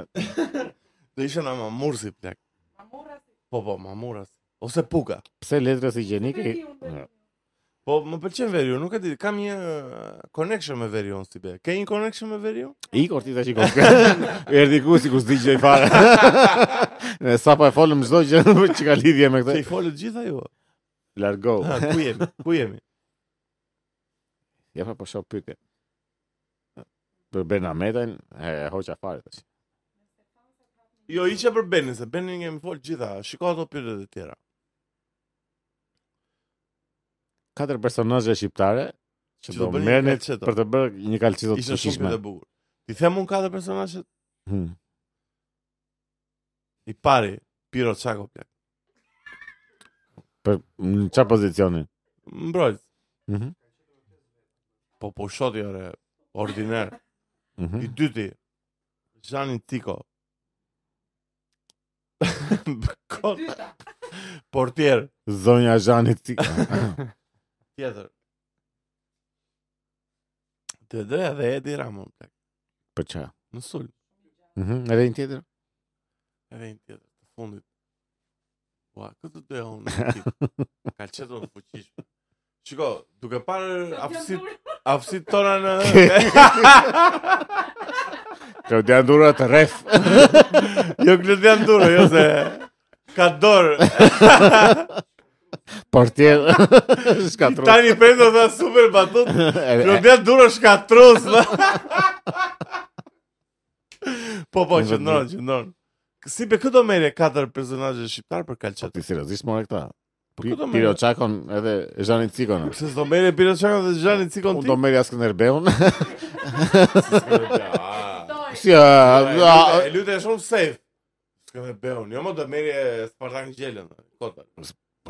S1: Do isha në mamursi plak. Po po, mamuras. Ose puka.
S2: Pse letrës higjienike?
S1: Po më pëlqen veriu, nuk e di, kam një uh, connection me veriun si be. Ke një connection me veriun?
S2: Igor ti tash ikon. Erdi ku sikur s'digjej fare. Ne sa pa e folëm çdo gjë që ka lidhje me
S1: Se i
S2: këtë.
S1: folët gjitha ju.
S2: Largo.
S1: Ha, ku jemi? Ku jemi?
S2: Ja pa po shoh pyetje. Për Benametan, e hoqa fare tash.
S1: Jo, isha për Benin, se Benin kemi fol gjitha. Shiko ato pyetjet e tjera.
S2: Katër personazhe shqiptare
S1: Që
S2: që
S1: do
S2: do
S1: bënin një
S2: merrni
S1: kalceto.
S2: për të bërë një kalçito Jo, të
S1: Ishte shumë
S2: fuqishme.
S1: pyetje e bukur. Ti them un katër personazhe,
S2: Hmm.
S1: i pari Piro Çako plak.
S2: Për në çfarë pozicioni?
S1: Mbrojt.
S2: Mhm.
S1: Po po shoti ore ordiner.
S2: Mhm.
S1: I dyti Zhanin Tiko. Kot portier
S2: Zonja Zhanit ti.
S1: tjetër. Të dreja dhe Edi Ramon plak.
S2: Për çfarë?
S1: Në sul.
S2: Mhm, edhe një tjetër.
S1: Edhe një tjetër të fundit. Ua, këtë të doja unë. Ka qeto në fuqishme. Shiko, duke parë aftësit aftësit tona në
S2: Klaudian Dura të rreth.
S1: jo Glodian Duro, jo se ka dorë.
S2: Portier. Shkatrus.
S1: Tani prendo dha super batut. Glodian Duro shkatrus. dhe. po po, qëndron, qëndron. Si be këto merre katër personazhe shqiptar për Kalçet.
S2: Ti seriozisht more këta.
S1: Po
S2: Pi-
S1: këto
S2: Piro
S1: merre.
S2: Çakon edhe Zhanin Cikon.
S1: Pse s'do merre Piro Çaka dhe Xhani Cikon
S2: Unë
S1: ti?
S2: do merja Skënderbeun.
S1: Ah.
S2: Si a- a-
S1: E lutë e shumë safe. Ska me beun, jo më do merje Spartak Gjelën, kota.
S2: Po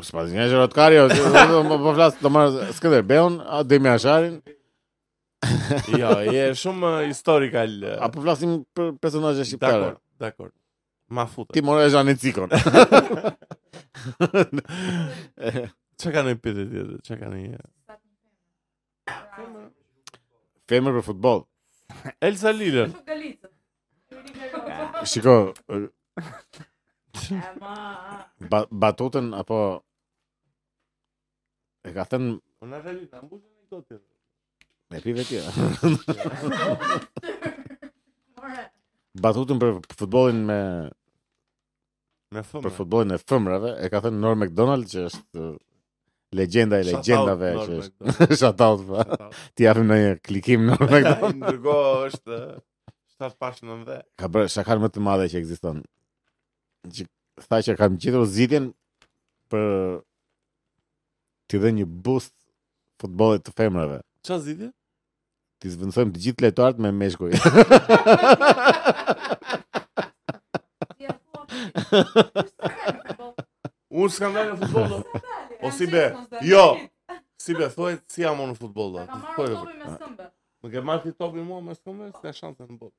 S2: s'pa di një gjërat karjo, po flas do marr Skënderbeun, a Demi Asharin,
S1: Jo, je shumë eh, historical. eh,
S2: apo flasim për personazhe shqiptare.
S1: Dakor, dakor. Ma futë.
S2: Ti more Zhanin Cikon.
S1: Çka kanë një pyetje tjetër? Çka kanë një?
S2: Femër për futboll.
S1: Elsa Lilën.
S2: Shiko,
S4: Ema.
S2: ba- batutën apo e ka thënë
S1: Unë atë Lilën mbushën një kot tjetër.
S2: me pive ti. a?
S4: Ore,
S2: Batutën për futbollin me
S1: Me fëmë.
S2: për futbollin e femrave e ka thënë Norm McDonald që është uh, legjenda e legjendave që është. Shout out. pa. Ti japim në një klikim Norm McDonald.
S1: Ndërgo është eh, 7 pash 9.
S2: Ka bërë shakar më të madhe që ekziston. Që tha që kam gjetur zgjidhjen për t'i dhënë një boost futbollit të femrave.
S1: Çfarë zgjidhje?
S2: Ti zvendësojmë të gjithë lojtarët me meshkuj.
S4: ti e thua ti.
S1: Unë s'kam dalë në futboll. do. O, si be, jo. Si be thuaj si jam unë në futboll. do.
S4: Ta ka
S1: Ti
S4: marrë
S1: thuaj, po. do.
S4: topin me sëmbë.
S1: Më ke marrë ti topin mua më s'kam s'ka shanse në botë.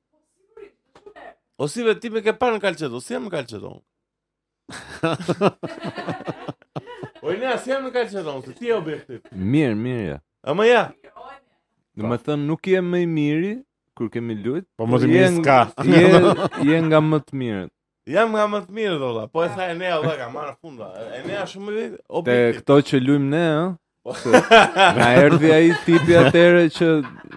S1: O si vetë ti më ke parë në Calcedo, si jam në Calcedo? o ne si Po, jam në Calcedo, se ti je objektiv.
S3: Mirë, mirë ja.
S1: Ama ja,
S3: Do të thënë nuk je më i miri kur kemi lut.
S2: Po mos i
S3: por
S2: mirë
S3: je-
S2: s'ka.
S3: Je je nga më të mirët.
S1: jam nga më të mirë dolla, po e tha Enea valla ka marrë fund valla. Enea shumë i
S3: Te
S1: objektiv.
S3: këto që luajm ne, ëh. Na erdhi ai tipi atëre që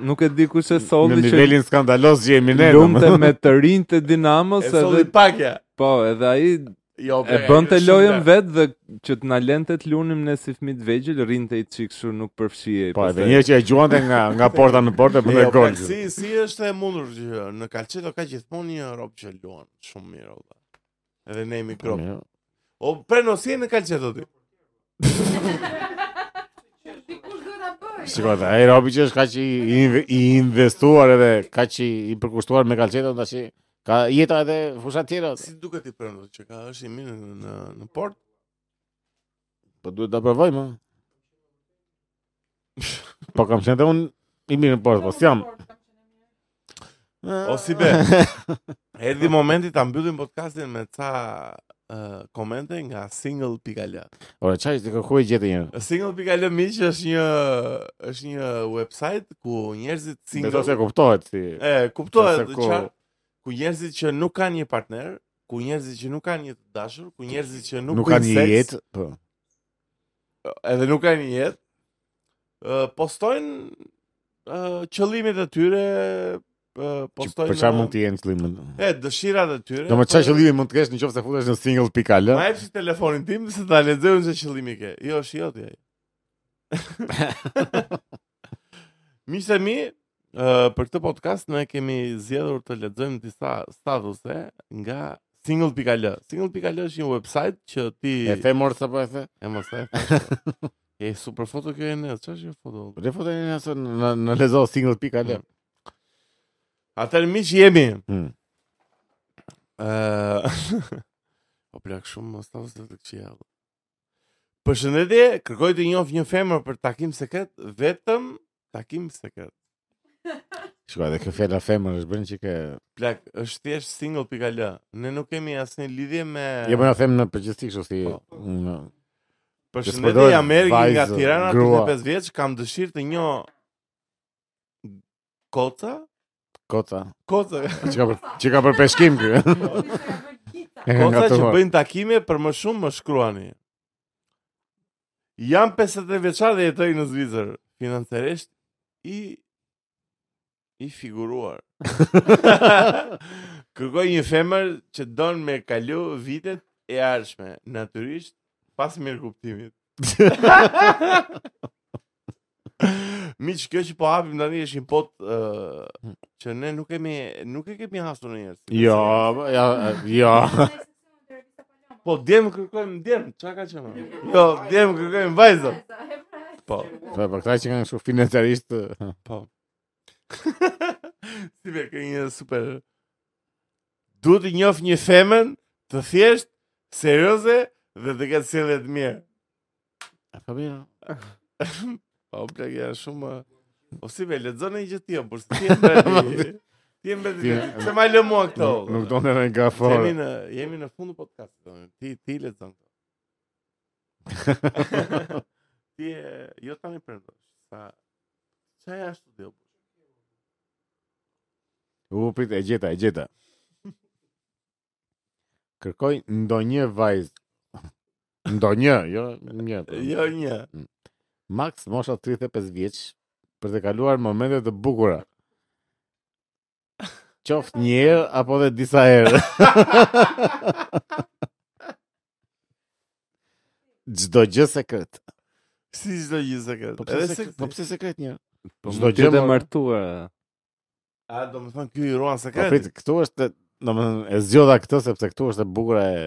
S3: nuk e di kush e
S2: Në
S3: solli që
S2: nivelin skandalos që jemi ne.
S3: lumte me të rinj të Dinamos
S1: E
S3: edhe
S1: solli pakja.
S3: po, edhe ai
S1: Jo,
S3: e bënte lojën vet dhe që të na lente të lunim ne si fëmijë të vegjël, rinte i çik kështu nuk përfshihej.
S2: Po, edhe
S3: pastaj.
S2: njëherë që e gjuante nga nga porta në portë për
S1: Jo,
S2: të
S1: po,
S2: gol.
S1: si si është e mundur që në Calcedo ka gjithmonë një rob që luan shumë mirë valla. Edhe ne jemi krop.
S2: Jo,
S1: O preno si je në Calcedo ti?
S4: Dikush duhet ta bëj.
S2: Shikoj, dhe ai Robi që është kaq i i- i investuar edhe kaq i i përkushtuar me kalçetën tash ka jeta edhe fusha tjera.
S1: Si duket ti prendo që ka është i mirë në në, në port?
S2: Po duhet ta provojmë. ha. Po kam qenë dhe unë i mirë në portë, po s'jam.
S1: O si be. Erdhi momenti ta mbyllim podcastin me ca uh, komente nga single.al.
S2: Ora çaj ti ku e gjete një?
S1: Single.al miq është një është një website ku njerëzit
S2: Beso se
S1: single
S2: kuptohet si.
S1: e kuptohet
S2: Beso
S1: ku...
S2: ku-
S1: çfarë ku njerëzit që nuk kanë një partner, ku njerëzit që nuk kanë një të dashur, ku njerëzit që nuk,
S2: Nuk kanë
S1: bëjnë
S2: një
S1: seks,
S2: jetë, po.
S1: edhe nuk kanë një jetë, ë, postojnë ë, qëllimet e tyre, ë,
S2: Që
S1: postojnë
S2: Për çfarë
S1: ë,
S2: mund të jenë qëllimin?
S1: E, dëshirat e tyre. po,
S2: Do më çaj qëllimi mund të kesh nëse futesh në single.al.
S1: Ma jep si telefonin tim se ta lexoj unë se qëllimi ke. Jo, është joti ai. Miqtë e mi, ë, për këtë podcast ne kemi zgjedhur të lexojmë disa statuse nga single.al. Single.al është një website që ti
S2: E the mor sa po e the?
S1: e mos e. E super foto kjo e ne, çfarë është kjo foto?
S2: Po le foto një asë në në lezo single.al.
S1: Mm. Atëherë miq jemi.
S2: Mm.
S1: Ë Po plak shumë mos ta vëzë të këqija. Përshëndetje, kërkoj të njoh një femër për takim sekret, vetëm takim sekret.
S2: Shkoj edhe kjo fjala femër është bën që ke.
S1: Plak, është thjesht single.al. Ne nuk kemi asnjë lidhje me
S2: Jo po na them në përgjithësi kështu si.
S1: Po.
S2: në-
S1: Përshëndetje,
S2: s'përdojnë
S1: jam Ergi nga
S2: vajzë,
S1: Tirana,
S2: grua.
S1: 35 vjeç, kam dëshirë të njoh Kota
S2: Koca.
S1: Koca,
S2: Që ka për, që ka për peshkim ky. E ka
S1: koca që
S2: ngatuar.
S1: bëjnë takime për më shumë më shkruani. Jam 50 vjeçar dhe jetoj në Zvicër, financiarisht i i figuruar. Kërkoj një femër që don me kalu vitet e ardhshme, natyrisht pas mirë kuptimit. Miq, kjo që po hapim tani është një pot ë, që ne nuk kemi nuk e kemi hasur ndonjëherë.
S2: Hmm. Jo, ja, jo.
S1: Po djem kërkojmë djem, çka ka qenë? Jo, djem kërkojmë vajzën. Po.
S2: Dhe për këta që kanë kështu financiarisht ë,
S1: si be ke një super. Duhet të njoh një femën të thjesht, serioze dhe të ketë sjellje të mirë.
S2: Po mirë.
S1: Po plak janë shumë O si be, lexon një gjë tjetër, por ti je mbeti. Ti je mbeti.
S2: Ti-
S1: Se më lë mua këto.
S2: Nuk- Nuk donë në nga
S1: Jemi
S2: forë.
S1: në jemi në fund të podcastit. domethënë. Ti ti lexon këto. ti e- jo tani prendo. Sa sa ja studio.
S2: U prit e gjeta, e gjeta. Kërkoj ndonjë vajzë. Ndonjë, jo një.
S1: Jo një.
S2: Max mosha 35 vjeç për të kaluar momente të bukura. Qoftë një herë apo edhe disa herë. Çdo gjë sekret.
S1: Si çdo gjë sekret.
S2: Po
S1: Edhe
S2: pse
S1: se
S2: sekret? Po pse sekret një?
S3: Po
S2: Çdo
S3: më
S2: gjë,
S3: të
S2: more.
S3: martuar.
S1: a do të thonë ky i ruan
S2: Po
S1: sekret.
S2: prit, këtu është, domethënë, e zgjodha këtë sepse këtu është e bukura e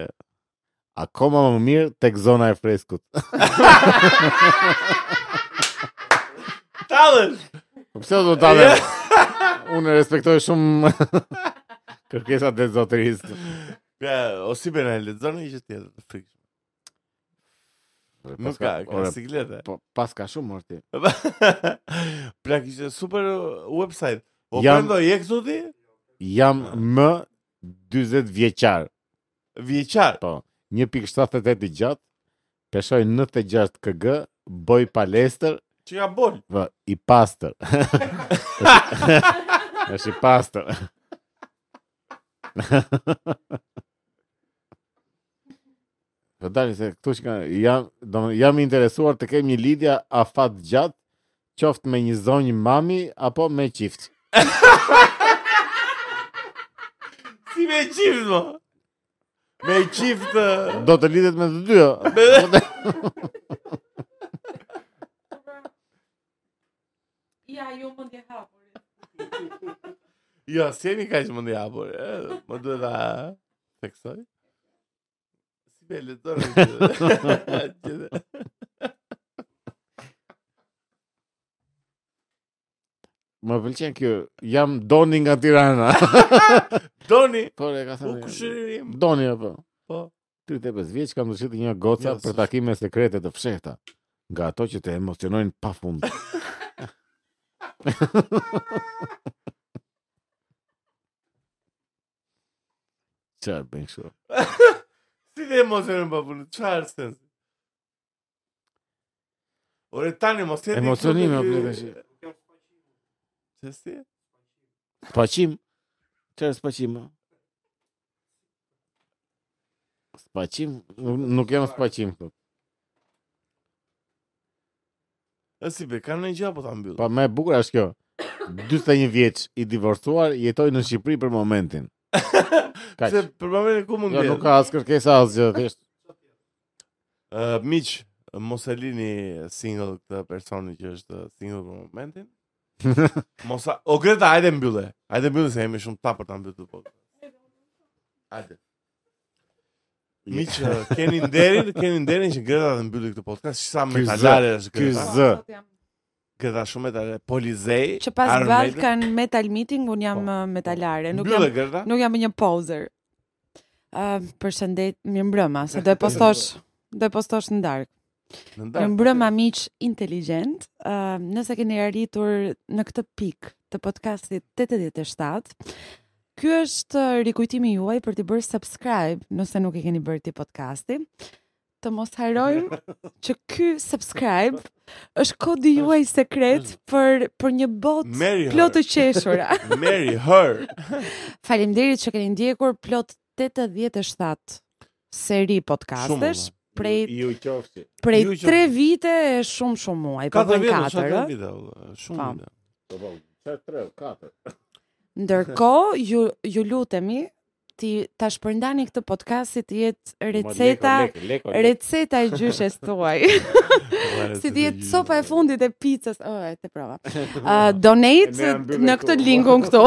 S2: akoma më mirë tek zona e freskut.
S1: Tallën.
S2: Po pse do ta dhe? Unë respektoj shumë kërkesat e zotërisë.
S1: Ja, o si bën ai lexon një gjë tjetër të frikshme.
S2: Po
S1: Nuk ka, ka
S2: Ore,
S1: siklete.
S2: Po pas ka shumë orti.
S1: Plak ishte Pra, super uh, website. O
S2: Jam-
S1: prendo je këtu ti?
S2: Jam më 40 vjeqar,
S1: Vjeçar.
S2: po. 1.78 i gjatë, peshoj 96 kg, boj palestër,
S1: Që ka bol.
S2: vë, i pastër. është, është i pastër. Po dali se këtu që ka, jam, do më- jam i interesuar të kem një lidja afat gjatë, qoftë me një zonjë mami apo me qift.
S1: Si me qift, mo. Me uh, qift... ë,
S2: Do të lidhet me të dyja.
S4: Ja, ju mund t'je hapurit.
S1: Jo, si jemi kaq mund i hapur. e, Më duhet ta theksoj. Si be lexon. e gjithë. Gjithë.
S2: Më pëlqen kjo, jam doni nga Tirana.
S1: Doni,
S2: Por Po, e ka
S1: u
S2: thënë.
S1: kushërim.
S2: Doni apo?
S1: Po.
S2: 35 vjeç kam dëshirë një goca
S1: Ja,
S2: për
S1: s'është.
S2: takime sekrete të fshehta, nga ato që të emocionojnë pafund. Çfarë bën kështu?
S1: Si dhe emocionin pa punë, çfarë sens? Ore tani mos jeti.
S2: Emocionimi, o,
S1: apo
S2: plaka, që-
S1: Se si?
S2: Spaqim. Çfarë spaqim? o? Spaqim, Nuk- nuk jam po. spaqim këtu.
S1: E si be, kanë një gjë apo ta mbyll.
S2: Po më e bukur është kjo. 41 vjeç i divorcuar, jetoj në Shqipëri për momentin. Po, Kaq.
S1: Se për momentin ku mund
S2: Jo,
S1: të
S2: nuk ka as kërkesa asgjë, thjesht
S1: Ë, miq, mos e lini single këtë personi që është single për momentin. mos a... O Greta, hajde mbylle. Hajde mbylle se jemi shumë tapër ta mbyllë po. Hajde. Miq, ë, keni nderin, keni nderin që Greta të mbylli këtë podcast, sa
S2: Ky zë,
S1: metalare është
S2: ky
S1: Greta.
S2: zë.
S1: Greta shumë metalare, Polizei.
S4: Që pas
S1: Iron
S4: ball
S1: Maiden.
S4: kanë metal meeting, unë jam
S1: Po.
S4: uh, metalare, nuk jam
S1: Mbyllë Greta.
S4: nuk jam një poser. Ë, përshëndet, mirëmbrëma, se do e postosh, do e postosh në darkë.
S1: Në ndarë.
S4: Mirëmbrëma miq inteligjent. Ë, nëse keni arritur në këtë pikë të podcastit 87, Ky është rikujtimi juaj për t'i bërë subscribe nëse nuk e keni bërë ti podcasti, të mos harojmë që ky subscribe është kodi juaj sekret për për një botë
S1: Mary her.
S4: plot të qeshura.
S1: Mary her.
S4: Faleminderit që keni ndjekur plot 87 seri podcastesh prej
S2: Ju qofshi.
S4: prej
S1: ju që-
S4: 3 vite e shumë shumë muaj, po
S1: Katër
S4: bën
S1: vite,
S4: 4,
S1: katër
S4: ë.
S1: vite, valla, shumë
S4: Po.
S1: vite.
S2: Po po, 3, 4.
S4: Ndërkohë ju ju lutemi ti ta shpërndani këtë podcast si të jetë receta receta e gjyshes tuaj.
S1: Valla, receta
S4: si të jetë
S1: gjyshe.
S4: sopa e fundit e pizzas. Oh, e te prova. Uh, donate
S2: E ne mbyllim
S4: në këtë
S2: këtu.
S4: linkun këtu.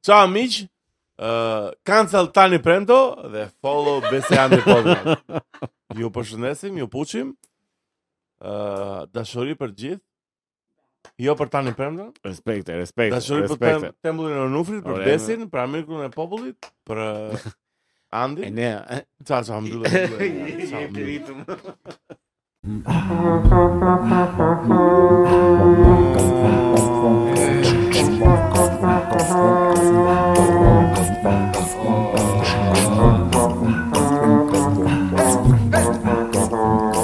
S1: Ciao miq. Uh, cancel tani premto dhe follow Beseani Podcast. Ju përshëndesim, ju puçim. Uh, dashuri për gjithë. Jo për tani premto.
S2: Respekt, respekt,
S1: Dashuri për tem,
S2: respekt.
S1: tembullin e Onufrit, për
S2: Ore,
S1: Besin, për Amirkun e popullit, për uh,
S2: E
S1: Andin.
S2: ne.
S1: Ciao, ciao, mbyllë. mbyllë, ciao, mbyllë.
S5: Thank you.